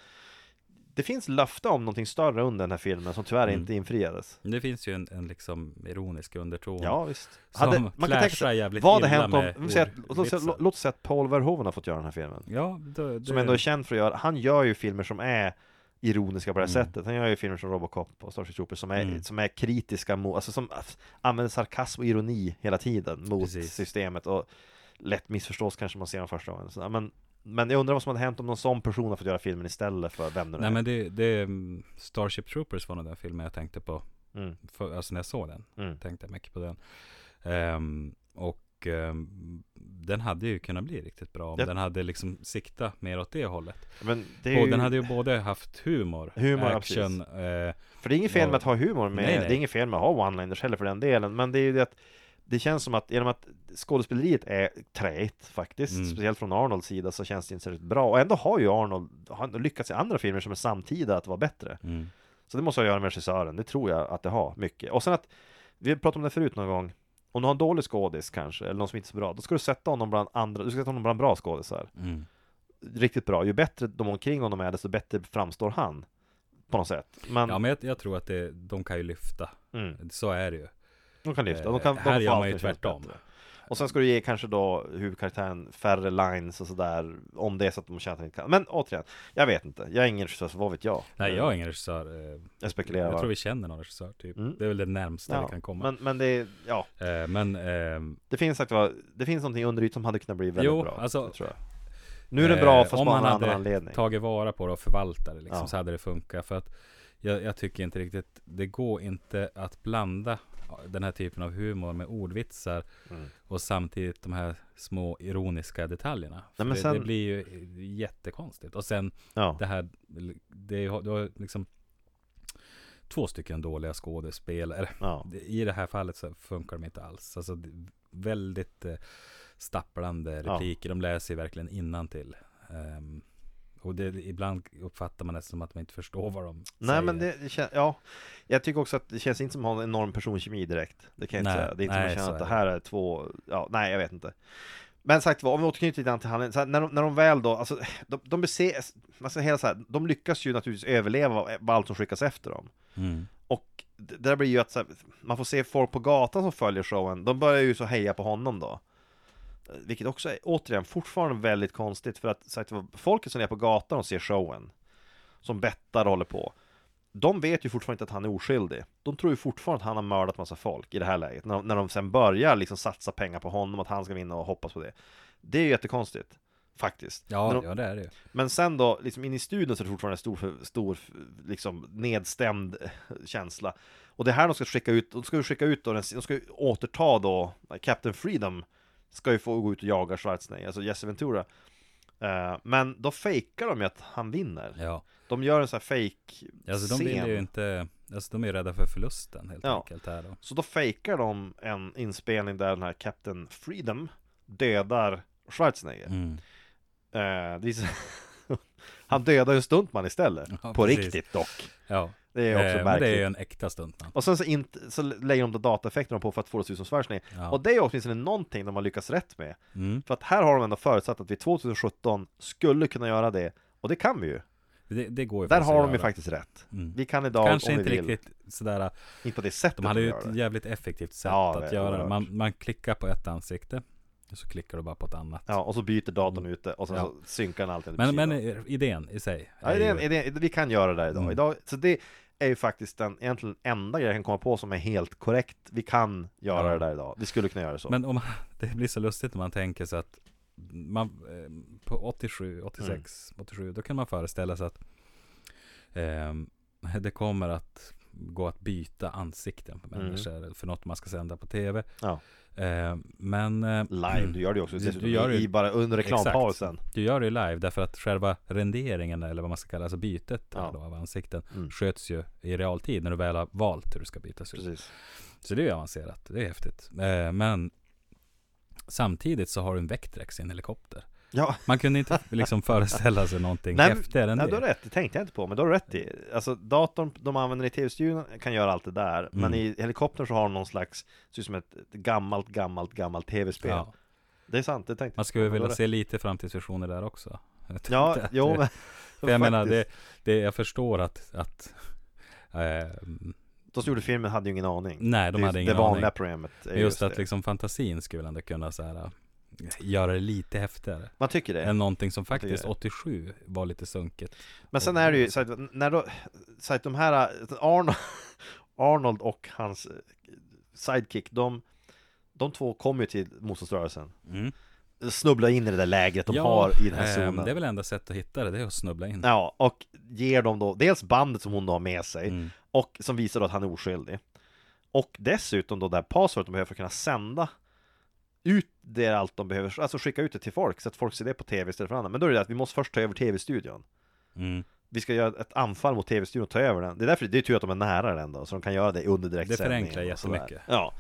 S3: det finns löfte om någonting större under den här filmen som
S4: Mm.
S3: tyvärr inte infriades.
S4: Det finns ju en, en liksom ironisk underton.
S3: Ja, visst.
S4: Som
S3: Hade, man kan tänka
S4: flashar
S3: sig,
S4: jävligt
S3: vad hade
S4: illa
S3: hänt om,
S4: med
S3: låt säga, att- låt, säga,
S4: ordvitsar.
S3: låt, låt säga att Paul Verhoeven har fått göra den här filmen.
S4: Ja, då, det,
S3: Som ändå är känd för att göra, han gör ju filmer som är ironiska på det
S4: Mm.
S3: här sättet. Han gör ju filmer som Robocop och Starship Troopers som är, som är kritiska mot, alltså som f- använder sarkasm och ironi hela tiden mot
S4: Precis.
S3: systemet och lätt missförstås kanske man ser den första gången. Så, ja, men, men jag undrar vad som hade hänt om någon sån person hade fått göra filmen istället för vem det nu
S4: Nej
S3: är.
S4: men det, det mm, Starship Troopers var nog den filmen jag tänkte på
S3: Mm.
S4: för, Alltså när jag såg den
S3: Mm.
S4: Tänkte jag mycket på den Ehm, Och ehm, Den hade ju kunnat bli riktigt bra Om
S3: Ja.
S4: den hade liksom sikta mer åt det hållet
S3: Men det är
S4: Och
S3: ju,
S4: den hade ju både haft humor
S3: Humor, ja,
S4: Action eh,
S3: För det är inget fel med att ha humor med,
S4: Nej, nej.
S3: det är inget fel med att ha one-liners heller för den delen, men det är ju det att det känns som att genom att skådespeleriet är träigt faktiskt,
S4: Mm.
S3: speciellt från Arnolds sida så känns det inte särskilt bra. Och ändå har ju Arnold han har lyckats i andra filmer som är samtida att vara bättre.
S4: mm,
S3: Så det måste ha att göra med regissören, det tror jag att det har mycket. Och sen att, vi pratade om det förut någon gång, om du har en dålig skådis kanske, eller någon som inte är så bra, då ska du sätta honom bland andra, du ska sätta honom bland bra skådisar
S4: mm.
S3: riktigt bra. Ju bättre de omkring honom är, desto bättre framstår han. På något sätt. Men,
S4: Ja men jag, jag tror att det, de kan ju lyfta
S3: mm,
S4: Så är det ju
S3: de kan lyfta. De kan,
S4: Eh,
S3: de
S4: här
S3: får
S4: gör man
S3: allt
S4: ju
S3: att kännas
S4: tvärtom.
S3: bättre. Och sen ska du ge kanske då huvudkaraktären färre lines och sådär. Om det är så att de känner att de inte kan. Men återigen, jag vet inte. Jag är ingen regissör, så vad vet jag?
S4: Nej jag är ingen regissör eh,
S3: Jag Mm. spekulerar.
S4: Jag tror vi känner någon regissör typ
S3: Mm.
S4: Det är väl det närmsta
S3: ja,
S4: vi kan komma
S3: Men, men det, är- ja,
S4: Men, eh, men ehm,
S3: det finns sagt var, det finns någonting under ytan som hade kunnat bli väldigt
S4: Jo,
S3: bra.
S4: alltså,
S3: det tror jag. Nu är det bra
S4: Eh,
S3: fast
S4: om
S3: på en
S4: man
S3: annan
S4: hade
S3: anledning.
S4: tagit vara på det och förvaltat det liksom,
S3: Ja.
S4: så hade det funkat. För att jag, jag tycker inte riktigt, det går inte att blanda den här typen av humor med ordvitsar
S3: Mm.
S4: och samtidigt de här små ironiska detaljerna. För
S3: men
S4: det, det
S3: sen-
S4: blir ju jättekonstigt. Och sen
S3: Ja.
S4: det här, det är, ju- du har liksom två stycken dåliga skådespelare.
S3: ja.
S4: Det- I det här fallet så funkar de inte alls. Alltså, det- väldigt eh, stapplande
S3: Ja.
S4: repliker. De läser ju verkligen innantill. Ehm, och det, ibland uppfattar man det som att de inte förstår vad de
S3: Nej
S4: säger.
S3: men det, det kän- ja Jag tycker också att det känns inte som att ha en enorm personkemi direkt Det kan jag inte
S4: Nej,
S3: säga Det är inte som
S4: nej,
S3: att
S4: så
S3: känna att
S4: är
S3: det
S4: det.
S3: här är två Ja, nej jag vet inte Men sagt var, om vi återknyter lite grann till handlingen så här, när, de, när de väl då, alltså De, de beses, alltså hela så här, de lyckas ju naturligtvis överleva av allt som skickas efter dem
S4: Mm.
S3: Och det det där blir ju att så här, man får se folk på gatan som följer showen De börjar ju så heja på honom då Vilket också är, återigen, fortfarande väldigt konstigt För att sagt var, folket som är på gatan och ser showen Som bettar och håller på de vet ju fortfarande inte att han är oskyldig De tror ju fortfarande att han har mördat massa folk i det här läget När de, när de sen börjar liksom satsa pengar på honom Att han ska vinna och hoppas på det Det är ju jättekonstigt Faktiskt
S4: Ja,
S3: När de,
S4: ja, det är det ju.
S3: Men sen då, liksom in i studion så är det fortfarande en stor, stor liksom nedstämd känsla Och det här de ska skicka ut, de ska ju skicka ut då, den, de ska ju återta då Captain Freedom Ska ju få gå ut och jaga Schwarzenegger, alltså Jesse Ventura Eh, Men då fejkar de ju att han vinner
S4: Ja.
S3: De gör en sån här fake
S4: Alltså, de vill
S3: scen.
S4: ju inte... Alltså, de är ju rädda för förlusten helt
S3: Ja.
S4: enkelt. Här då.
S3: Så då fejkar de en inspelning där den här Captain Freedom dödar Schwarzenegger.
S4: Mm.
S3: Eh, det är så... Han dödar ju en stuntman istället.
S4: Ja,
S3: på
S4: precis.
S3: riktigt dock.
S4: Ja.
S3: Det är också
S4: Eh, men det är
S3: märkligt.
S4: ju en äkta stuntman.
S3: Och sen så, inte, så lägger de då dataeffekterna på för att få det att se ut som Schwarzenegger.
S4: Ja.
S3: Och det är ju åtminstone någonting de har lyckats rätt med.
S4: Mm.
S3: För att här har de ändå förutsatt att vi 2017 skulle kunna göra det. Och det kan vi ju.
S4: Det, det går ju
S3: Där
S4: faktiskt att
S3: har de ju
S4: göra.
S3: faktiskt rätt.
S4: Mm.
S3: Vi kan idag
S4: Kanske
S3: om
S4: inte
S3: vi vill.
S4: riktigt sådär
S3: Inte på det sättet
S4: De hade ju
S3: gör
S4: ett
S3: det.
S4: jävligt effektivt sätt
S3: Ja, det
S4: att
S3: är
S4: göra det.
S3: oerhört.
S4: Man, man klickar på ett ansikte och så klickar du bara på ett annat.
S3: Ja, och så byter datorn ute och sen
S4: Ja.
S3: så synkar den alltid.
S4: men, men idén i sig.
S3: Ja,
S4: är
S3: det, är-
S4: ju-
S3: det, är- vi kan göra det där idag.
S4: Mm.
S3: idag så det är ju faktiskt den egentligen enda grejen jag kan komma på som är helt korrekt. Vi kan göra
S4: Ja.
S3: det där idag. Vi skulle kunna göra det så.
S4: Men om, det blir så lustigt när man tänker sig att man, eh, på 87, 86,
S3: Mm.
S4: 87, då kan man föreställa sig att ehm, det kommer att gå att byta ansikten på
S3: Mm.
S4: människor för något man ska sända på tv.
S3: Ja.
S4: Ehm, men eh,
S3: Live, du gör det ju också
S4: Du-
S3: dessutom
S4: du gör det
S3: i,
S4: ju-
S3: i bara under reklampausen.
S4: Du gör det ju live därför att själva renderingen eller vad man ska kalla alltså bytet
S3: Ja.
S4: då, av ansikten
S3: Mm.
S4: sköts ju i realtid när du väl har valt hur du ska bytas ut.
S3: Precis.
S4: Så det är ju avancerat, det är häftigt. Eh, men samtidigt så har du en Vectrex i en helikopter.
S3: Ja,
S4: Man kunde inte liksom föreställa sig någonting
S3: Nej, men-
S4: häftigare än
S3: nej, du har
S4: det.
S3: rätt. Det tänkte jag inte på, men du har rätt i. Alltså datorn de använder i tv-studion kan göra allt det där. Men
S4: Mm.
S3: i helikoptern så har de någon slags, ser ut som ett ett gammalt, gammalt, gammalt tv-spel.
S4: Ja.
S3: Det är sant, det tänkte jag
S4: Man
S3: inte på,
S4: skulle
S3: men du har
S4: vilja
S3: rätt.
S4: se lite framtidsvisioner där också. Jag tänkte
S3: Ja,
S4: att
S3: jo
S4: det-
S3: men
S4: För jag menar, det, det, jag förstår att, att eh,
S3: De som gjorde filmen hade ju ingen aning.
S4: nej, de
S3: det,
S4: hade ingen
S3: det vanliga
S4: aning.
S3: programmet är
S4: Men just att
S3: det.
S4: liksom fantasin skulle väl ändå kunna så här, eh, göra det lite häftigare.
S3: Man tycker det.
S4: Än någonting som
S3: tycker
S4: faktiskt
S3: det.
S4: 87 var lite sunkigt.
S3: Men sen är det ju så att, när då, så att de här Arnold, Arnold och hans sidekick, de, de två kommer ju till motståndsrörelsen.
S4: Mm.
S3: Snubblar in i det där lägret de har i den här
S4: ehm,
S3: zonen.
S4: Det är väl enda sättet att hitta det, det är att snubbla in.
S3: Ja, och ger dem då dels bandet som hon då har med sig
S4: Mm.
S3: och som visar då att han är oskyldig. Och dessutom då det här passwordet de behöver för att kunna sända ut det allt de behöver, alltså skicka ut det till folk så att folk ser det på tv istället för annat. Men då är det att vi måste först ta över tv-studion.
S4: Mm.
S3: Vi ska göra ett anfall mot tv-studion och ta över den. Det är därför det är tur att de är nära den då, så de kan göra det under direktsändningen.
S4: förenklar
S3: och sådär.
S4: jättemycket.
S3: Ja,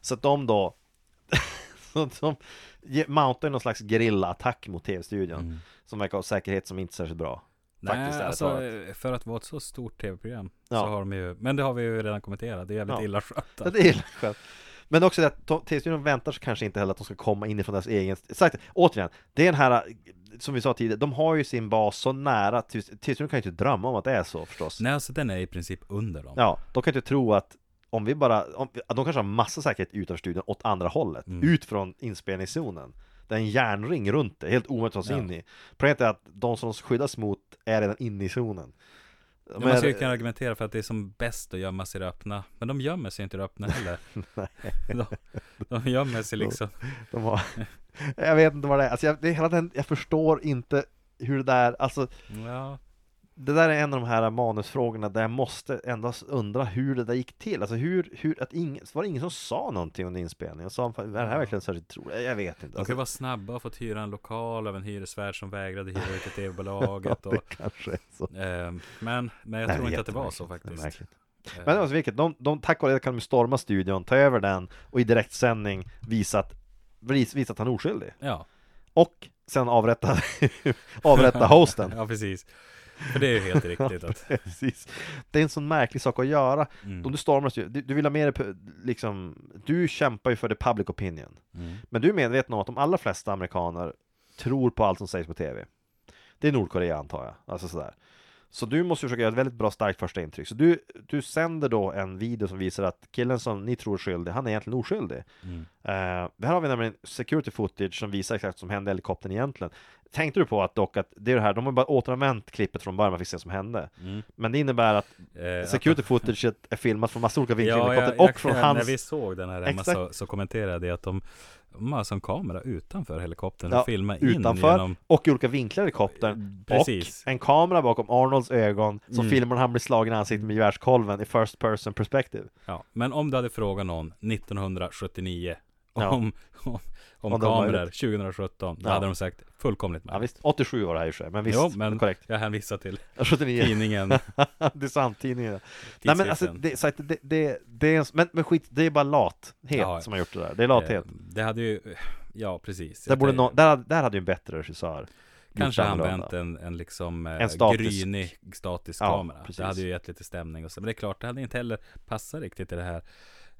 S3: så att de då så att de ge- mountar ju någon slags gerillaattack mot tv-studion som verkar ha säkerhet som inte är särskilt bra. Faktiskt,
S4: Mm. Nej,
S3: ärligt
S4: alltså,
S3: talat.
S4: för att vara ett så stort tv-program
S3: Ja.
S4: så har de ju, men det har vi ju redan kommenterat, det är jävligt
S3: Ja.
S4: illa
S3: Ja,
S4: skött. alltså.
S3: det är illa skött. Men också det att to- tv-studion väntar sig kanske inte heller att de ska komma inifrån deras egen... Sagt, återigen, det är den här, eh, som vi sa tidigare, de har ju sin bas så nära, tv- tv-studion kan ju inte drömma om att det är så förstås.
S4: Nej, alltså den är i princip under dem.
S3: Ja, de kan ju inte tro att om vi bara, om, att de kanske har massa säkerhet utanför studion åt andra hållet,
S4: Mm.
S3: ut från inspelningszonen. Det är en järnring runt det, helt omöjligt att ta sig
S4: Ja.
S3: in i. Problemet är att de som de skyddas mot är redan inne i zonen.
S4: Men man skulle kunna argumentera för att det är som bäst att gömma sig i det öppna. Men de gömmer sig inte i det öppna heller. de, de gömmer sig liksom.
S3: De har... Jag vet inte vad det är, alltså jag, det är hela den, jag förstår inte hur det där, alltså
S4: Ja,
S3: det där är en av de här manusfrågorna där jag måste ändå undra hur det där gick till, alltså hur, hur att ingen, var det ingen som sa någonting under inspelningen? Sa de, är det här verkligen särskilt troligt? Jag vet inte.
S4: de kan
S3: Alltså,
S4: ju vara snabba och fått hyra en lokal av en hyresvärd som vägrade hyra ut till tv-bolaget. Och,
S3: det kanske är så.
S4: ehm, men, men jag
S3: Nej,
S4: tror
S3: det är
S4: inte att det var så
S3: jättemärkligt. Det är
S4: faktiskt.
S3: märkligt.
S4: Ehm,
S3: Men alltså vilket, de, de, tack vare det kan de storma studion, ta över den och i direktsändning visa att, vis- visa att han är oskyldig.
S4: ja,
S3: Och sen avrätta, avrätta hosten.
S4: ja, precis. För det är ju helt riktigt att
S3: Precis. Det är en sån märklig sak att göra.
S4: Mm.
S3: Om du stormar ju, du, du vill ha med dig, pu- liksom, du kämpar ju för the public opinion.
S4: mm.
S3: Men du är medveten om att de allra flesta amerikaner tror på allt som sägs på TV. Det är Nordkorea antar jag, alltså sådär. Så du måste försöka göra ett väldigt bra starkt första intryck. Så du, du sänder då en video som visar att killen som ni tror är skyldig, han är egentligen oskyldig.
S4: Mm.
S3: Eh, här har vi nämligen security footage som visar exakt vad som hände i helikoptern egentligen. Tänkte du på att dock att det är det här, de har bara återanvänt klippet från början, man fick se vad som hände.
S4: Mm.
S3: Men det innebär att
S4: Eh,
S3: security footage är filmat från massa olika vinklar i
S4: Ja,
S3: helikoptern
S4: jag, jag,
S3: och från
S4: kan- när
S3: hans...
S4: vi såg den här hemma
S3: Exakt.
S4: så, så kommenterade jag att de, de har alltså en kamera utanför helikoptern
S3: Ja,
S4: och filmar in
S3: utanför
S4: genom
S3: och i olika vinklar i helikoptern.
S4: Precis. Mm.
S3: Och en kamera bakom Arnolds ögon som filmar när han blir slagen i ansiktet med gevärskolven i first person perspective.
S4: Ja, men om du hade frågat någon 1979
S3: Ja.
S4: om, om, om,
S3: Om det var
S4: kameror
S3: möjligt.
S4: 2017, då
S3: Ja.
S4: hade de sagt fullkomligt
S3: Ja,
S4: möjligt.
S3: visst, 87 var det här i och för sig, men visst,
S4: jo, men
S3: korrekt.
S4: jag hänvisar till
S3: 79,
S4: tidningen.
S3: det är sant, tidningen. Nej men alltså,
S4: tidskriften.
S3: det, så att det, det, det är en, men, men skit, det är bara lathet
S4: Ja.
S3: som har gjort det där. Det är lathet.
S4: Eh, det hade ju, ja precis.
S3: där, borde
S4: Det-
S3: nå- där, där hade ju en bättre regissör.
S4: Kanske
S3: gjort annorlunda.
S4: använt en, en liksom en
S3: En statisk.
S4: grynig statisk
S3: Ja,
S4: kamera.
S3: precis.
S4: Det hade ju gett lite stämning och så. Men det är klart, det hade inte heller passat riktigt i det här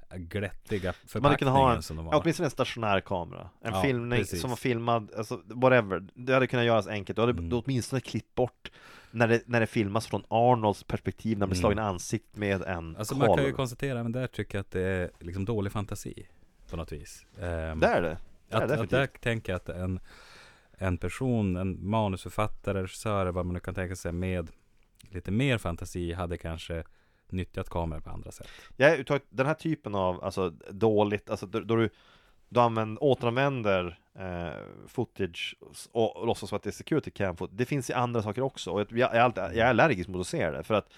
S4: eh, glättiga
S3: Man hade
S4: förpackningen
S3: kunnat ha en,
S4: som de
S3: ja,
S4: har.
S3: åtminstone en stationär kamera En
S4: Ja,
S3: filmning
S4: precis.
S3: som var filmad, alltså whatever Det hade kunnat göras enkelt, du hade
S4: Mm.
S3: du åtminstone klippt bort när det, när det filmas från Arnolds perspektiv när han blir
S4: Mm.
S3: slagen i ansiktet med en
S4: Alltså
S3: kolv
S4: man kan ju konstatera, men där tycker jag att det är liksom dålig fantasi på något vis. Ehm,
S3: Det är det! det är
S4: att, att
S3: definitivt.
S4: där tänker jag att en, en person, en manusförfattare, regissör, vad man nu kan tänka sig med lite mer fantasi hade kanske nyttjat kameror på andra sätt.
S3: Jag är uttaget, den här typen av, alltså dåligt, alltså då, då du du använder, återanvänder eh, footage och, och låtsas som att det är security cam footage. Det finns i andra saker också och jag, jag, är alltid, jag är allergisk mot att se det för att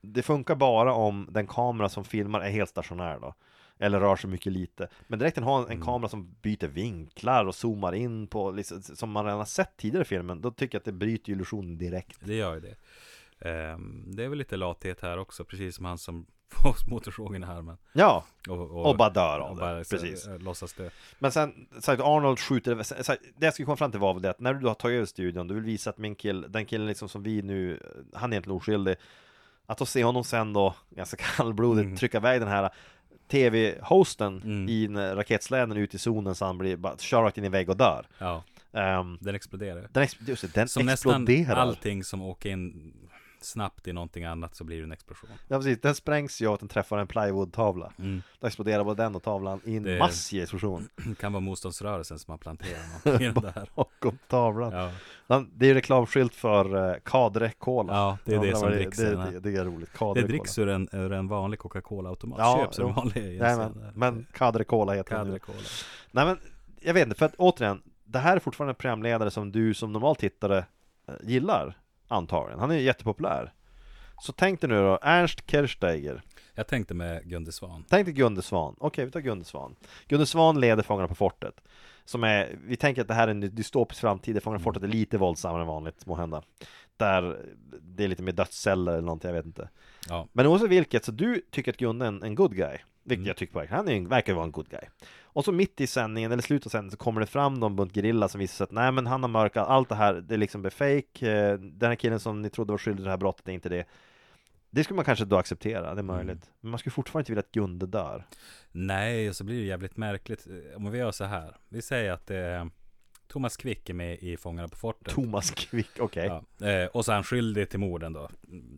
S3: det funkar bara om den kamera som filmar är helt stationär då eller rör sig mycket lite. Men direkt den har en
S4: Mm.
S3: kamera som byter vinklar och zoomar in på, liksom, som man redan har sett tidigare i filmen, då tycker jag att det bryter ju illusionen direkt.
S4: Det gör ju det. Ehm, det är väl lite lathet här också, precis som han som får motorsågen i armen.
S3: Ja,
S4: Och, och,
S3: och bara dör av
S4: och
S3: det.
S4: bara liksom så-
S3: Precis.
S4: Låtsas det.
S3: Men sen, sagt, Arnold skjuter, så här, det jag skulle komma fram till var väl det att när du då har tagit över studion, du vill visa att min kill, den killen liksom som vi nu, han är egentligen oskyldig. Att då se honom sen då, ganska kallblodigt,
S4: Mm.
S3: trycka iväg den här TV-hosten i en raketsläden ut i zonen så han blir, bara kör rakt in i vägg och dör.
S4: Ja.
S3: Ehm,
S4: Den exploderar.
S3: den, ex- just, det, den
S4: Som nästan
S3: exploderar.
S4: allting som åker in snabbt i någonting annat så blir det en explosion.
S3: Ja, precis. Den sprängs ju av att den träffar en plywoodtavla.
S4: Mm.
S3: Då exploderar både den och tavlan i en
S4: Det-
S3: massiv explosion
S4: Det kan vara motståndsrörelsen som har planterat någonting i den där.
S3: bakom tavlan.
S4: Ja,
S3: Den- Det är ju reklamskylt för eh, Kadre-cola.
S4: ja det är det
S3: Undrar
S4: som
S3: vad
S4: dricks. i
S3: det,
S4: den här.
S3: det, det är roligt.
S4: Det
S3: Kadre-cola.
S4: dricks ur en, ur en vanlig Coca-Cola-automat.
S3: Ja,
S4: Köps ur
S3: jo.
S4: en vanlig.
S3: Nej, men, men Kadre-cola heter den nu.
S4: Cadre-cola.
S3: Nej men, jag vet inte, för att återigen Det här är fortfarande en programledare som du som normal tittare eh, gillar Antagligen, han är ju jättepopulär Så tänk dig nu då, Ernst Kirchsteiger
S4: Jag tänkte med Gunde Svan.
S3: Tänk dig Gunde Svan, okej vi tar Gunde Svan Gunde Svan leder Fångarna på fortet Som är, vi tänker att det här är en dystopisk framtid där Fångarna på fortet är lite våldsammare än vanligt måhända Där det är lite mer dödsceller eller någonting, jag vet inte
S4: Ja.
S3: men oavsett vilket, så du tycker att Gunde är en, en good guy Vilket jag tycker verkligen, han är, en- verkar vara en good guy Och så mitt i sändningen, eller slutet av sändningen, så kommer det fram någon bunt gerilla som visar sig att Nej men han har mörkat, allt det här, det är liksom är fake eh, Den här killen som ni trodde var skyldig till det här brottet är inte det Det skulle man kanske då acceptera, det är möjligt Men man skulle fortfarande inte vilja att Gunde dör
S4: Nej, och så blir det jävligt märkligt. eh, Om vi gör så här. Vi säger att eh, Thomas Quick är med i Fångarna på fortet.
S3: Thomas Quick, okej ja.
S4: Ja. Eh, och så är han skyldig till morden då.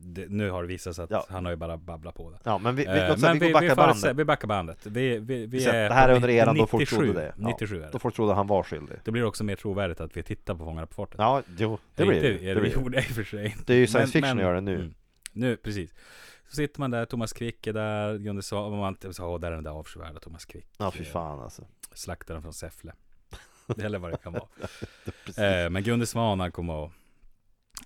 S4: Det, nu har det visat sig att
S3: Ja.
S4: han har ju bara babblat på det.
S3: men vi, vi,
S4: Eh,
S3: låt säga, vi, går backa
S4: får
S3: bandet
S4: se- vi backar bandet. Vi, vi, vi
S3: Vi säger
S4: är
S3: att Det här är
S4: på
S3: under eran då
S4: 97,
S3: folk trodde det Ja,
S4: 97 är
S3: Då
S4: det.
S3: folk trodde han var skyldig
S4: Det blir också mer trovärdigt att vi tittar på Fångarna på fortet. Eh,
S3: Ja, jo, det blir
S4: inte,
S3: det,
S4: det,
S3: det, blir det.
S4: gjorde jag i och för sig. inte.
S3: det är ju science fiction att göra det nu
S4: mm. Nu, precis. Så sitter man där, Thomas Quick är där, Gunde Svan, och man sa, åh, där är den där avskyvärda Thomas Quick.
S3: Ja, fy fan alltså
S4: Slaktaren från Säffle. Eller vad det kan vara.
S3: Precis.
S4: Eh, men Gunde Svan han kommer att...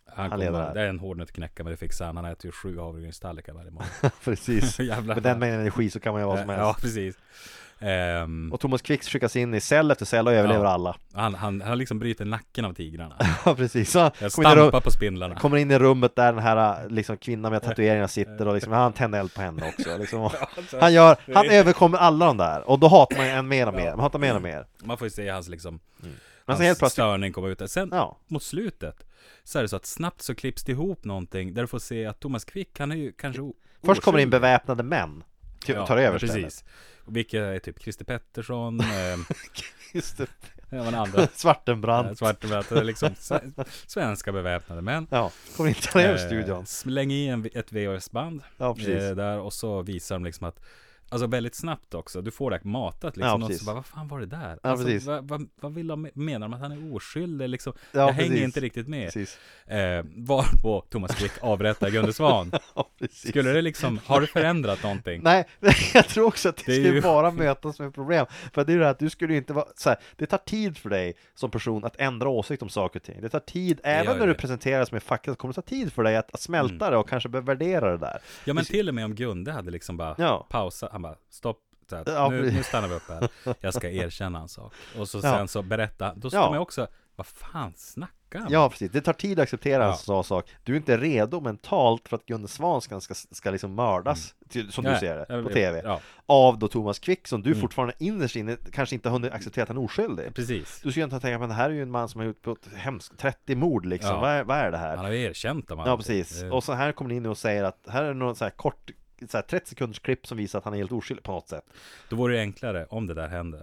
S4: Han,
S3: Han
S4: kommer,
S3: lever här.
S4: det är en hård nöt att knäcka men det fixar han. Han äter ju sju havregrynstallrikar varje morgon.
S3: Precis.
S4: Jävlar.
S3: Med den mängden energi så kan man ju vara som helst.
S4: Eh, Ja, precis. Ehm,
S3: Och Thomas Quick skickas in i cell efter cell och överlever
S4: Ja.
S3: alla.
S4: han, han, han liksom bryter nacken av tigrarna.
S3: Ja, precis. Så han
S4: Jag
S3: kommer in, i rum,
S4: stampar på spindlarna.
S3: kommer in i rummet där den här liksom, kvinnan med tatueringarna sitter och liksom, han tänder eld på henne också. Liksom. Och Han, gör, han överkommer alla de där och då hatar man ju en mer och mer. Man hatar mer och mer.
S4: Man får ju se hans liksom
S3: Men
S4: hans
S3: sen helt plötsligt,
S4: störning komma ut där. Sen
S3: ja.
S4: mot slutet Så är det så att snabbt så klipps det ihop någonting Där du får se att Thomas Quick han är ju kanske o-
S3: Först kommer det in
S4: oskyldig.
S3: beväpnade män. Typ, tar över stället.
S4: Precis Vilka är typ Christer Pettersson eh,
S3: Just det.
S4: ja, men andra
S3: Svartenbrand.
S4: Svartbeväpnade liksom sve- Svenska beväpnade män
S3: Ja, kommer in tar över
S4: Eh,
S3: studion.
S4: Släng i en, ett VHS-band
S3: Ja, precis.
S4: eh, Där och så visar de liksom att Alltså väldigt snabbt också, du får det här matat liksom,
S3: Ja,
S4: någon
S3: precis.
S4: som bara, vad fan var det där? Alltså,
S3: Ja, precis.
S4: vad, vad, vad vill de, menar de att han är oskyldig liksom?
S3: Ja,
S4: jag
S3: precis.
S4: hänger inte riktigt med
S3: Precis.
S4: eh, Varpå Thomas Quick avrättar Gunde Svan
S3: Ja, precis.
S4: Skulle det liksom, har det förändrat någonting?
S3: Nej, men jag tror också att det,
S4: Det är
S3: skulle
S4: ju-
S3: bara mötas med problem. För det är ju det här att du skulle ju inte vara så här, det tar tid för dig som person att ändra åsikt om saker och ting. Det tar tid, även
S4: gör
S3: när du
S4: det. Mm.
S3: presenteras med fakta, så kommer det ta tid för dig att, att smälta det och kanske börja värdera det där.
S4: Ja men till och med om Gunde hade liksom bara
S3: Ja.
S4: pausat, han bara stopp så här,
S3: Ja,
S4: nu,
S3: precis.
S4: nu stannar vi upp här, jag ska erkänna en sak Och så
S3: Ja.
S4: sen så berätta, då ska
S3: Ja.
S4: man ju också, vad fan snackar han?
S3: Ja, precis. Det tar tid att acceptera en
S4: Ja.
S3: sån sak. Du är inte redo mentalt för att Gunde Svanskan ska, ska liksom mördas, till, som du
S4: Mm. Nej,
S3: ser det,
S4: jag-
S3: på TV.
S4: ja. Mm.
S3: Av då Thomas Quick, som du fortfarande innerst inne kanske inte har hunnit acceptera att han är oskyldig.
S4: Precis,
S3: Du skulle inte tänka, men det här är ju en man som har gjort på ett hemskt 30 mord liksom.
S4: Ja.
S3: Vad, är, vad är det här?
S4: han har ju erkänt om
S3: Ja
S4: han-
S3: precis,
S4: Eh,
S3: och så här kommer ni in och säger att här är någon så här kort så här 30 sekunders klipp som visar att han är helt oskyldig på något sätt
S4: Då vore det enklare, om det där hände,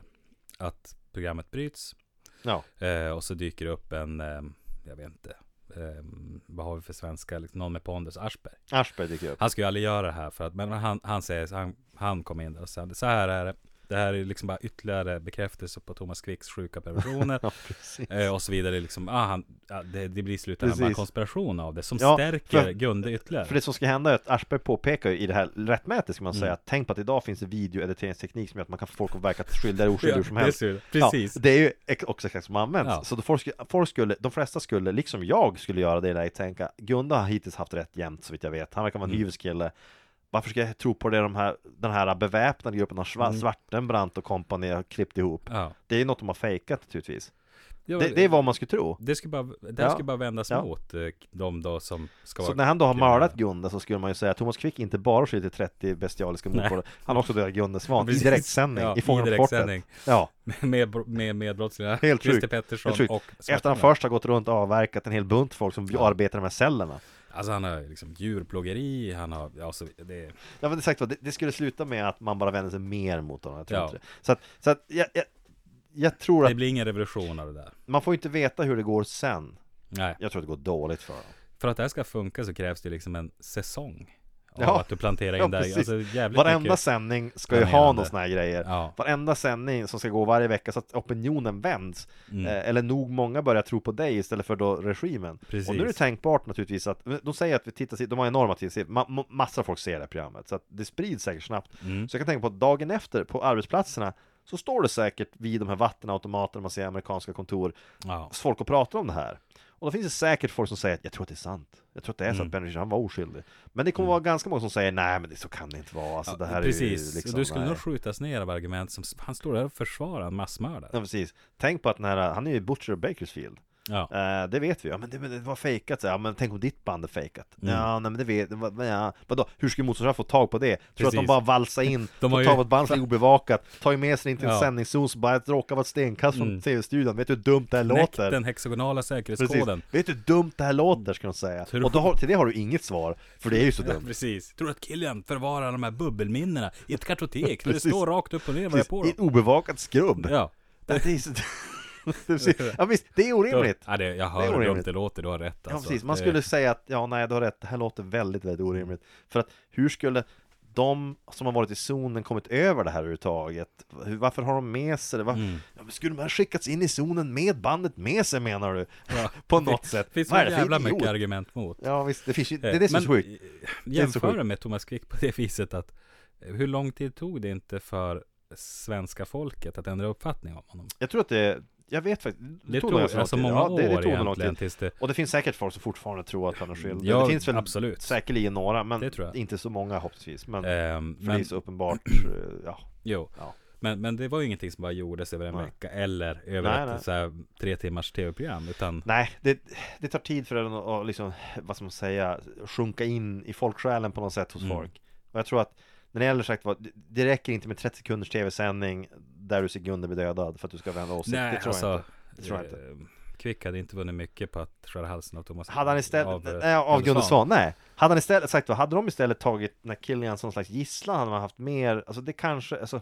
S4: att programmet bryts
S3: Ja,
S4: eh, Och så dyker det upp en, eh, jag vet inte eh, Vad har vi för svenska, liksom, någon med pondus, Aschberg
S3: Aschberg dyker upp
S4: Han ska ju aldrig göra det här för att, men han, han säger, han, han kom in där och sa, så här är det. Det här är liksom bara ytterligare bekräftelse på Thomas Quicks sjuka perversioner.
S3: Ja precis
S4: eh, och så vidare liksom, ah, han, ah, det, det blir i slutändan
S3: Precis.
S4: bara en konspiration av det som
S3: Ja,
S4: stärker
S3: för-
S4: Gunde ytterligare.
S3: För det som ska hända är att Aschberg påpekar ju i det här rättmätigt ska man
S4: Mm.
S3: säga att tänk på att idag finns det videoediteringsteknik som gör att man kan få folk att verka skyldiga eller oskyldiga hur som
S4: Ja,
S3: helst
S4: det ser du. Precis.
S3: ja, Det är ju ex- också exakt som används
S4: Ja.
S3: Så då folk, skulle- folk skulle, de flesta skulle, liksom jag skulle göra det i läget tänka Gunde har hittills haft rätt jämt så vitt jag vet Han verkar
S4: Mm.
S3: vara en hyvens kille varför ska jag tro på det de här, den här beväpnade gruppen av Schwa-
S4: Mm.
S3: Svartenbrandt och kompani har klippt ihop?
S4: ja.
S3: Det är något de har fejkat naturligtvis.
S4: Ja,
S3: Det, det är vad man skulle tro.
S4: det ska bara, det här
S3: Ja.
S4: ska bara vändas
S3: Ja.
S4: mot eh, de då som ska
S3: Så
S4: vara
S3: när han då har
S4: kriminella.
S3: mördat Gunde så skulle man ju säga att Thomas Quick inte bara skyldig till 30 bestialiska mord på det, han har också dödat Gunde Svan i
S4: Precis.
S3: direktsändning
S4: Ja,
S3: i
S4: i
S3: Fångarna på
S4: direktsändning.
S3: fortet. Ja,
S4: med, bro- med medbrottslingar,
S3: helt
S4: Christer
S3: sjukt.
S4: Pettersson
S3: Helt sjukt.
S4: och
S3: Efter han
S4: Svartenberg.
S3: först har gått runt och avverkat en hel bunt folk som arbetar med cellerna.
S4: Alltså han har liksom djurplågeri, han har, ja så vidare. det,
S3: Ja men exakt vad, det, det skulle sluta med att man bara vänder sig mer mot honom, jag tror
S4: Ja.
S3: inte det. Så att, så att jag, jag, jag tror att
S4: Det blir ingen revolution av det där.
S3: man får inte veta hur det går sen.
S4: Nej.
S3: Jag tror att det går dåligt för dem.
S4: För att det här ska funka så krävs det liksom en säsong. Av
S3: Ja.
S4: att du planterar in
S3: Ja,
S4: det
S3: precis.
S4: här. Alltså jävligt
S3: Varenda
S4: mycket.
S3: sändning ska ju ha
S4: planerande.
S3: någon sån här grejer.
S4: Ja.
S3: Varenda sändning som ska gå varje vecka så att opinionen vänds.
S4: Mm.
S3: Eh, eller nog många börjar tro på dig istället för då regimen.
S4: Precis.
S3: Och nu är det tänkbart naturligtvis att, de säger att vi tittar, de har enorma tittarsiffror, ma- ma- massa folk ser det här programmet. Så att det sprids säkert snabbt.
S4: Mm.
S3: Så jag kan tänka på att dagen efter på arbetsplatserna så står det säkert vid de här vattenautomaterna man ser i amerikanska kontor
S4: Ja.
S3: folk och pratar om det här. Och då finns det säkert folk som säger att jag tror att det är sant. Jag tror att det är så
S4: Mm.
S3: att Benny han var oskyldig. Men det kommer vara ganska många som säger nej men det så kan det inte vara. Alltså, det här
S4: Precis,
S3: är ju liksom,
S4: du skulle
S3: nej.
S4: nog skjutas ner av argument som han står där och försvarar en massmördare.
S3: Ja, precis. Tänk på att när, han är ju Butcher of Bakersfield.
S4: Ja.
S3: Eh, det vet vi, ja men det, men det var fejkat, så här. ja, men tänk om ditt band är fejkat?
S4: Mm.
S3: Ja, nej men det vet, vad- men ja, vadå, hur ska motståndarna få tag på det? Tror du att de
S4: Precis.
S3: bara valsar in, får
S4: De har ju-
S3: tag på ett band som är obevakat, tar ju med sig in till en
S4: Ja.
S3: sändningszon som bara råkar vara ett stenkast från tv-studion, vet du hur dumt det här
S4: Knäck
S3: låter?
S4: den hexagonala
S3: Precis.
S4: säkerhetskoden.
S3: Vet du hur dumt det här låter ska de säga?
S4: Tror-
S3: Och då, har- till det har du inget svar, för det är ju så dumt.
S4: Precis. Tror du att Killian förvarar de här bubbelminnena i ett kartotek? där det
S3: Precis.
S4: står rakt upp och ner vad
S3: Precis,
S4: jag är på
S3: I
S4: dem.
S3: ett obevakat skrubb.
S4: Ja.
S3: Det är så... Precis. ja, visst, det är orimligt.
S4: Ja, det, jag
S3: Det är
S4: hör hur dumt
S3: orimligt.
S4: det låter, du har rätt
S3: Ja,
S4: alltså.
S3: precis. Man
S4: Det-
S3: skulle säga att, ja, nej, du har rätt, det här låter väldigt, väldigt orimligt. För att hur skulle de som har varit i zonen kommit över det här överhuvudtaget? Hur- Varför har de med sig det? Var...
S4: Mm.
S3: Ja, men skulle man ha skickats in i zonen med bandet med sig menar du? På något sätt.
S4: Det finns så
S3: Vad är det för
S4: jävla
S3: idiot?
S4: mycket argument mot.
S3: Ja, visst, det, finns ju... det är det som är så
S4: Men,
S3: sjukt.
S4: eh,
S3: så sjukt.
S4: Jämför det med Thomas Quick på det viset att eh, hur lång tid tog det inte för svenska folket att ändra uppfattning om honom?
S3: Jag tror att det, jag vet faktiskt
S4: Det
S3: nog
S4: tog
S3: ganska lång
S4: alltså
S3: tid.
S4: många
S3: Ja,
S4: år
S3: det- det tog nog lång
S4: egentligen
S3: tid.
S4: tills det...
S3: Och det finns säkert folk som fortfarande tror att han är skyldig
S4: Ja,
S3: Det finns väl
S4: absolut.
S3: säkerligen några, men
S4: Det tror jag.
S3: inte så många hoppsvis Men
S4: Ehm,
S3: för det är
S4: men,
S3: så uppenbart, eh, ja
S4: jo.
S3: Ja.
S4: Men, men det var ju ingenting som bara gjordes över en
S3: Nej.
S4: vecka eller över
S3: Nej,
S4: ett
S3: nej.
S4: Så här, tre timmars tv-program utan
S3: Nej, det, det tar tid för den att att liksom, vad ska man säga, sjunka in i folksjälen på något sätt hos
S4: Mm.
S3: folk. Och jag tror att, när det gäller sagt vad, det- det räcker inte med 30 sekunders tv-sändning där du ser Gunde bli dödad för att du ska vända åsikt. det tror jag inte. Det tror jag inte.
S4: alltså, eh, Quick hade inte vunnit mycket på att skära halsen av Thomas
S3: Hade han istället,
S4: eh,
S3: nej, av
S4: Gunde
S3: Gunde Svan,
S4: Svan.
S3: nej. Hade han istället sagt vad, hade de istället tagit när Killian som slags gisslan, hade man haft mer, alltså det kanske, alltså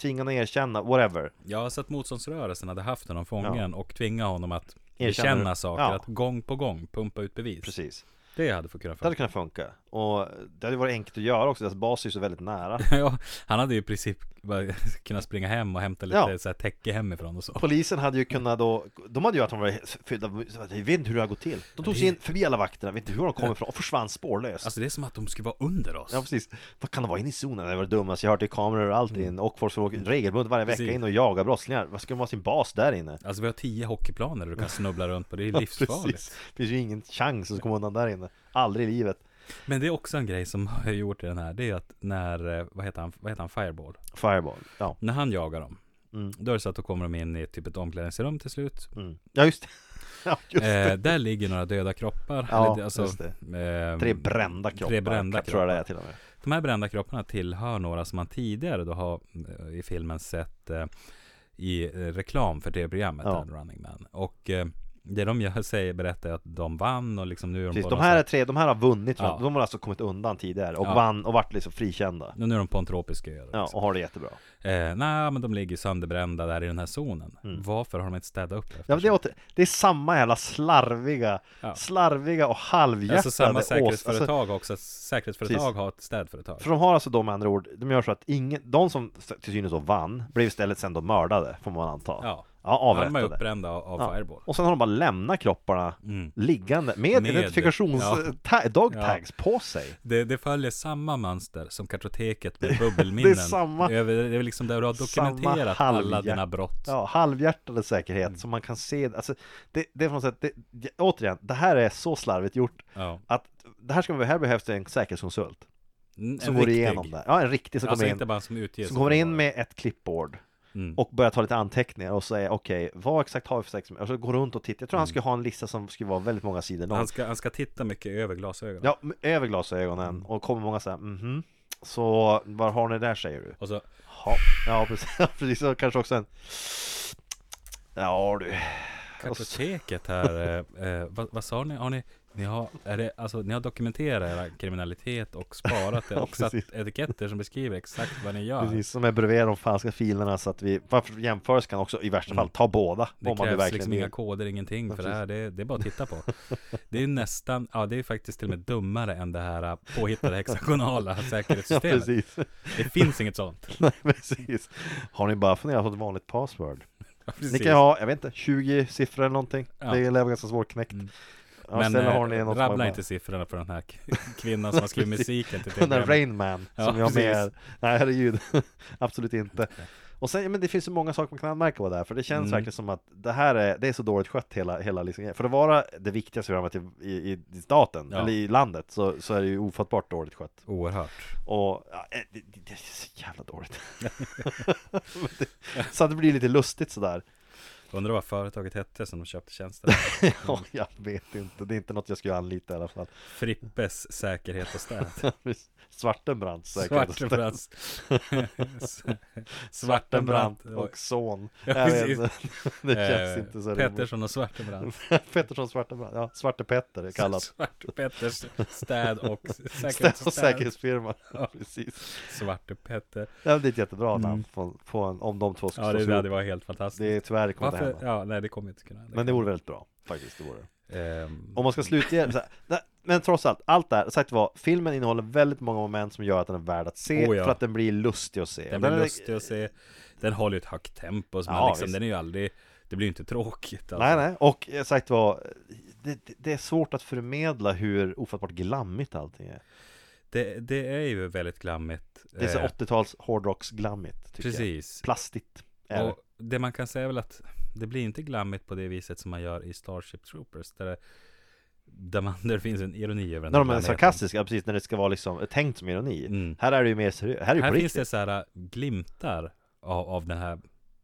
S3: tvingande att erkänna, whatever.
S4: Ja, så att motståndsrörelsen hade haft honom fången och tvinga honom att
S3: Erkänna
S4: erkänna
S3: det.
S4: saker,
S3: Ja.
S4: att gång på gång pumpa ut bevis.
S3: Precis.
S4: Det hade fått kunnat
S3: Det hade
S4: funka.
S3: kunnat funka. Och det hade varit enkelt att göra också, deras bas är ju så väldigt nära.
S4: Ja, han hade ju i princip bara kunnat springa hem och hämta lite
S3: Ja.
S4: så här täcke hemifrån och så.
S3: Polisen hade ju kunnat då, de hade ju att de var fyllda av, jag vet inte hur det har gått till. De tog sig in förbi alla vakterna, vet inte hur de kom ifrån och försvann spårlöst.
S4: Alltså det är som att de skulle vara under oss.
S3: Ja precis, vad kan de vara inne i zonen? Det var det dummaste jag hört, det är kameror och allt in och folk som åker regelbundet varje vecka
S4: Precis.
S3: in och jagar brottslingar. Vad ska de ha sin bas där inne?
S4: Alltså vi har tio hockeyplaner du kan snubbla runt på, det är
S3: Ja,
S4: livsfarligt.
S3: Det finns ju ingen chans att komma undan där inne. Aldrig i livet.
S4: Men det är också en grej som har gjort i den här, det är att när, eh, vad heter han, vad heter han, Fireball?
S3: Fireball, ja.
S4: När han jagar dem, då är det så att då kommer de in i typ ett omklädningsrum till slut.
S3: Mm. Ja just det. Ja, just det.
S4: Eh, där ligger några döda kroppar.
S3: Ja,
S4: Eller, alltså,
S3: just
S4: ehm,
S3: Tre brända kroppar.
S4: Tre brända
S3: tror jag det
S4: kroppar.
S3: är till och med.
S4: De här brända kropparna tillhör några som man tidigare då har eh, i filmen sett eh, i eh, reklam för tv-programmet
S3: Ja.
S4: där, Running Man. Och eh, det de gör, säger, berättar är att de vann och liksom nu är de
S3: Precis,
S4: på
S3: de
S4: någon
S3: här, är
S4: sån-
S3: tre, de här har vunnit,
S4: Ja.
S3: de har alltså kommit undan tidigare och
S4: Ja.
S3: vann och vart liksom frikända.
S4: nu är de på en tropisk ö.
S3: Ja,
S4: Liksom.
S3: och har det jättebra.
S4: Eh, nej, men de ligger sönderbrända där i den här zonen. Varför har de inte städat upp
S3: Mm. Ja,
S4: efter
S3: men det, är åter, det är samma jävla slarviga,
S4: Ja.
S3: slarviga och halvhjärtade
S4: Alltså samma
S3: ås-
S4: säkerhetsföretag
S3: alltså,
S4: också. att Säkerhetsföretag
S3: Precis.
S4: har ett städföretag.
S3: För de har alltså då med andra ord, de gör så att ingen, de som till synes då vann, blev istället sen då mördade, får man anta.
S4: Ja.
S3: ja
S4: De är
S3: avrättade.
S4: uppbrända av, av
S3: Ja.
S4: Fireball. Mm.
S3: Och sen har de bara lämnat kropparna liggande med,
S4: Med-
S3: identifikations
S4: ja.
S3: ta- dog
S4: Ja.
S3: tags på sig.
S4: Det, det följer samma mönster som kartoteket med
S3: Det är
S4: bubbelminnen.
S3: samma-
S4: Över, det är liksom där du har
S3: Samma
S4: dokumenterat alla
S3: halvhjärt-
S4: dina brott.
S3: Ja, halvhjärtade säkerhet
S4: Mm.
S3: som man kan se. Alltså, det, det är på något sätt, det, det, återigen, det här är så slarvigt gjort
S4: Ja.
S3: att det här, ska, man- här behövs det en säkerhetskonsult.
S4: En
S3: som
S4: en
S3: går
S4: riktig.
S3: igenom det. Ja, en riktig som
S4: Alltså
S3: kommer
S4: inte
S3: in.
S4: bara som utges.
S3: Som kommer in med ett klippbord
S4: Mm.
S3: och börjar ta lite anteckningar och säga okej, vad exakt har vi för sex? Och så går runt och tittar. Jag tror
S4: Mm.
S3: han skulle ha en lista som skulle vara väldigt många sidor lång.
S4: Han ska, han ska titta mycket över glasögonen.
S3: Ja, m- över glasögonen
S4: Mm.
S3: och kommer många så här, mhm. Så var har ni det där säger du?
S4: Och så,
S3: Ja, ja precis. precis. Och kanske också en Ja du,
S4: kartoteket här. eh, eh, vad, vad sa ni? Har ni, ni, har, är det, alltså, ni har dokumenterat era kriminalitet och sparat det och satt
S3: precis.
S4: etiketter som beskriver exakt vad ni gör.
S3: Precis, som är bredvid de falska filerna så att vi, varför jämförs kan också i värsta fall ta båda.
S4: Mm. Det
S3: om man nu
S4: krävs
S3: verkligen
S4: liksom
S3: vill.
S4: inga koder, ingenting
S3: Ja,
S4: för det här. Det, det är bara att titta på. Det är ju nästan, ja det är faktiskt till och med dummare än det här eh, påhittade hexagonala
S3: Ja,
S4: säkerhetssystemet.
S3: precis.
S4: det finns inget sånt.
S3: Nej, precis. Har ni bara funderat på ett vanligt password?
S4: Ja,
S3: Ni
S4: precis.
S3: kan ju ha, jag vet inte, 20 siffror eller någonting.
S4: Ja.
S3: Det lär vara ganska svårknäckt.
S4: Mm.
S3: Ja,
S4: Men
S3: sen
S4: eh,
S3: har ni något som är
S4: rabbla
S3: bara-
S4: inte siffrorna på den här k- kvinnan som har skrivit
S3: Precis.
S4: musiken till
S3: Den där
S4: programmet.
S3: Rain Man
S4: Ja,
S3: som jag har med
S4: precis.
S3: Nej herregud Absolut inte Och sen, ja, men det finns så många saker man kan anmärka på där För det känns
S4: Mm.
S3: verkligen som att Det här är, det är så dåligt skött hela, hela liksom grejen. För att vara det viktigaste programmet i, i, i staten
S4: Ja.
S3: Eller i landet så, så är det ju ofattbart dåligt skött
S4: Oerhört.
S3: Och ja, eh, det, det det är så jävla dåligt Men det, Så att det blir lite lustigt
S4: Mm.
S3: sådär
S4: Undrar vad företaget hette som de köpte tjänsten.
S3: Ja, jag vet inte Det är inte något jag skulle anlita i alla fall
S4: Frippes säkerhet och städ.
S3: Svartenbrandt säkert
S4: Svartenbrandt.
S3: Svartenbrandt och son
S4: Ja,
S3: Jag vet
S4: precis.
S3: inte. Det känns
S4: eh,
S3: inte så roligt
S4: Pettersson och Svartenbrandt.
S3: Pettersson Svartenbrandt, ja Svarte Petter är kallat
S4: Svarte Petters städ och säkerhet
S3: Städ
S4: och
S3: och
S4: städ.
S3: säkerhetsfirma
S4: Ja.
S3: Precis
S4: Svarte Petter.
S3: ja, men Det är ett jättebra namn
S4: Mm.
S3: på, på en, om de två ska
S4: Ja, det,
S3: slås
S4: det
S3: ihop
S4: hade varit helt fantastiskt.
S3: Det är tyvärr kommer det
S4: Varför?
S3: hända
S4: Ja, nej, det kommer inte kunna.
S3: Men det vore väldigt bra Faktiskt, det vore det.
S4: Ehm,
S3: Om man ska slutge så här, nej, Men trots allt, allt det här, sagt var Filmen innehåller väldigt många moment som gör att den är värd att se
S4: Oh, ja.
S3: För att den blir lustig att se
S4: Den
S3: är-
S4: blir lustig att se Den håller ju ett högt tempo så man
S3: Ja,
S4: liksom,
S3: visst.
S4: den är ju aldrig Det blir ju inte tråkigt alltså.
S3: Nej, nej, och eh, sagt var det, det- det är svårt att förmedla hur ofattbart glammigt allting är
S4: Det, det är ju väldigt glammigt
S3: Det är så
S4: Eh,
S3: 80-tals hårdrocksglammigt tycker jag.
S4: Precis
S3: Plastigt är det.
S4: Och det man kan säga är väl att Det blir inte glammigt på det viset som man gör i Starship Troopers Där, det- där, man, där finns en ironi
S3: När
S4: över den här
S3: de är
S4: glammigheten.
S3: sarkastiska, precis när det ska vara liksom tänkt som ironi
S4: Mm.
S3: Här är det ju mer seriöst, här är det
S4: Här
S3: på
S4: finns det
S3: riktigt
S4: så här äh, glimtar av, av den här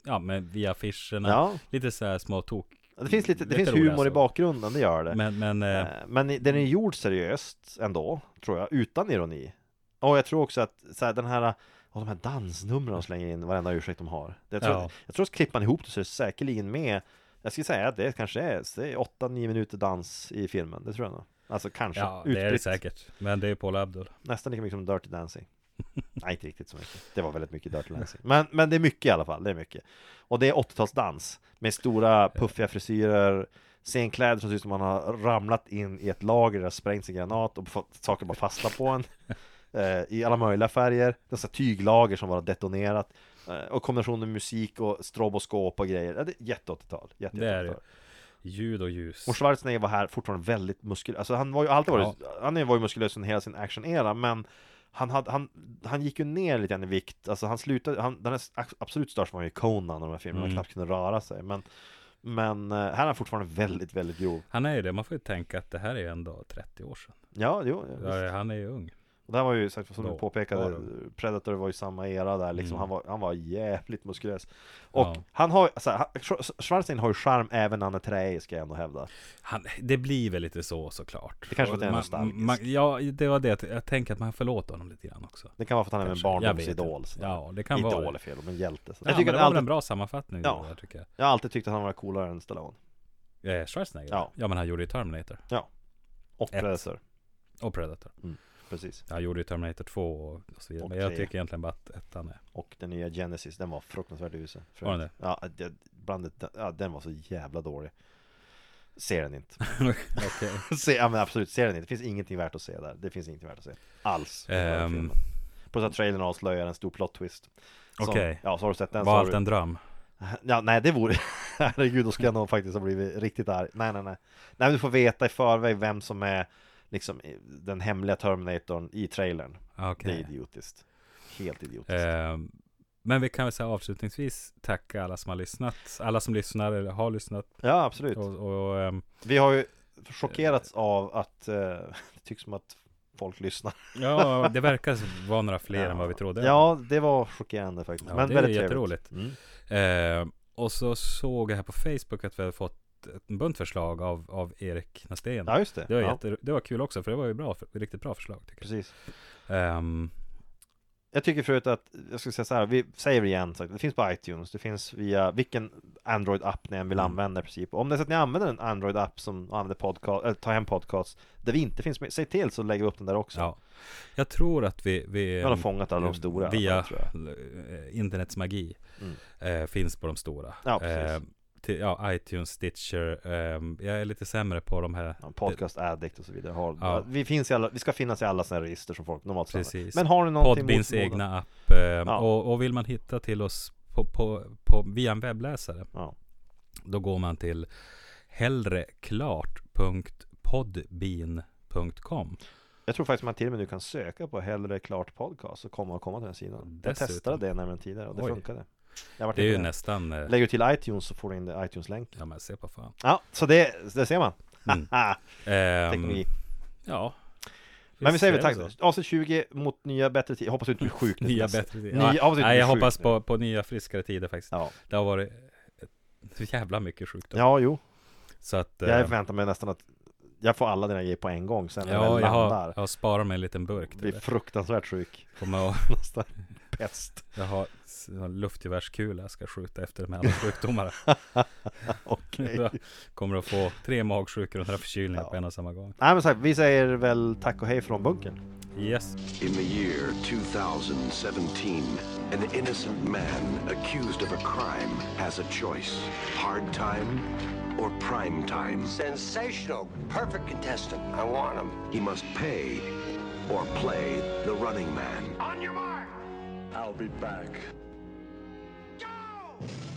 S4: Ja, men via affischerna
S3: Ja,
S4: Lite så här små tok
S3: det finns lite, det
S4: lite
S3: finns
S4: roliga
S3: humor i
S4: saker.
S3: bakgrunden, det gör det
S4: Men, men eh,
S3: Eh, Men i- den är gjord seriöst ändå, tror jag, utan ironi Och jag tror också att så här, den här och de här dansnumren de slänger in varenda ursäkt de har det, jag, tror,
S4: Ja.
S3: jag tror att klipper man ihop det så är det säkerligen med Jag skulle säga att det kanske är 8-9 minuter dans i filmen, det tror jag nog Alltså kanske,
S4: Ja, det är det
S3: Utspritt.
S4: säkert Men det är Paul Abdul
S3: Nästan lika mycket som Dirty Dancing Nej inte riktigt så mycket Det var väldigt mycket Dirty Dancing Men, men det är mycket i alla fall, det är mycket Och det är 80-talsdans Med stora puffiga frisyrer Scenkläder som ser ut som man har ramlat in i ett lager där det har sprängts en granat och fått saker bara fastna på en eh, I alla möjliga färger Dessa tyglager som bara har detonerat eh, Och kombinationen med musik och stroboskop och grejer ja, det är Jätte 80-tal jätte
S4: Det är
S3: 80-tal.
S4: det Ljud och ljus
S3: Och Schwarzenegger var här fortfarande väldigt muskulös Alltså han var ju alltid varit, han var ju muskulös under hela sin actionera Men han, hade, han, han gick ju ner lite grann i vikt Alltså han slutade, han, den här ax- absolut största var ju Conan och de här filmerna,
S4: Mm.
S3: han knappt kunde röra sig Men, men eh, här är han fortfarande väldigt, väldigt grov
S4: Han är ju det, man får ju tänka att det här är ju ändå 30 år sedan.
S3: Ja, jo, ja, visst.
S4: Ja, Han är ju ung.
S3: Och det här var ju sagt, som
S4: Då
S3: du påpekade
S4: var det-
S3: Predator var ju samma era där liksom
S4: Mm.
S3: han, var, han var jävligt muskulös Och
S4: Ja.
S3: han har alltså, han, Schwar- Schwarzenegger har ju charm även när han är träig ska jag ändå hävda
S4: Han, det blir väl lite så såklart.
S3: Det kanske var att jag är
S4: Man-
S3: nostalgisk.
S4: man- Ja, det var det. att Jag tänker att man förlåter honom lite grann också.
S3: Det kan vara för att han är en
S4: Kanske. Jag vet
S3: barndomsidol
S4: inte.
S3: sådär.
S4: Ja, det kan
S3: Idol
S4: vara
S3: är
S4: det.
S3: fel, men hjälte. Så.
S4: Ja,
S3: jag, tycker
S4: men det
S3: att
S4: var väl
S3: alltid,
S4: en bra sammanfattning.
S3: Ja.
S4: Ja. Där, tycker jag.
S3: jag har alltid tyckt att han var coolare än Stallone.
S4: Eh, Schwarzenegger?
S3: Ja.
S4: Ja. men han gjorde ju Terminator.
S3: Och
S4: Ett.
S3: Predator.
S4: Och Predator.
S3: Precis.
S4: Han gjorde ju Terminator 2 och och så vidare.
S3: Och
S4: men jag
S3: tre.
S4: tycker egentligen bara att ettan är...
S3: Och den nya Genesis, den var fruktansvärt usel. för
S4: Var
S3: övrigt. Ja, det, bland det, ja, den var så jävla dålig. Ser den inte.
S4: Okej.
S3: se, ja men absolut, ser den inte. Det finns ingenting värt att se där. Det finns ingenting värt att se. Alls. i den här
S4: Ehm.
S3: filmen. Plus att trailern avslöjar en stor plot twist. Som-
S4: Okej.
S3: Ja, så har du sett den så
S4: Var
S3: har
S4: allt
S3: du...
S4: en dröm?
S3: Ja, nej det vore... Herregud, då skulle jag nog faktiskt ha blivit riktigt arg. Nej, nej, nej. Nej, men du får veta i förväg vem som är liksom den hemliga Terminatorn i trailern. Det är
S4: Ah, Okej.
S3: idiotiskt. Helt idiotiskt.
S4: Ehm, men vi kan väl säga avslutningsvis tacka alla som har lyssnat. Alla som lyssnar eller har lyssnat.
S3: Ja, absolut.
S4: Och, och, ehm,
S3: Vi har ju chockerats av att eh, det tycks som att folk lyssnar.
S4: Ja, det verkar vara några fler
S3: Ja.
S4: än vad vi trodde.
S3: Ja, det var chockerande faktiskt.
S4: Ja,
S3: men
S4: det är
S3: väldigt
S4: jätteroligt.
S3: trevligt. Mm.
S4: Eh, och så såg jag här på Facebook att vi hade fått ett bunt förslag av, av Erik Nastén.
S3: Ja, just det.
S4: Det var,
S3: ja,
S4: jätte, det var kul också, för det var ju bra, för, riktigt bra förslag tycker jag.
S3: Precis.
S4: Ehm,
S3: Jag tycker förut att, jag skulle säga så här, vi säger det igen, så att det finns på iTunes, det finns via vilken Android-app ni än vill
S4: Mm.
S3: använda i princip. Om det är så att ni använder en Android-app som använder podcast, eller tar hem podcast där vi inte finns med, säg till så lägger vi upp den där också.
S4: Ja. Jag tror att vi, vi
S3: Vi har fångat alla de stora.
S4: via
S3: tror jag.
S4: eh, internets magi eh, finns på de stora.
S3: Mm. Ja, precis.
S4: Eh, till, ja, iTunes, Stitcher. ehm, jag är lite sämre på de här.
S3: Ja, podcast addict och så vidare. Har,
S4: Ja.
S3: vi, finns i alla, vi ska finnas i alla sådana här register som folk normalt
S4: Precis.
S3: Men har ni någonting mot
S4: eh, Podbins
S3: förmodan?
S4: egna app. ehm,
S3: Ja.
S4: och, och vill man hitta till oss på, på, på, via en webbläsare.
S3: Ja.
S4: Då går man till hellreklart.podbean.com
S3: Jag tror faktiskt man till och med nu kan söka på Hellre Klart Podcast och komma och komma till den sidan.
S4: Dessutom.
S3: Jag testade det nämligen tidigare och det
S4: Oj.
S3: funkade. Jag var
S4: Det är ju nästan... eh,
S3: Lägger du till iTunes så får du in det- iTunes-länken.
S4: Ja men se på fan.
S3: Ja, så det, det ser man.
S4: Mm.
S3: Ah,
S4: Ehm,
S3: teknologi.
S4: ja.
S3: Men vi
S4: Visst
S3: säger
S4: är
S3: väl
S4: det
S3: tack.
S4: så.
S3: Avsnitt 20 mot nya bättre tider. Jag hoppas du inte blir sjuk nu.
S4: Nya
S3: Niklas.
S4: bättre tider.
S3: Nya-
S4: Ja,
S3: hoppas det
S4: Nej, jag
S3: blir sjukt
S4: hoppas
S3: nu.
S4: på, på nya friskare tider faktiskt.
S3: Ja.
S4: Det har varit ett- så jävla mycket sjukdom.
S3: ja, jo.
S4: så att, eh,
S3: Jag förväntar mig nästan att jag får alla dina grejer på en gång sen när jag
S4: ja,
S3: väl
S4: jag, har,
S3: landar.
S4: jag har sparat mig en liten burk till
S3: Blir
S4: det.
S3: fruktansvärt sjuk.
S4: Kommer att,
S3: Nästan pest.
S4: jag har s- en luftgevärskula jag ska skjuta efter med alla sjukdomar.
S3: Okej.
S4: Jag kommer att få tre magsjukor och några förkylningar
S3: Ja.
S4: på en och samma gång.
S3: Nej men så här, vi säger väl tack och hej från bunkern.
S4: Yes.
S5: In the year 2017, an innocent man accused of a crime has a choice hard time or prime time.
S6: Sensational. Perfect contestant. I want him.
S5: He must pay or play the running man.
S6: On your mark.
S5: I'll be back.
S6: Go!